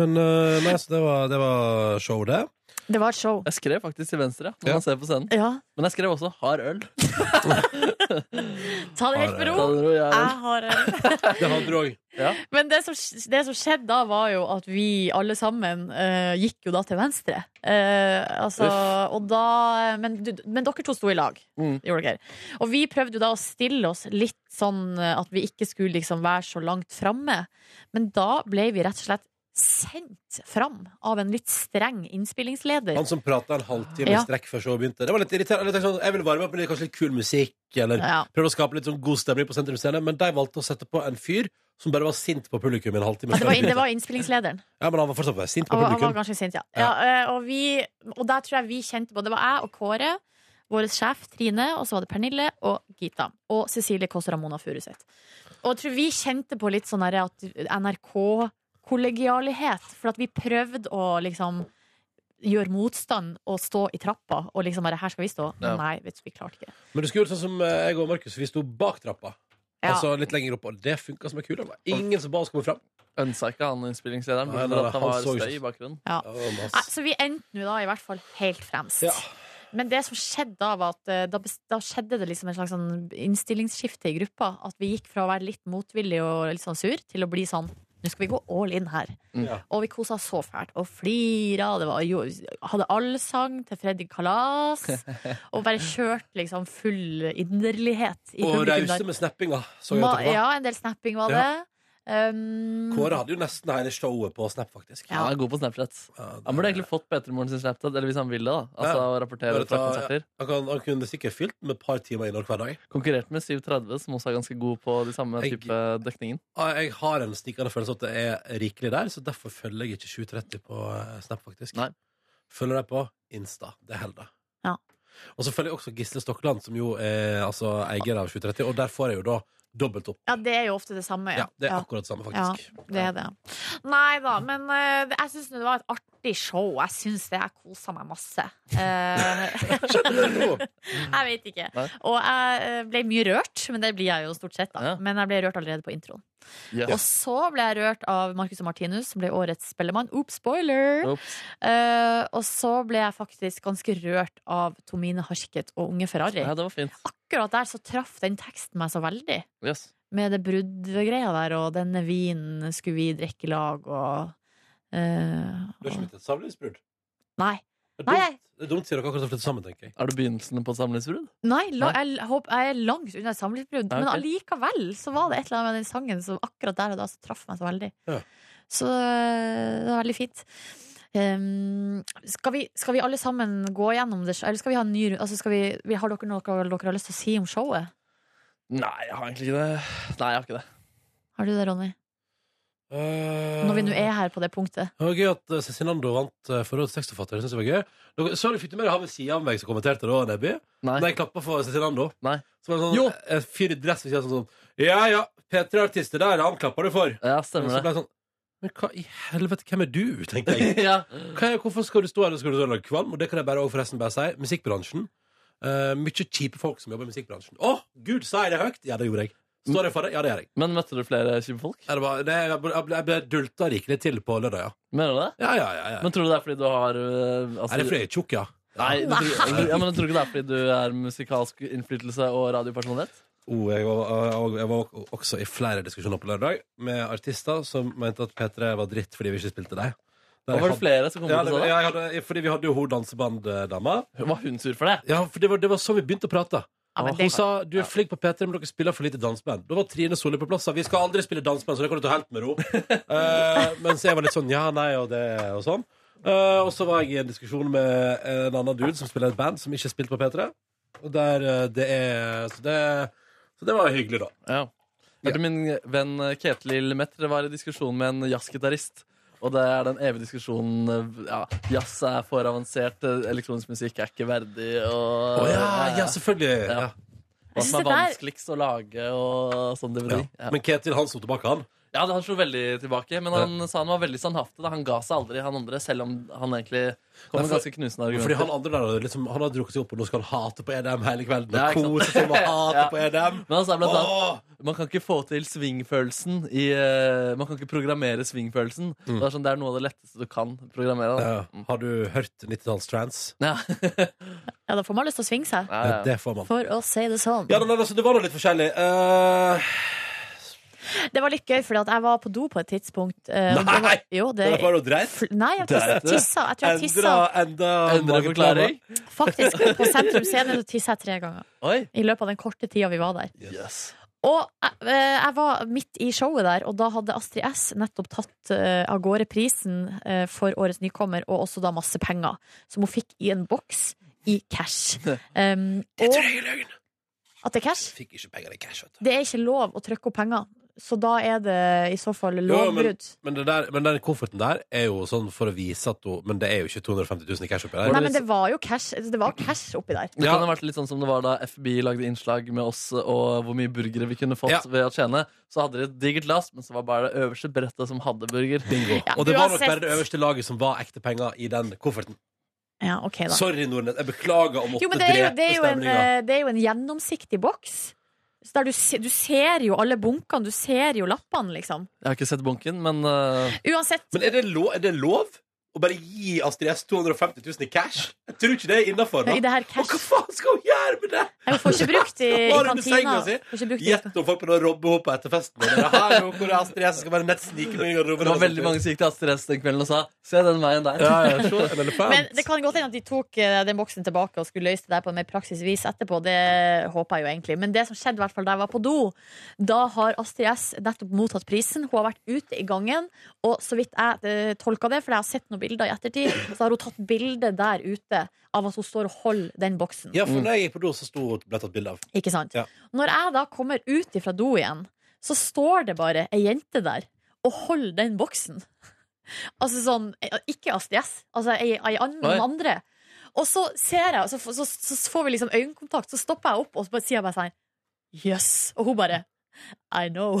S2: men eh, nei, så det var, det var show, det.
S7: Det var et show.
S4: Jeg skrev faktisk til venstre, ja, når
S2: Ja.
S4: man ser på scenen.
S7: Ja.
S4: Men jeg skrev også 'hard øl'.
S7: Ta det helt med
S4: Da
S7: ro.
S4: dro jeg øl.
S7: Jeg har eh, en
S2: eh, Det hadde du òg.
S7: Men det som, det som skjedde da, var jo at vi alle sammen eh, gikk jo da til venstre. Eh, altså, og da, eh, men, du, men dere to sto i lag.
S4: Mm.
S7: Gjorde dere. Og vi prøvde jo da å stille oss litt sånn eh, at vi ikke skulle liksom være så langt framme. Men da ble vi rett og slett sendt fram av en litt streng innspillingsleder.
S2: Han som prata en halvtime
S7: Ja.
S2: i strekk før showet begynte. Det var litt irriterende. Eller, tenkte sånn, jeg ville varme opp med litt- kanskje litt kul musikk, eller
S7: Ja.
S2: prøvde å skape litt sånn god stemning på Sentrum Scene, men de valgte å sette på en fyr som bare var sint på publikum i en halvtime.
S7: Det
S2: før det
S7: var,
S2: begynte.
S7: det var innspillingslederen.
S2: Ja, men han var fortsatt bare sint på
S7: Han var, han var
S2: publikum.
S7: ganske sint, ja. ja. eh, og, vi, og der tror jeg vi kjente på Det var jeg og Kåre, vår sjef Trine, og så var det Pernille og Gita. Og Cecilie Kåss Ramona Furuseth. Og jeg tror vi kjente på litt sånn derre at NRK-kollegialighet. For at vi prøvde å liksom gjøre motstand og stå i trappa og liksom bare 'her skal vi stå'. Men
S4: Ja.
S7: nei, vet du, vi klarte ikke.
S2: Men du skulle gjort sånn som eh, jeg og Markus, vi sto bak trappa.
S7: Ja.
S2: Altså litt lenger opp, og det funka som ei kule. Det var Ingen som ba oss komme fram.
S4: Ønska ikke han innspillingslederen
S2: Nei, nei,
S4: pga. at
S2: han
S4: han var
S2: så jo
S4: støy i
S2: ikke-
S4: bakgrunnen.
S7: Ja.
S2: Ja, det var
S7: Nei,
S2: masse.
S7: så vi endte nå da i hvert fall helt fremst.
S2: Ja.
S7: Men det som skjedde da, var at eh, da, bes- da skjedde det liksom en slags sånn innstillingsskifte i gruppa. At vi gikk fra å være litt motvillige og litt sånn sur til å bli sånn nå skal vi gå all in her.
S4: Mm.
S2: Ja.
S7: Og vi kosa oss så fælt og flira. Det var jo, hadde allsang til Freddy Kalas. og bare kjørte liksom full inderlighet i
S2: Og
S7: publikum
S2: rause
S7: der.
S2: med snappinga. Så jeg
S7: Ma,
S2: etterpå.
S7: ja, en del snapping var det. Um,
S2: Kåre hadde jo nesten hele showet på snap, faktisk.
S7: Ja.
S4: Han er god på Snapchat.
S2: Ja, det-
S4: Han burde egentlig fått Peter Morgen sin Snapchat, eller hvis han vil det, da. Altså
S2: Ja.
S4: å rapportere
S2: Bare ta-
S4: fra konserter.
S2: Han, kan, han kunne sikkert fylt med et par timer innhold hver dag.
S4: Konkurrert med 730, som også er ganske god på de samme
S2: Jeg-
S4: type dekningen.
S2: Ah, Jeg har en stikkende følelse at det er rikelig der, så derfor følger jeg ikke 730 på eh, Snap, faktisk.
S4: Nei.
S2: Følger deg på Insta. Det holder.
S7: Ja.
S2: Og så følger jeg også Gisle Stokkeland, som jo er altså, eier av 730, og der får jeg jo da dobbelt opp.
S7: ja, det er jo ofte det samme.
S2: Ja,
S7: Ja,
S2: Det er
S7: Ja.
S2: akkurat det samme, faktisk.
S7: Det er det. Nei da, men eh, det- jeg syns det var et artig show. Jeg syns det. Jeg kosa meg masse. Eh, jeg vet ikke.
S4: Nei.
S7: Og jeg eh, ble mye rørt, men det blir jeg jo stort sett, da.
S4: Ja.
S7: Men jeg ble rørt allerede på introen.
S4: Yes.
S7: Og så ble jeg rørt av Marcus og Martinus, som ble årets spellemann. Oop, spoiler!
S4: Ops.
S7: Eh, og så ble jeg faktisk ganske rørt av Tomine Harket og Unge Ferrari.
S4: Ja, det var fint.
S7: Akkurat der så traff den teksten meg så veldig.
S4: Yes.
S7: Med det bruddgreia der, og denne vinen skulle vi drikke i lag, og eh,
S2: Du har ikke blitt et samlivsbrudd?
S7: Nei.
S2: Det er
S7: Nei,
S2: dumt, det er dumt siden dere akkurat har flyttet sammen, tenker jeg.
S4: Er det begynnelsen på et samlivsbrudd?
S7: Nei, la, jeg, håper, jeg er langt unna et samlivsbrudd,
S4: Ja,
S7: men
S4: ok.
S7: allikevel så var det et eller annet med den sangen som akkurat der og da så traff meg så veldig.
S2: Ja.
S7: Så eh, det var veldig fint. Ehm, skal, vi, skal vi alle sammen gå gjennom det? Eller skal vi ha en ny runde? Altså skal vi, vi- har dere noe dere har lyst til å si om showet?
S4: Nei, jeg har egentlig ikke det. Nei, jeg har ikke det.
S7: Har du det, Ronny?
S2: Eh,
S7: Når vi nå er her på det punktet.
S2: Det var gøy at eh, Cezinando vant eh, Forrådets tekstforfatter. Det synes jeg var gøy. Dere, så du fikk du med deg han ved siden av meg som kommenterte det òg, Nebby?
S4: Nei.
S2: Nei, klappa for Cezinando.
S4: Nei.
S2: Så var det
S4: Jo.
S2: sånn, en fyr i dress ved siden av sånn, sånn Ja ja, P3-artister der, han klapper du for.
S4: Ja,
S2: Og så
S4: stemmer det.
S2: ble jeg sånn Men hva i helvete, hvem er du? tenkte jeg.
S4: ja.
S2: Hva er, hvorfor skal du stå her og skal du stå og lage kvalm? Og det kan jeg bare, og forresten bare si. Musikkbransjen. Uh, mye kjipe folk som jobber i musikkbransjen. Å, gud, sa jeg det høyt? Ja, det gjorde jeg. Står jeg for det? Ja, det gjør jeg.
S4: Men møtte du flere kjipe folk?
S2: Ja, det var, det, jeg ble, jeg ble- jeg ble dulta rikelig til på lørdag, ja.
S4: Mener du det?
S2: Ja, ja, ja. ja.
S4: Men tror du det er fordi du har øh, altså-
S2: er det fordi jeg er tjukk, ja?
S4: Nei, du tror, ja, men jeg tror ikke det er fordi du er musikalsk innflytelse og radiopersonlighet?
S2: Oh, jeg, var, og- jeg var også i flere diskusjoner på lørdag med artister som mente at P3 var dritt fordi vi ikke spilte deg. Der
S4: Og var
S2: jeg
S4: det flere som kom
S2: Ja,
S4: bort og sa
S2: det,
S4: det?
S2: jeg hadde, fordi vi hadde jo hun dansebanddama.
S4: Var hun sur for det?
S2: Ja, for det var, det var sånn vi begynte å prate.
S7: Ja, men
S2: Hun
S7: det,
S2: sa du er flink på P3, men dere spiller for lite danseband. Da var Trine Solli på plass. sa, Vi skal aldri spille danseband, så det kan du ta helt med ro. Eh, mens jeg var litt sånn ja, nei og det og sånn. Eh, og så var jeg i en diskusjon med en annen dude som spiller et band som ikke spilte på P3. Og der eh, det er Så det, så det var hyggelig, da.
S4: Ja. Hørte min venn Ketil Metre var i diskusjon med en jazzgitarist. Og det er den evige diskusjonen ja, Jazz er for avansert, elektronisk musikk er ikke verdig. Og
S2: Å ja, Eh, ja, selvfølgelig.
S4: Ja.
S2: Ja.
S7: Jeg
S4: hva som
S7: synes
S4: er
S7: det der-
S4: vanskeligst å lage og sånn det blir. Ja.
S2: Men Ketil han sto tilbake, han.
S4: Ja, det- han slo veldig tilbake, men han sa han var veldig standhaftig. da. Han ga seg aldri, han andre, selv om han egentlig
S2: Nei,
S4: kom med
S2: for-
S4: ganske knusende
S2: Fordi
S4: argumenter.
S2: han andre der hadde liksom, Han har drukket seg opp, og nå skal han hate på EDM hele kvelden.
S4: Ja,
S2: Og
S4: ikke sant?
S2: kose seg med å hate
S4: Ja.
S2: på EDM.
S4: Men han sa blant annet
S2: Åh!
S4: man kan ikke få til svingfølelsen i eh, Man kan ikke programmere svingfølelsen. Det, er sånn, det er noe av det letteste du kan programmere. Da.
S2: Mm. Ja. Har du hørt 90-talls-trans?
S4: Ja.
S7: ja, da får man lyst til å svinge seg.
S4: Ja, ja.
S2: Det får man.
S7: For å si det sånn.
S2: Ja, nei, altså, det var da litt forskjellig. Eh,
S7: Det var litt gøy, fordi at jeg var på do på et tidspunkt. eh, og det var-
S2: Nei!
S7: Jo,
S2: det
S7: det,
S2: var bare å dreie.
S7: fl- nei, jeg tror jeg
S2: Det er-
S7: tissa. Jeg tror jeg
S2: Endra,
S7: tissa
S2: enda
S4: Endre forklaring.
S7: faktisk på Sentrum Scene. Så tissa jeg tre ganger
S4: Oi.
S7: i løpet av den korte tida vi var der.
S4: Yes.
S7: Og jeg, eh, jeg var midt i showet der, og da hadde Astrid S nettopp tatt eh, av gårde prisen eh, for årets nykommer, og også da masse penger, som hun fikk i en boks i cash. Um, og
S2: jeg er løgn.
S7: at det er cash?
S2: Fikk ikke penger i cash, vet du.
S7: Det er ikke lov å trykke opp penger, så da er det i så fall
S2: Jo, men-
S7: lovbrudd.
S2: Men, det der, men den kofferten der er jo sånn for å vise at hun Men det er jo ikke 250 000 i cash oppi der.
S7: Nei, men det var jo cash, det var cash oppi der.
S4: Det
S2: Ja.
S4: kan ha vært litt sånn som det var da FBI lagde innslag med oss og hvor mye burgere vi kunne fått
S2: Ja.
S4: ved å tjene. Så hadde de et digert lass, men så var bare det øverste brettet som hadde burger.
S2: Bingo.
S7: Ja,
S2: og det var nok
S7: uansett.
S2: bare det øverste laget som var ekte penger i den kofferten.
S7: Ja, ok da.
S2: Sorry, Nordnes. Jeg beklager å
S7: Jo,
S2: måtte
S7: men det er jo, det
S2: drepe
S7: er jo, en,
S2: stemninga.
S7: eh, det er jo en gjennomsiktig boks. Så Der du, se, du ser jo alle bunkene, du ser jo lappene, liksom.
S4: Jeg har ikke sett bunken, men eh,
S7: Uansett.
S2: Men er det, lov, er det lov å bare gi Astrid S 250 000 i cash? Jeg tror ikke det er innafor.
S7: Nei, det her
S2: Og hva
S7: cash
S2: faen skal hun gjøre med det?!
S7: Jeg får ikke brukt i, i
S2: Har hun under
S7: kantina.
S2: senga si?
S7: Får ikke brukt i-
S2: Gjett om folk begynner å robbe henne på etterfesten. Det er her nå hvor Astrid S skal bare nett snike meg i garderoben.
S4: det var veldig mange som gikk til Astrid S den kvelden og sa Se den veien der.
S2: Ja, ja, se, en elefant.
S7: Men det kan godt hende at de tok eh, den boksen tilbake og skulle løse det der på en mer praksis vis etterpå. Det håper jeg jo egentlig. Men det som skjedde i hvert fall da jeg var på do, da har Astrid S nettopp mottatt prisen. Hun har vært ute i gangen, og så vidt jeg eh, tolka det, for jeg har sett noen bilder i ettertid, så har hun tatt bilde der ute av at hun står og holder den boksen.
S2: Ja, for da jeg gikk på do, så sto ble tatt bilde av.
S7: Ikke sant?
S2: Ja.
S7: Når jeg da kommer ut ifra do igjen, så står det bare ei jente der og holder den boksen. Altså sånn Ikke Astrid S, altså ei, ei an-
S4: Oi.
S7: noen andre. Og så ser jeg, så, f- så, så får vi liksom øyekontakt, så stopper jeg opp og så bare, sier jeg bare sånn Jøss. Yes. Og hun bare I know.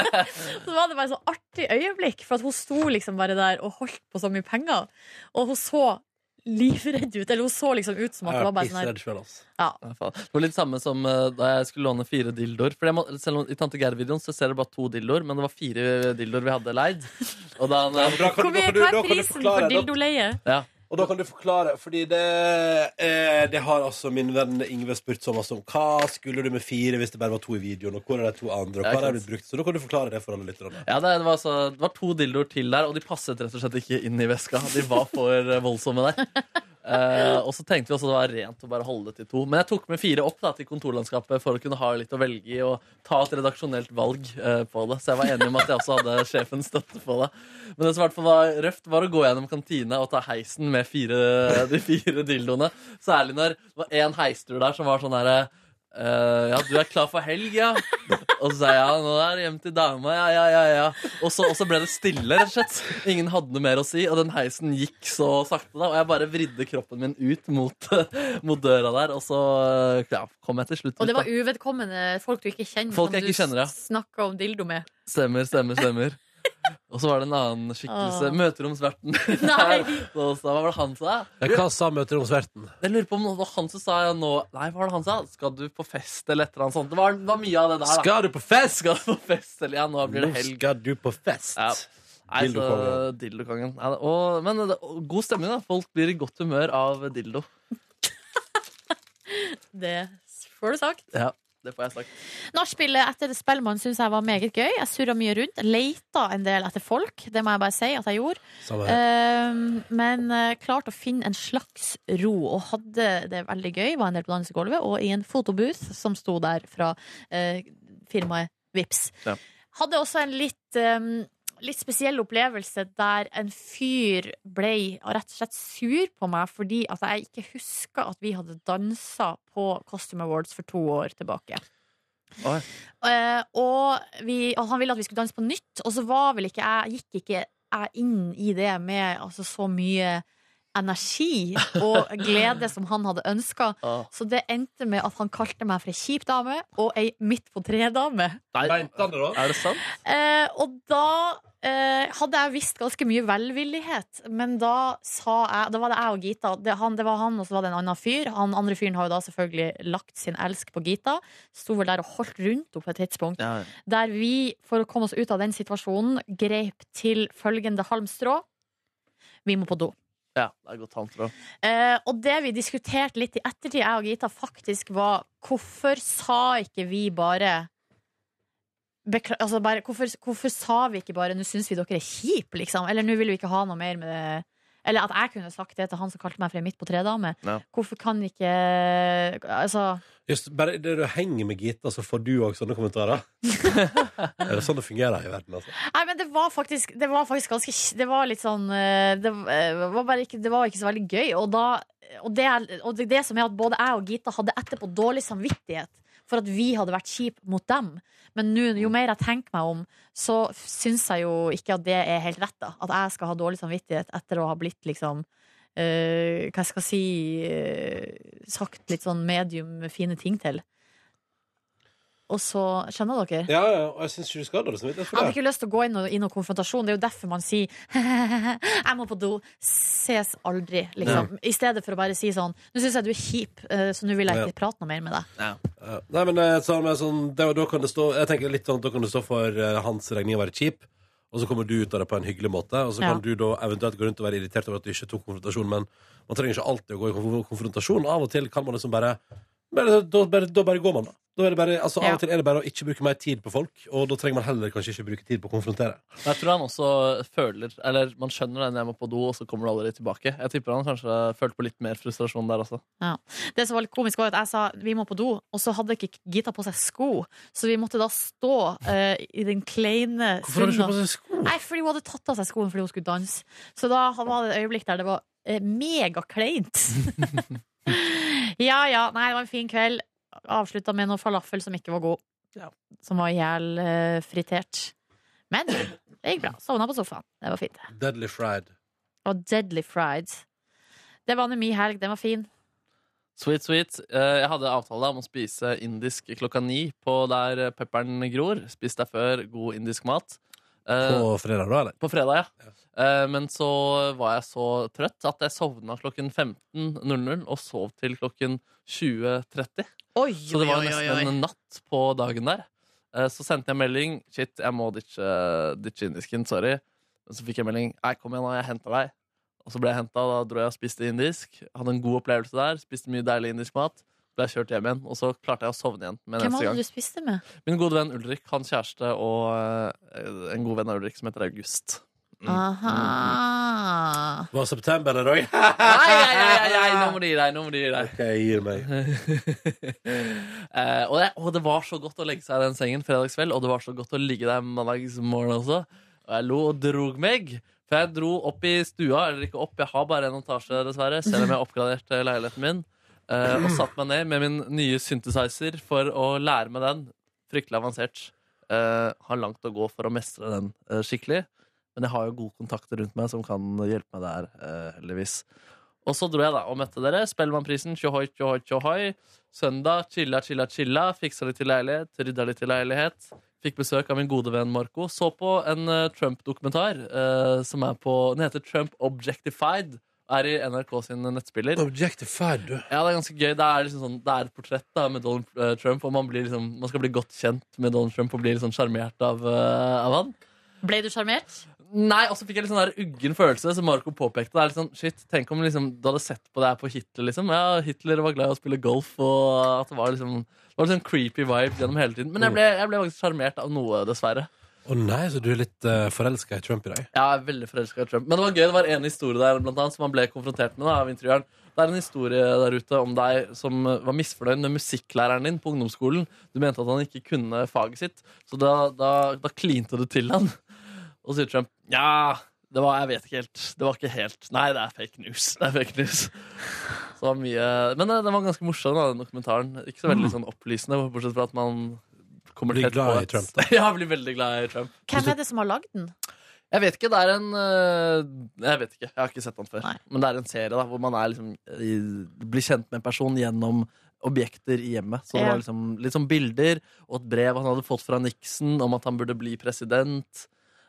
S7: så var det bare et så artig øyeblikk, for at hun sto liksom bare der og holdt på så mye penger. Og hun så livredd ut. Eller hun så liksom ut som at
S2: Jeg
S7: hun
S2: er
S7: var bare sånn her
S2: pissredd selv, altså.
S4: Ja, faen. Det var litt samme som eh, da jeg skulle låne fire dildoer. For jeg må, selv om I Tante Geir-videoen så ser dere bare to dildoer, men det var fire dildoer vi hadde leid. Og da han,
S2: Da kan-
S7: Hvor
S2: da
S7: mye
S2: kan du-
S7: hva
S2: da
S7: er
S2: kan du
S7: prisen
S2: forklare-
S7: for
S2: da-
S7: dildoleie?
S4: ja.
S2: Og da kan du forklare, fordi det, eh, det har altså min venn Ingve spurt så masse om. Hva skulle du med fire hvis det bare var to i videoen, og hvor er de to andre? Og
S4: Ja,
S2: hva
S4: ikke
S2: har du brukt? Så da kan du forklare det for alle lytterne.
S4: Ja, det, det, var altså, det var to dildoer til der, og de passet rett og slett ikke inn i veska. De var for eh, voldsomme der. Eh, og så tenkte vi også det var rent å bare holde det til to. Men jeg tok med fire opp da, til kontorlandskapet for å kunne ha litt å velge i og ta et redaksjonelt valg eh, på det. Så jeg var enig om at jeg også hadde sjefens støtte på det. Men det som i hvert fall var røft, var å gå gjennom kantina og ta heisen med fire, de fire dildoene. Særlig når det var én heistur der som var sånn herre eh, ja, du er klar for helg, ja? Og så sa jeg ja, nå er det hjem til dama. Ja, ja, ja, ja. Og så, og så ble det stille, rett og slett. Ingen hadde noe mer å si, og den heisen gikk så sakte. da Og jeg bare vridde kroppen min ut mot, mot døra der, og så eh, ja, kom jeg til slutt.
S7: Og det
S4: ut, da.
S7: var uvedkommende folk du ikke kjenner,
S4: Folk
S7: som
S4: jeg ikke kjenner,
S7: du
S4: ja.
S7: snakka om dildo med.
S4: Stemmer, stemmer, stemmer. Og så var det en annen skikkelse.
S7: Åh.
S4: Møteromsverten.
S7: Nei.
S4: Så sa, hva var det han sa?
S2: hva sa møteromsverten?
S4: Jeg lurer på om det var han som sa ja, nå Nei, hva var det han sa? Skal du på fest eller et eller annet sånt? Det var, det var mye av det der. da.
S2: Skal du på fest?
S4: Skal du på fest eller Ja, nå blir det
S2: Nå
S4: helg.
S2: skal du på fest. Eh,
S4: Ja. Nei, så
S2: Dildokongen.
S4: Dildokongen. Ja, det- og- men det, og god stemning, da. Folk blir i godt humør av dildo.
S7: Det får du sagt.
S4: Ja, det får jeg sagt.
S7: Nachspielet etter Spellemann syns jeg var meget gøy. Jeg surra mye rundt. Leita en del etter folk, det må jeg bare si at jeg gjorde.
S2: Samme her.
S7: Ehm, men eh, klarte å finne en slags ro, og hadde det veldig gøy. Var en del på dansegulvet og i en fotobooth som sto der fra eh, firmaet Vips.
S4: Ja.
S7: Hadde også en litt ehm, Litt spesiell opplevelse der en fyr ble rett og slett sur på meg fordi at jeg ikke huska at vi hadde dansa på Costume Awards for to år tilbake.
S4: Oi.
S7: Eh, og vi, og han ville at vi skulle danse på nytt, og så var vel ikke jeg Gikk ikke jeg inn i det med altså, så mye energi og glede som han hadde ønska.
S4: Åh.
S7: Så det endte med at han kalte meg for ei kjip dame og ei midt på tre-dame.
S4: Nei,
S2: Mente han det da?
S4: er det sant?
S7: Eh, og da eh, hadde jeg visst ganske mye velvillighet, men da sa jeg Da var det jeg og Gita. Det, han, det var han, og så var det en annen fyr. Han andre fyren har jo da selvfølgelig lagt sin elsk på Gita. Sto vel der og holdt rundt henne på et tidspunkt
S4: Ja, ja.
S7: der vi, for å komme oss ut av den situasjonen, grep til følgende halmstrå. Vi må på do.
S4: ja det er godt han tror.
S7: Eh, og det vi diskuterte litt i ettertid, jeg og Gita, faktisk var hvorfor sa ikke vi bare Bekla altså bare, hvorfor, hvorfor sa vi ikke bare 'nå syns vi dere er kjipe', liksom? Eller 'nå vil vi ikke ha noe mer med det'. Eller at jeg kunne sagt det til han som kalte meg for ei midt på tre-dame.
S4: Ja.
S7: Hvorfor kan ikke Altså
S2: Just, bare det du henger med Gita, så får du også sånne kommentarer. er det sånn det fungerer i verden, altså?
S7: Nei, men det var faktisk, det var faktisk ganske kj- Det var litt sånn eh, Det eh, var, bare ikke, det var ikke så veldig gøy. Og, da, og, det, er- og det, det som er at både jeg og Gita hadde etterpå dårlig samvittighet for at vi hadde vært kjip mot dem. Men nå, jo mer jeg tenker meg om, så syns jeg jo ikke at det er helt rett. da At jeg skal ha dårlig samvittighet etter å ha blitt liksom eh, Hva jeg skal jeg si eh, Sagt litt sånn medium fine ting til.
S3: og så Skjønner dere?
S2: Ja, ja, og jeg syns ikke du skal ha dårlig samvittighet
S3: Jeg
S2: for
S3: hadde
S2: det.
S3: ikke lyst til å gå inn og, inn og konfrontasjon. Det er jo derfor man sier 'jeg må på do'. Ses aldri, liksom. I stedet for å bare si sånn 'nå syns jeg du er kjip, eh, så nå vil jeg ikke prate noe mer med deg'.
S2: Ja. Nei, men eh, sånn, men sånn, det, da kan det stå Jeg tenker litt sånn at da kan det stå for eh, hans regning å være kjip, og så kommer du ut av det på en hyggelig måte, og så
S3: Ja.
S2: kan du da eventuelt gå rundt og være irritert over at du ikke tok konfrontasjon, men man trenger ikke alltid å gå i konf- konfrontasjon. Av og til kan man liksom bare bare, da, bare, da bare går man, da. da er det bare, altså, Av
S3: Ja.
S2: og til er det bare å ikke bruke mer tid på folk, og da trenger man heller kanskje ikke bruke tid på å konfrontere.
S4: Men jeg tror han også føler Eller man skjønner det når jeg må på do, og så kommer du aldri tilbake. Jeg tipper han kanskje følte på litt mer frustrasjon der også.
S3: Det som var litt komisk, var at jeg sa 'vi må på do', og så hadde ikke Gita på seg sko. Så vi måtte da stå eh, i den kleine
S2: Hvorfor har du ikke
S3: sunda.
S2: på seg sko?
S3: Nei, fordi hun hadde tatt av seg skoene fordi hun skulle danse. Så da var det et øyeblikk der det var eh, megakleint. ja ja, nei, det var en fin kveld. Avslutta med noe falafel som ikke var god. Som var ihjelfritert. Men det gikk bra. Sovna på sofaen. Det var fint.
S2: Deadly fried.
S3: Det var deadly fried. Det var nå min helg. Den var fin.
S4: Sweet, sweet. Eh, Jeg hadde avtale om å spise indisk klokka ni på der pepperen gror. Spis deg før god indisk mat. Eh,
S2: På fredag, da, eller?
S4: På fredag, ja. Eh, Men så var jeg så trøtt at jeg sovna klokken 15.00 og sov til klokken 20.30.
S3: Oi,
S4: Så det var nesten en natt på dagen der. Eh, Så sendte jeg melding. Shit, jeg må ditche, ditche indisken. Sorry. Men så fikk jeg melding. Nei, kom igjen, nå, jeg henter deg. Og så ble jeg henta, da dro jeg og spiste indisk. Hadde en god opplevelse der. Spiste mye deilig indisk mat. Ble jeg kjørt hjem igjen, og så klarte jeg å sovne igjen. Med
S3: Hvem
S4: neste
S3: var
S4: gang.
S3: det du spiste med?
S4: Min gode venn Ulrik, hans kjæreste og eh, en god venn av Ulrik som heter August. Mm.
S3: Aha.
S2: Det var september der òg.
S4: Nei, nei, nei, nei, nå må du gi deg, nå må du gi deg.
S2: OK, jeg gir meg.
S4: Eh, og, det, og det var så godt å legge seg i den sengen fredagskveld, og det var så godt å ligge der mandagsmorgen også. Og jeg lo og drog meg. For jeg dro opp i stua, eller ikke opp, jeg har bare en etasje, dessverre, selv om jeg har oppgradert eh, leiligheten min, eh, og satt meg ned med min nye synthesizer for å lære meg den. Fryktelig avansert. Eh, har langt å gå for å mestre den eh, skikkelig. Men jeg har jo gode kontakter rundt meg som kan hjelpe meg der, eh, heldigvis. Og så dro jeg da og møtte dere. Spellemannprisen, tjohoi, tjohoi, tjohoi. Søndag, chilla, chilla, chilla. Fiksa litt til leilighet, rydda litt til leilighet. Fikk besøk av min gode venn Marco. Så på en eh, Trump-dokumentar eh, som er på Den heter Trump Objectified. Er i NRK sin nettspiller.
S2: Objectified, du.
S4: Ja, det er ganske gøy. Det er, liksom sånn, det er et portrett da, med Donald eh, Trump, og man, blir liksom, man skal bli godt kjent med Donald Trump og bli litt sånn sjarmert av, eh, av han.
S3: Ble du sjarmert?
S4: Nei, og så fikk jeg litt sånn der uggen følelse, som Marco påpekte. Det er litt sånn, shit, Tenk om liksom, du hadde sett på det her på Hitler, liksom. Ja, Hitler var glad i å spille golf, og at det var liksom det var litt sånn creepy vibe gjennom hele tiden. Men jeg ble, jeg ble faktisk sjarmert av noe, dessverre.
S2: Å nei, så du er litt uh, forelska i Trump i dag?
S4: Jeg er veldig forelska i Trump. Men det var gøy, det var en historie der blant annet, som han ble konfrontert med da, av intervjueren. Det er en historie der ute om deg som var misfornøyd med musikklæreren din på ungdomsskolen. Du mente at han ikke kunne faget sitt, så da, da, da klinte du til han. Og så sier Trump ja, det var, jeg vet ikke helt. Det var ikke helt. Nei, det er fake news. Det er fake news. Så det var mye, men eh, den var ganske morsom, da, den dokumentaren. Ikke så veldig sånn opplysende, bortsett fra at man kommer
S2: Mm. Blir
S4: tett
S2: glad
S4: på
S2: i
S4: et-
S2: Trump,
S4: Ja, blir veldig glad i Trump.
S3: Hvem er det som har lagd den?
S4: Jeg vet ikke, det er en øh, Jeg vet ikke, jeg har ikke sett den før.
S3: Nei.
S4: Men det er en serie da, hvor man er liksom, i, blir kjent med en person gjennom objekter i hjemmet. Så det
S3: Ja.
S4: var liksom, litt sånn bilder og et brev han hadde fått fra Nixon om at han burde bli president.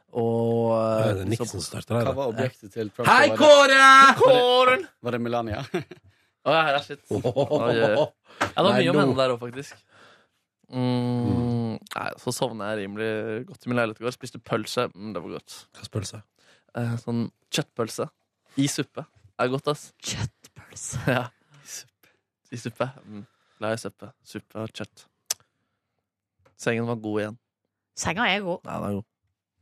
S4: Og
S2: Ja,
S4: øh,
S2: det er
S4: liksom- Ah,
S2: Nixon starter
S8: Hva
S2: der. da.
S8: var objektet til Trump?
S2: Hei,
S8: Var det-
S2: Kåre!
S4: Kåren!
S8: Var det Melania?
S4: Å ja, her er shit. Oi, oi, oi. Ja, det var
S2: Nei,
S4: mye om
S2: nå-
S4: henne der òg, faktisk. Mm, nei, så sovna jeg rimelig godt i min leilighet i går. Spiste pølse. Mm, det var godt.
S2: Hva spør du seg?
S4: Eh, sånn kjøttpølse i suppe. Er godt, ass.
S3: Kjøttpølse.
S4: Ja. I suppe. Mm. Glad i suppe. Suppe og kjøtt. Sengen var god igjen.
S3: Senga er god.
S4: Nei, den er god.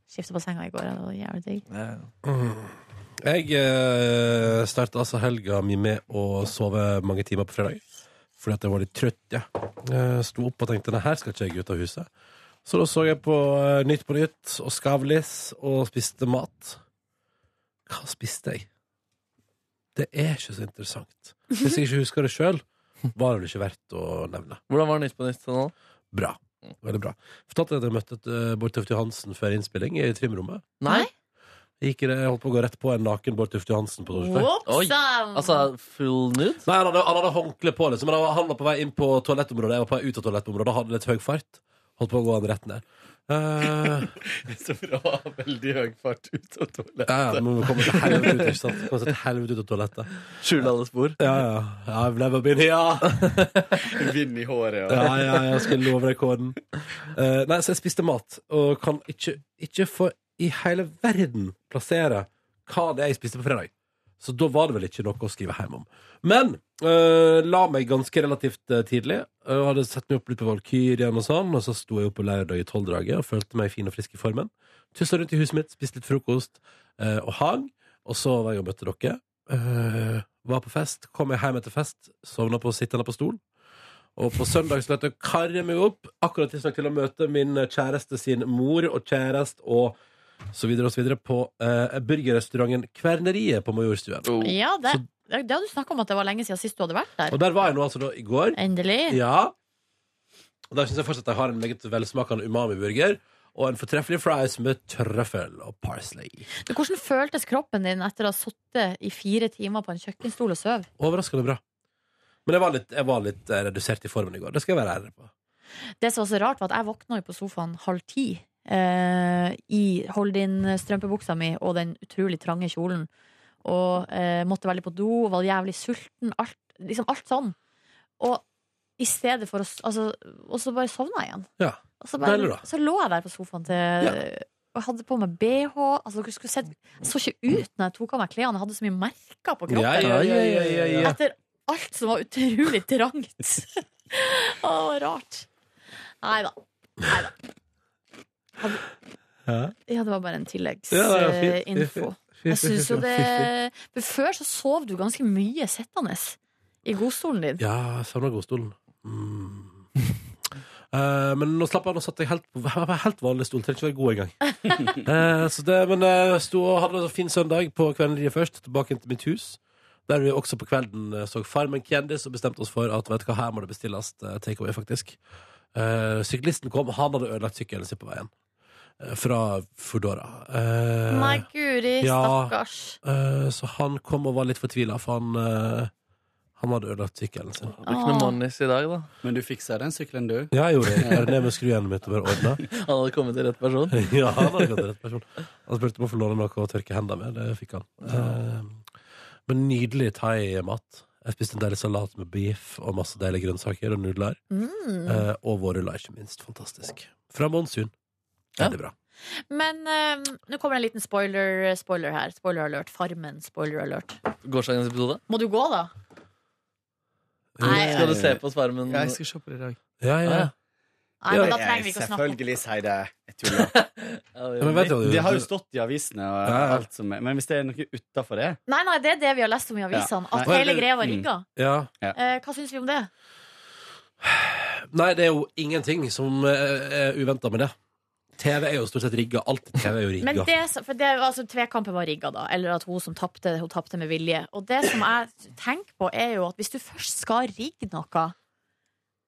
S3: Skifta på senga i går. Det var jævlig digg.
S2: Mm. Jeg uh, starta altså helga mi med å sove mange timer på fredag. Fordi at jeg var litt trøtt. Ja. Jeg sto opp og tenkte nei, her skal ikke jeg ut av huset. Så da så jeg på eh, Nytt på nytt og Skavlis og spiste mat. Hva spiste jeg? Det er ikke så interessant. Hvis jeg ikke husker det sjøl, var det vel ikke verdt å nevne.
S4: Hvordan var Nytt på nytt til nå?
S2: Bra. Veldig bra. Fortalte jeg at jeg møtte eh, Bård Tufte Johansen før innspilling i trimrommet.
S4: Nei?
S2: Jeg Gikk i det, jeg holdt på å gå rett på en naken Bård Tufte Johansen på torsdag.
S4: Oi.
S3: Whoopsan!
S4: Altså full nude?
S2: Nei, han hadde, han hadde håndkle på, liksom. Men han var- han var på vei inn på toalettområdet. Jeg var på vei ut av toalettområdet. Han hadde litt høy fart. Holdt på å gå an retten der. Eh,
S4: Så bra. Veldig høy fart ut av toalettet.
S2: ja, ja, må komme til helvete ut, ikke sant? Komme til helvete ut av toalettet.
S4: Skjule alle spor.
S2: Ja, ja. I've never been here.
S4: Vind i håret.
S2: Ja, ja, ja, jeg skal love deg kåden. Eh, nei, så jeg spiste mat, og kan ikke, ikke for i hele verden plassere hva det er jeg spiste på fredag. Så da var det vel ikke noe å skrive hjem om. Men eh, la meg ganske relativt eh, tidlig. og hadde sett meg opp litt på Valkyrien og sånn, og så sto jeg opp på lørdag i tolvdraget og følte meg fin og frisk i formen. Tussa rundt i huset mitt, spiste litt frokost eh, og hang. Og så var jeg og møtte dere. Eh, var på fest, kom jeg hjem etter fest, sovna på sittende på stol. Og på søndag så løtte jeg karre meg opp, akkurat tidsnok til å møte min kjæreste sin mor og kjæreste og så videre og så videre på eh, burgerrestauranten Kverneriet på Majorstuen.
S4: Oh.
S3: Ja, det, det hadde du snakka om at det var lenge siden sist du hadde vært der.
S2: Og der var jeg nå altså da i går.
S3: Endelig.
S2: Ja. Og der syns jeg fortsatt jeg har en meget velsmakende umami-burger. Og en fortreffelig fries med trøffel og parsley.
S3: Du, Hvordan føltes kroppen din etter å ha sittet i fire timer på en kjøkkenstol og sovet?
S2: Overraskende bra. Men jeg var litt, jeg var litt eh, redusert i formen i går. Det skal jeg være ærlig på.
S3: Det som var så rart, var at jeg våkna jo på sofaen halv ti. Eh, I hold-in-strømpebuksa mi og den utrolig trange kjolen. Og eh, måtte veldig på do, var jævlig sulten. Alt, liksom alt sånn. Og i stedet for å s- altså, Og så bare sovna jeg igjen.
S2: Ja.
S3: Og så, bare,
S2: Deilig, da.
S3: så lå jeg der på sofaen til Og jeg hadde på meg bh. Altså, dere skulle sett, jeg så ikke ut når jeg tok av meg klærne. Jeg hadde så mye merker på kroppen
S2: Ja, ja, ja, ja, ja, ja.
S3: etter alt som var utrolig trangt. Å, rart. Nei da. Nei da. Hadde-
S2: Ja.
S3: Ja, det var bare en tilleggsinfo.
S2: Ja, ja, fint, fint,
S3: eh, Jeg synes jo det For Før så sov du ganske mye sittende i godstolen din.
S2: Ja, savna godstolen. Mm. Eh, men nå slapp jeg av, nå satt jeg helt på jeg var helt vanlig stol. Trenger ikke være god engang. Eh, så det, men jeg sto og hadde en fin søndag på Kvelderiet først, tilbake til mitt hus. Der vi også på kvelden eh, så Farmen kjendis og bestemte oss for at vet du hva, her må det bestilles eh, takeaway, faktisk. Eh, syklisten kom, han hadde ødelagt sykkelen sin på veien. Eh, fra Foodora. Eh,
S3: Nei, guri,
S2: ja.
S3: stakkars.
S2: eh, så han kom og var litt fortvila, for han, eh, han hadde ødelagt sykkelen sin.
S4: Det er ikke noe Mannis i dag, da.
S8: Men du fiksa den sykkelen, du.
S2: Ja, jeg gjorde det. Jeg gjorde det ned med skrujernet mitt og bare ordna.
S4: Han hadde kommet til rett person.
S2: Ja, han hadde gått til rett person. Han spurte om å få låne noe å tørke hendene med. Det fikk han. Eh, Men nydelig thaimat. Jeg spiste en deilig salat med beef og masse deilige grønnsaker og nudler.
S3: Mm.
S2: Eh, Og vårruller, ikke minst. Fantastisk. Fra Monsun.
S4: Ja.
S2: Veldig bra.
S3: Men eh, nå kommer det en liten spoiler, eh, spoiler her. Spoiler alert. Farmen, spoiler alert.
S4: Gårsdagens episode.
S3: Må du gå, da? Nei,
S8: Ja,
S4: Skal du se på Svermen?
S8: Jeg skal se på det i dag.
S2: Ja, ja.
S4: Ja,
S3: Nei, men da trenger vi ikke å snakke om
S8: Selvfølgelig sier det. Jeg tuller.
S2: Ja, men vet du, hva
S8: Det har jo
S2: du,
S8: stått i avisene og
S2: Ja, ja.
S8: alt som er. Men hvis det er noe utafor det
S3: Nei, nei, det er det vi har lest om i avisene.
S8: Ja.
S3: At
S8: Nei. Mm.
S3: hele greia var rigga.
S2: ja.
S3: Eh, hva syns vi om det?
S2: Nei, det er jo ingenting som eh, er uventa med det. TV er jo stort sett rigga. Alt i TV er jo
S3: Men
S2: rigga.
S3: det, som- for det altså, Tvekampen var rigga, da. Eller at hun som tapte, hun tapte med vilje. Og det som jeg tenker på, er jo at hvis du først skal rigge noe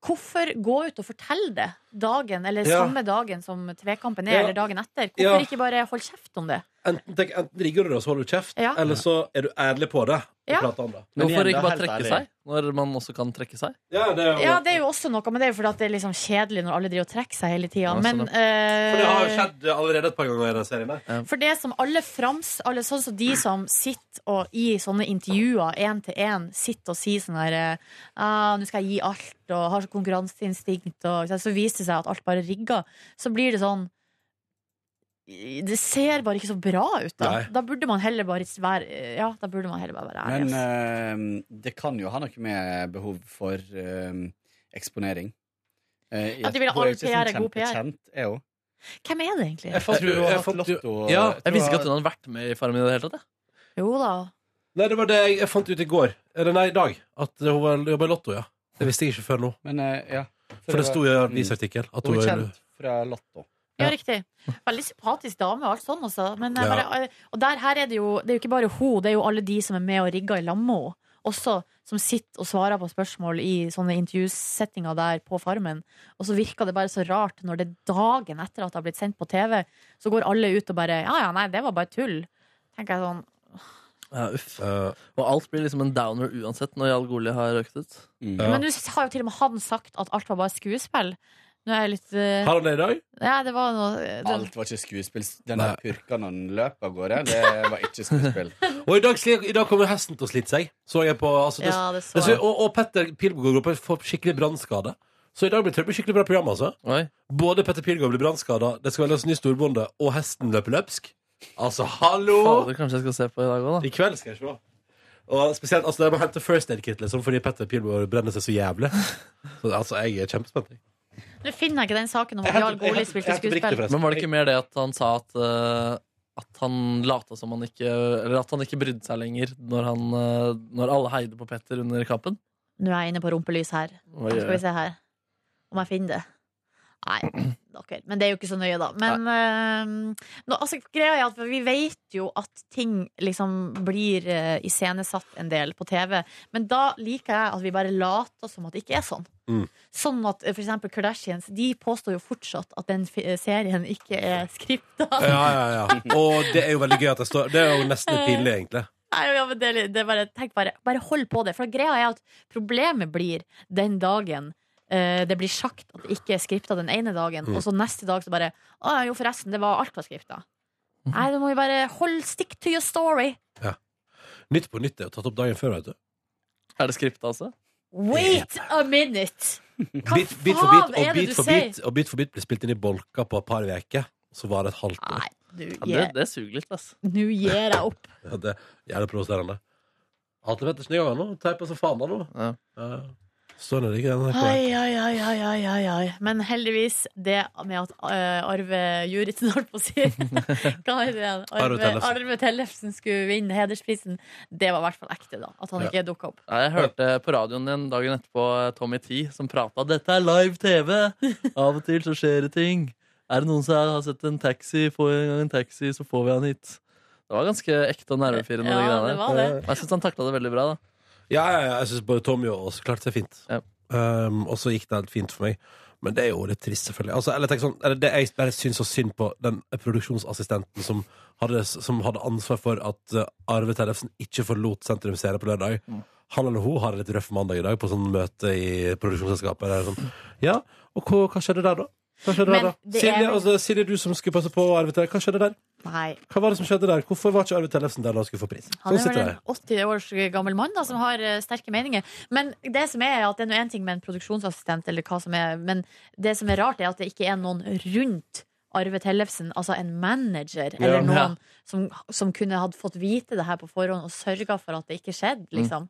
S3: Hvorfor gå ut og fortelle det dagen, eller
S2: Ja.
S3: samme dagen som tvekampen er,
S2: Ja.
S3: eller dagen etter? Hvorfor
S2: Ja.
S3: ikke bare holde kjeft om det?
S2: Enten, tenk, enten rigger du det, og så holder du kjeft,
S3: Ja.
S2: eller så er du ærlig på det. Og
S3: Ja.
S2: prater om det.
S8: Men igjen,
S4: Hvorfor
S8: da,
S4: ikke bare
S8: helt
S4: trekke
S8: ærlig.
S4: seg? Når man også kan trekke seg.
S2: Ja, det er jo
S3: Ja, det er jo også noe, men det er jo fordi at det er liksom kjedelig når alle driver og trekker seg hele tida.
S4: Ja,
S3: Men
S4: sånn
S3: eh,
S2: For det har jo skjedd allerede et par ganger i denne serien. der.
S3: For det som alle frams alle, Sånn som de som sitter og i sånne intervjuer én til én sitter og sier sånn her eh, ah, 'Nå skal jeg gi alt', og har så konkurranseinstinkt, og ikke sant, så viser det seg at alt bare rigger. Så blir det sånn Det ser bare ikke så bra ut, da.
S2: Nei.
S3: Da burde man heller bare være Ja, da burde man heller bare være ærlig. altså.
S8: Men
S3: ass.
S8: eh, det kan jo ha noe med behov for eh, eksponering. Eh, i
S3: At de vil ha
S8: hun er jo
S3: all
S8: ikke sånn
S3: PR er god PR.
S8: kjempekjent, er hun?
S3: Hvem er det egentlig?
S8: Jeg fant
S2: Jeg
S8: jo
S2: fant jo- ja,
S8: Ja,
S4: Jeg visste ikke at hun hadde vært med i Farmen i det hele tatt. jeg.
S3: Jo da.
S2: Nei, det var det jeg, jeg fant ut i går. Eller nei, i dag. At hun var- jobba i Lotto, ja. Det visste jeg ikke før nå.
S8: Men eh, ja.
S2: For det sto i
S8: Mm.
S2: avisartikkel at hun
S8: Hun er
S2: var
S8: kjent fra Lotto.
S3: Ja,
S2: Ja.
S3: riktig. Veldig sympatisk dame og alt sånn, altså. Men jeg
S2: Ja.
S3: bare, og der her er det jo Det er jo ikke bare hun, det er jo alle de som er med og rigger i lag med henne. Også som sitter og svarer på spørsmål i sånne intervjusettinger der på Farmen. Og så virker det bare så rart når det er dagen etter at det har blitt sendt på TV, så går alle ut og bare Ja ja, nei, det var bare tull. Tenker jeg sånn
S4: Ja, uff.
S2: Eh,
S4: Og alt blir liksom en downer uansett når Jarl Goli har røkt ut.
S2: Ja.
S3: Men nå har jo til og med han sagt at alt var bare skuespill. Nå er jeg litt eh,
S2: Har han det i dag?
S3: Nei, det var noe eh, den,
S8: Alt var ikke skuespill. Den der purka når den løp av gårde, det var ikke skuespill.
S2: Og i dag, sli- i dag kommer hesten til å slite seg. Så jeg på altså, det,
S3: Ja, det så
S2: det,
S3: jeg.
S2: og, og Petter Pilgaard går på får skikkelig brannskade. Så i dag blir det blir skikkelig bra program, altså.
S4: Oi.
S2: Både Petter Pilgaard blir brannskada, det skal velges ny storbonde, og hesten løper løpsk. Altså, hallo!
S4: Fader, kanskje jeg skal se på i dag òg, da.
S2: I kveld skal jeg se. Og spesielt, altså, Jeg må hente first aid-kit liksom, fordi Petter Pilgaard brenner seg så jævlig. Så, altså, Jeg er kjempespent. jeg.
S3: Nå finner jeg ikke den saken om
S2: Jeg
S3: at Jarl
S2: henter- jeg
S3: Goli
S2: henter- jeg
S3: spilte
S2: henter brikter,
S3: skuespill.
S2: forresten.
S4: Men var det ikke mer det at han sa at eh, At han lata som han ikke Eller at han ikke brydde seg lenger når, han, eh, når alle heide på Petter under kappen?
S3: Nå er jeg inne på rumpelys her.
S4: Oi,
S3: Skal vi se her om jeg finner det. Nei, ok. men det er jo ikke så nøye, da. Men eh, nå, altså, greia er at vi vet jo at ting liksom blir eh, iscenesatt en del på TV. Men da liker jeg at vi bare later som at det ikke er sånn.
S2: Mm.
S3: Sånn at eh, for eksempel Kardashians De påstår jo fortsatt at den fi- serien ikke er skripta.
S2: Ja, ja, ja. Og det er jo veldig gøy at jeg står Det er jo nesten litt pinlig, egentlig.
S3: Nei, ja, men det, er litt- det er bare, tenk bare, bare hold på det. For greia er at problemet blir den dagen eh, det blir sagt at det ikke er skripta den ene dagen,
S4: Mm.
S3: og så neste dag så bare Å jo, forresten, det var alt var skripta.
S4: Mhm.
S3: Nei, du må jo bare hold stick to your story.
S2: Nytt på nytt er jo tatt opp dagen før, vet du.
S4: Er det skriptet, altså?
S3: Wait a minute! Hva
S2: Bit, bit for
S3: faen
S2: bit,
S3: er
S2: og
S3: det
S2: bit
S3: du
S2: for
S3: sier?
S2: bit, og bit for bit ble spilt inn i bolka på et par uker. Så var det et halvt år.
S3: Nei, du,
S4: Ja, det,
S3: jeg-
S4: det suger litt, ass.
S3: nå gir jeg opp.
S2: Ja, det er jævlig provoserende. Atle Pettersen i gang nå. Teipa som faen da nå.
S4: Ja.
S2: Ja. Sånn er det ikke. Den her.
S3: Ai, ai, ai, ai, ai, ai, ai. Men heldigvis, det med at eh, Arve Juritzen holdt på å si Hva er det igjen?
S2: Arve
S3: Arve,
S2: Tellefsen.
S3: Arve Tellefsen skulle vinne hedersprisen. Det var i hvert fall ekte, da. At han
S2: Ja.
S3: ikke dukka opp.
S4: Ja, Jeg hørte på radioen igjen dagen etterpå eh, Tommy T som prata 'Dette er live TV! Av og til så skjer det ting. Er det noen som har sett en taxi, få en gang en taxi, så får vi han hit. Det var ganske ekte og nervefirrende.
S3: Ja,
S4: de greiene der.
S3: det var det.
S4: Jeg syns han takla det veldig bra. da
S2: Ja, ja, ja, jeg syns både Tommy og oss klarte seg fint.
S4: Ja.
S2: Um, og så gikk det helt fint for meg. Men det er jo litt trist, selvfølgelig. Altså, eller, tenk sånn, eller det jeg bare syns så synd på den produksjonsassistenten som hadde, som hadde ansvar for at uh, Arve Tellefsen ikke forlot Sentrum Serie på lørdag. Han eller hun har en litt røff mandag i dag på sånn møte i produksjonsselskapet. Der, sånn. Ja, og hva, hva skjedde der, da? Hva skjedde
S3: Men
S2: der, da?
S3: det er
S2: Silje,
S3: vel-
S2: altså, Silje, du som skulle passe på Arve Tellefsen, hva skjedde der?
S3: Nei.
S2: Hva var det som skjedde der? Hvorfor var ikke Arve Tellefsen der da han skulle få pris? Sånn
S3: Han er vel
S2: sitter
S3: en
S2: jeg.
S3: 80 års gammel mann da, som har eh, sterke meninger. Men det som er at det er én ting med en produksjonsassistent, eller hva som er, men det som er rart, er at det ikke er noen rundt Arve Tellefsen, altså en manager, eller noen som, som kunne hatt fått vite det her på forhånd og sørga for at det ikke skjedde,
S2: Mm.
S3: liksom.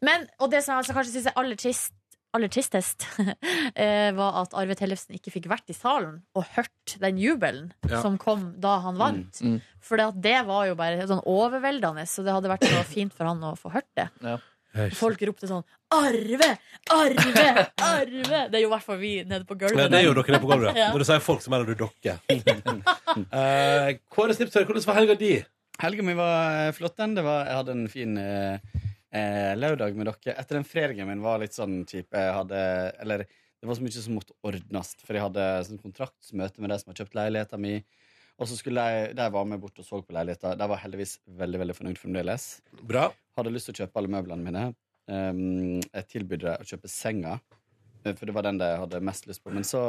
S3: Men, og det som jeg altså kanskje syns er aller trist Aller tristest eh, var at Arve Tellefsen ikke fikk vært i salen og hørt den jubelen
S2: Ja.
S3: som kom da han vant.
S4: Mm, mm.
S3: For det at det var jo bare sånn overveldende, så det hadde vært så fint for han å få hørt det. Folk ropte sånn 'Arve! Arve! Arve!' Det er jo i hvert fall vi nede på
S2: Ja,
S3: gulvet.
S2: det er jo dere der på gulvet.
S3: Ja.
S2: Når du sier folk, så mener du dere. Eh, Kåre Snipsøy, hvordan var helga di?
S8: Helga mi var eh, flott, den. Det var, jeg hadde en fin eh, eh, lørdag med dere. Etter den fredagen min var litt sånn type jeg hadde, Eller det var så mye som måtte ordnes, for jeg hadde sånn kontraktsmøte med de som har kjøpt leiligheten min. Og så skulle de, de var med bort og så på leiligheten. De var heldigvis veldig veldig fornøyd fremdeles.
S2: Bra.
S8: Hadde lyst til å kjøpe alle møblene mine. Um, jeg tilbød dem å kjøpe senga, eh, for det var den de hadde mest lyst på. Men så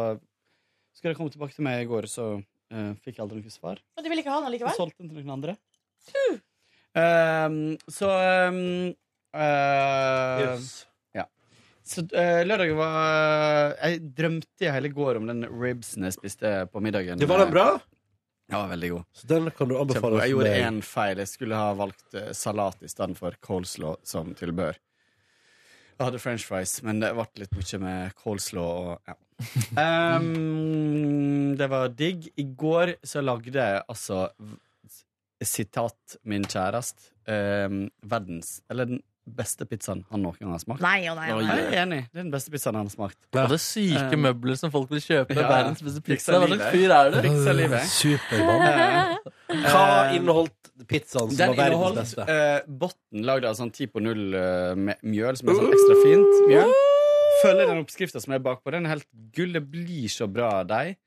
S8: skulle de komme tilbake til meg i går, så eh, fikk jeg aldri noe svar.
S3: Men du vil ikke ha den
S8: Jeg
S3: likevel?
S8: solgte den til noen andre. Ehm, så ehm, eh, Så eh, lørdagen var eh, Jeg drømte i hele går om den ribsen jeg spiste på middagen.
S2: Det var den bra?
S8: Ja, veldig god.
S2: Så den kan du
S8: Kjempegod.
S2: anbefale.
S8: Jeg gjorde én feil. Jeg skulle ha valgt eh, salat i stedet for coleslaw som tilbør. Jeg hadde french fries, men det ble litt mye med coleslaw og ja. Ehm, det var digg. I går så lagde jeg altså v- Sitat min kjæreste. ehm, verdens Eller den beste pizzaen han noen gang har smakt.
S3: Nei og nei og nei.
S8: Jeg er enig. Det er den beste pizzaen han har smakt.
S4: Og det er syke
S8: Um,
S4: møbler som folk vil kjøpe.
S8: ja, ja.
S4: Verdens beste pizza.
S8: Fiksa
S4: Hva slags
S8: livet.
S4: fyr er du?
S8: Fiksa livet.
S2: Supermann.
S8: Eh,
S2: Hva
S8: eh,
S2: inneholdt pizzaen som
S8: Den
S2: var verdens
S8: inneholdt
S2: beste?
S8: uh, botten lagd av sånn 10 på 0 eh, med mjøl, som er sånn ekstra fint mjøl. Følger den oppskrifta som er bakpå. Den er helt gull. Det blir så bra deig.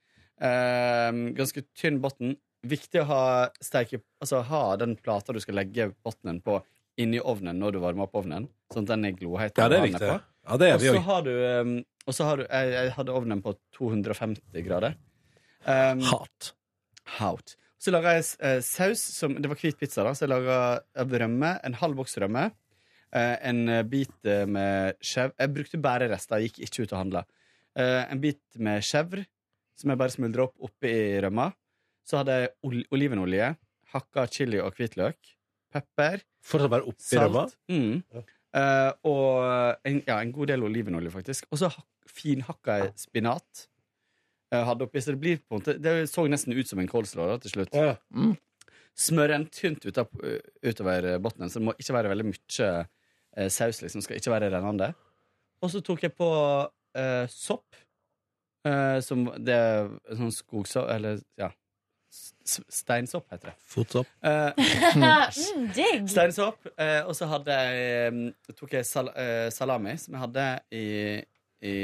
S8: Eh, ganske tynn botten. Viktig å ha, steike, altså, ha den plata du skal legge botten på, inni ovnen når du varmer opp ovnen, sånn at den er gloheit.
S2: Ja, det er
S8: når den
S2: viktig.
S8: på.
S2: Ja, det er
S8: Og
S2: vi
S8: så
S2: jo.
S8: har du, um, og så har du jeg, jeg hadde ovnen på 250 grader. Um,
S2: Hardt.
S8: Haut. Så laga jeg eh, saus som Det var hvit pizza, da. Så jeg laga rømme. En halv boks rømme. eh, en eh, bit eh, med skjev Jeg brukte bare rester. Jeg gikk ikke ut og handla. Eh, en bit med skjevr, som jeg bare smuldra opp oppi rømma. Så hadde jeg ol olivenolje, hakka chili og hvitløk. Pepper.
S2: Fortsatt bare oppi
S8: Salt.
S2: rømma.
S8: Mm. Eh, og en, ja, en god del olivenolje, faktisk. Og så hak- finhakka jeg spinat. eh, hadde oppi, så det, blir på en måte, det så nesten ut som en kålslaw da, til slutt.
S2: Ja.
S8: Smør en tynt ut av, eh, utover bunnen, så det må ikke være veldig mye eh, saus. liksom, skal ikke være rennende. Og så tok jeg på eh, sopp. eh, som det er sånn skogsopp Eller ja s- s- Steinsopp, heter det.
S2: Fotsopp.
S8: Eh,
S3: mm, digg!
S8: Steinsopp. Eh, og så hadde jeg, eh, tok jeg sal eh, salami, som jeg hadde i, i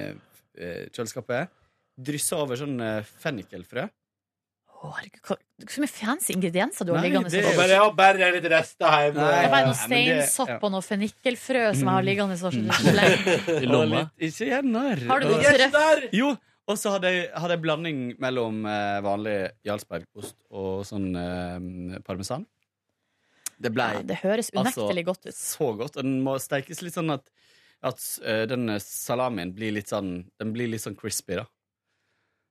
S8: eh, kjøleskapet. Dryssa over sånn eh, fennikelfrø.
S3: Å, herregud, hva- Så mye fancy ingredienser du har
S8: Nei,
S3: liggende.
S8: det-
S3: sånn.
S2: jeg har bare litt rester hjemme.
S3: Det er bare noe
S8: Nei, men det- ja. Mm.
S3: steinsopp og noe fennikelfrø som jeg har liggende sånn så lenge.
S4: I
S8: Og
S4: lomma.
S8: litt- Ikke gjør narr.
S3: Har du
S8: Og-
S3: noe trøff?
S8: Jo, og så hadde jeg, hadde jeg blanding mellom eh, vanlig Jarlsbergost og sånn eh, parmesan.
S4: Det
S3: Ja, det høres
S8: Altså,
S3: unektelig godt ut.
S8: Så godt. Og den må stekes litt sånn at, at eh, den salamien blir litt sånn Den blir litt sånn crispy, da.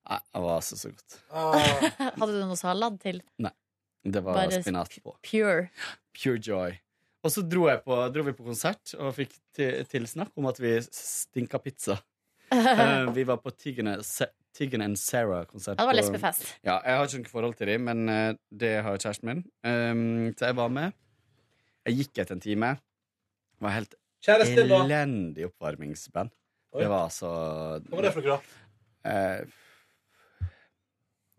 S8: Nei, det var altså så godt.
S2: Ah.
S3: Hadde du noe salat til?
S8: Det var
S3: Bare
S8: spinat på.
S3: Pure.
S8: Pure joy. Og så dro, jeg på, dro vi på konsert og fikk til, tilsnakk om at vi stinka pizza. Eh, vi var på Tiggen and Sarah-konsert.
S3: Ja, det var
S8: på-
S3: lesbefest.
S8: Ja, jeg har ikke noe forhold til dem, men eh, det har kjæresten min. Um, så jeg var med. Jeg gikk etter en time. Var helt elendig oppvarmingsband.
S2: Oi.
S8: Det var altså
S2: for noe, da?
S8: Eh,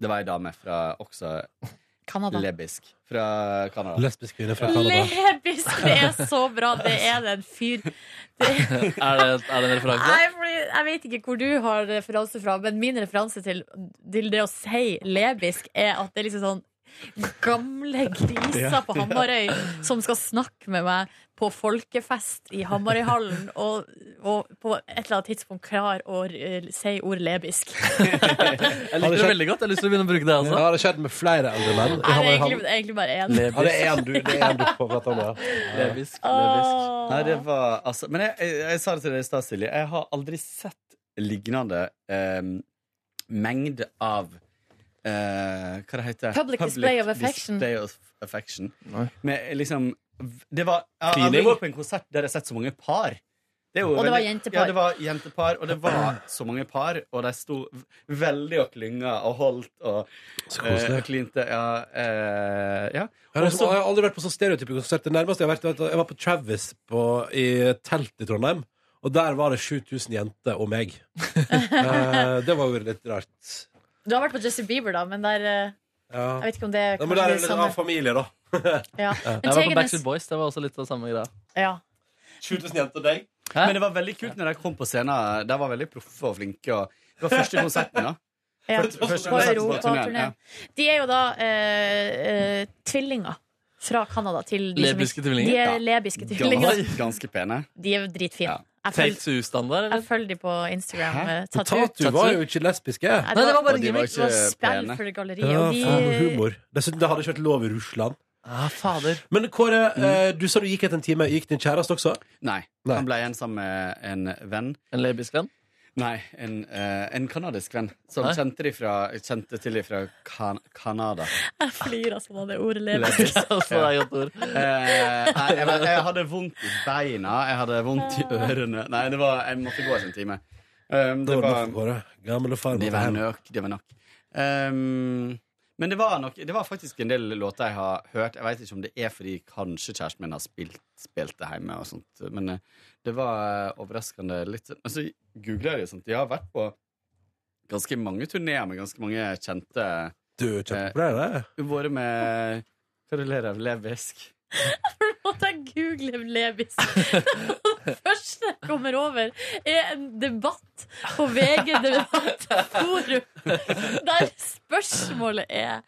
S8: Det var ei dame fra også
S3: Canada.
S8: lebisk. Fra Canada.
S2: Lesbisk kvinne fra Canada.
S3: Lebisk, det er så bra! Det er det en fyr det er,
S4: Er det, er det en referanse?
S3: Nei, fordi Jeg vet ikke hvor du har referanse fra, men min referanse til, til det å si lebisk, er at det er liksom sånn gamle griser på Hamarøy som skal snakke med meg på folkefest i Hamarøyhallen, og, og på et eller annet tidspunkt klar å eh, si ord lebisk.
S4: Jeg liker det veldig godt. Jeg har lyst til å begynne å bruke
S2: Ja,
S4: det.
S2: det
S4: altså
S2: har skjedd med flere eldre menn.
S3: Nei, det er
S2: Hamarøyhallen.
S3: egentlig, det er egentlig bare én.
S2: Ja, det er en du, det er en du får prate om, ja.
S4: Levisk, levisk.
S3: Åh.
S8: Nei, det var altså Men jeg, jeg, jeg sa det til deg i stad, Silje. Jeg har aldri sett lignende eh, mengde av eh, Hva det heter
S3: Public display of affection.
S8: display of affection.
S4: Nei.
S8: Med liksom Det var Jeg har aldri
S4: Klining.
S8: vært på en konsert der jeg har sett så mange par. Det er jo
S3: Og det var
S8: veldig-
S3: jentepar.
S8: Ja, det var jentepar, og det var så mange par, og de sto v- veldig og klynga og holdt og
S2: Så
S8: eh,
S2: koselig.
S8: og klinte. Ja. Eh, ja.
S2: Jeg har, liksom, jeg har aldri vært på så stereotypisk konsert. Det nærmeste jeg har vært, var at jeg var på Travis på, i telt i Trondheim. Og der var det 7000 jenter og meg. Eh, det var jo litt rart.
S3: Du har vært på Justin Bieber, da, men der eh,
S2: Ja.
S3: Jeg vet ikke om det
S2: Ja,
S3: kan
S2: men der
S3: bli
S2: er det litt
S3: samme.
S2: annen familie, da.
S3: Ja. Men
S4: Jeg var på
S3: Tegenes
S4: Backstreet Boys. Det var også litt av samme greia.
S3: ja.
S2: 7000 jenter og deg.
S4: Hæ?
S8: Men det var veldig kult når de kom på scenen. De var veldig proffe og flinke. Og det var første konserten, da.
S3: Ja.
S8: Første konserten
S3: På
S8: på
S3: europaturné.
S8: turneen,
S3: De er jo da eh, eh, tvillinger fra Canada til de som-
S4: Lebiske tvillinger?
S3: liksom- De er
S8: Ja.
S3: lebiske
S8: ja.
S3: tvillinger.
S8: Gans- Ganske pene.
S3: De er dritfine.
S8: Ja.
S3: Jeg følger,
S4: Tatoo-standard,
S3: jeg
S4: eller?
S3: følger de på Instagram.
S8: Hæ?
S3: eh, Tattoo.
S2: Tatu var jo ikke lesbiske.
S4: Nei,
S3: Nei,
S4: det var bare
S8: Og de var
S3: gimmick. Det var
S8: ikke
S3: spill
S8: pene.
S3: for galleriet.
S2: Ja,
S3: og de,
S2: faen, humor. Dessuten, det hadde ikke vært lov i Russland.
S4: Ah, fader.
S2: Men Kåre,
S8: Mm.
S2: eh, du sa du gikk etter en time. Gikk din kjæreste også?
S8: Nei.
S2: Nei.
S8: Han ble igjen sammen med en venn.
S4: En lebisk venn?
S8: Nei, en, eh, en kanadisk venn som
S4: Hæ?
S8: kjente, de fra, kjente til ifra kan Canada.
S3: jeg flirer sånn av det ordet lebisk.
S8: Lebisk.
S4: Altså, det er et godt ord.
S8: Eh, nei, jeg, var- jeg hadde vondt i beina, jeg hadde vondt i
S3: Ah.
S8: ørene. Nei, det var, jeg måtte gå etter en time. Um,
S2: Det
S8: det
S2: var
S8: var
S2: nok, Kåre. Gammel og far måtte
S8: Det var
S2: hjem.
S8: nok. Det var nok. Ehm, men det var, nok, det var faktisk en del låter jeg har hørt. Jeg vet ikke om det er fordi kanskje kjæresten min har spilt, spilt det hjemme. Og sånt, men eh, det var eh, overraskende litt sånn- Altså, googler jeg det sånt. Jeg har vært på ganske mange turneer med ganske mange kjente
S2: Du er kjempepopulær, det.
S8: Vært med Hva er det du ler av? Levisk?
S3: Måtte jeg google lebisk? Det første jeg kommer over, er en debatt debatt på VG Debattforum der spørsmålet er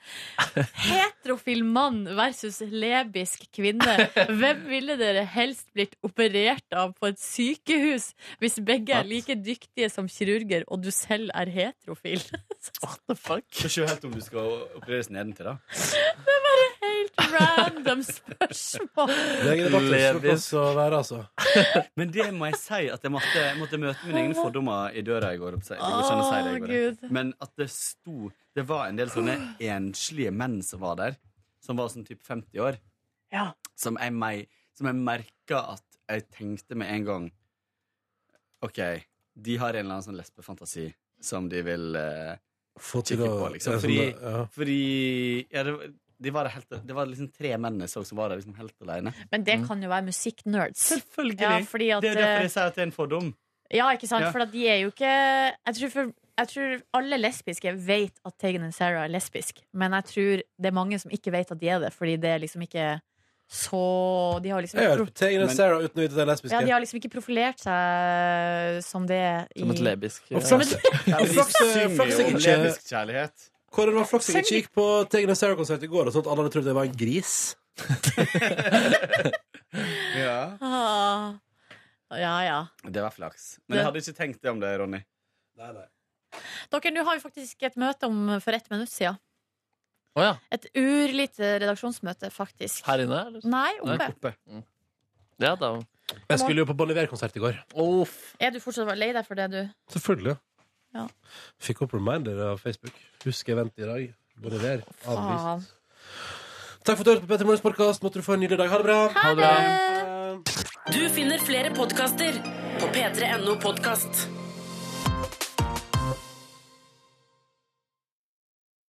S3: heterofil mann versus lebisk kvinne. Hvem ville dere helst blitt operert av på et sykehus hvis begge er like dyktige som kirurger og du selv er heterofil?
S4: What the fuck?
S8: Skal ikke helt om du skal opereres nedentil, da.
S3: Helt random spørsmål.
S2: Leger i Bartels, så kan det være, altså.
S8: Men det må jeg si at jeg måtte, måtte møte mine egne fordommer i døra i går. opp- Jeg går ikke an å si det i
S3: Å,
S8: går.
S3: Gud.
S8: Men at det sto Det var en del sånne enslige menn som var der, som var sånn typ 50 år,
S3: Ja.
S8: som jeg, meg- som jeg merka at jeg tenkte med en gang OK, de har en eller annen sånn lesbefantasi som de vil eh,
S2: Få til å
S8: Kikke på, liksom,
S2: Ja, sånn,
S8: fordi-
S2: ja.
S8: Fordi ja, det, var- de var der helt, det var liksom tre menn jeg så som var der liksom helt alene.
S3: Men det kan jo være musikknerds.
S8: Selvfølgelig!
S3: Ja, fordi at eh,
S8: det er jo derfor jeg sier at det er en fordom.
S3: Ja, ikke sant?
S8: Ja.
S3: For at de er jo ikke jeg tror, for, jeg tror alle lesbiske vet at Tegan og Sarah er lesbisk Men jeg tror det er mange som ikke vet at de er det, fordi det er liksom ikke så De har liksom,
S2: Jeg hører på Tegan og
S8: Men-
S2: Sarah uten å vite at de er lesbiske.
S3: ja, de har liksom ikke profilert seg som det i
S4: Som et lebisk
S2: Og flaks,
S8: Ja, men de
S2: Flaks-
S8: synger
S2: flaks
S8: jo
S2: jeg
S8: om
S2: ikke-
S8: lesbisk kjærlighet.
S2: Hvordan var flaks jeg ikke gikk på Tegan og Sarah-konsert i går, og sånn at alle hadde trodd jeg var en gris?
S3: ah, Ja, ja.
S8: Det var flaks. Men jeg hadde ikke tenkt det om det, Ronny.
S3: Dere, nå har vi faktisk et møte om for ett minutt siden.
S4: Å ja.
S3: Et urlite redaksjonsmøte, faktisk.
S4: Her inne, eller?
S3: Nei, oppe.
S8: Oppe.
S4: Ja, da.
S2: Jeg skulle jo på Bon Iver-konsert i går.
S4: Uff.
S3: Er du fortsatt lei deg for det, du?
S2: Selvfølgelig.
S3: Ja.
S2: Fikk opp reminder av Facebook. Husk event i dag. Bon Iver. Avlyst.
S3: Faen.
S2: Takk for at du hørte på Petter Morgens podkast. Måtte du få en nydelig dag. Ha det bra.
S4: Ha det bra.
S2: Ha det.
S1: Du finner flere podkaster på p3.no podkast.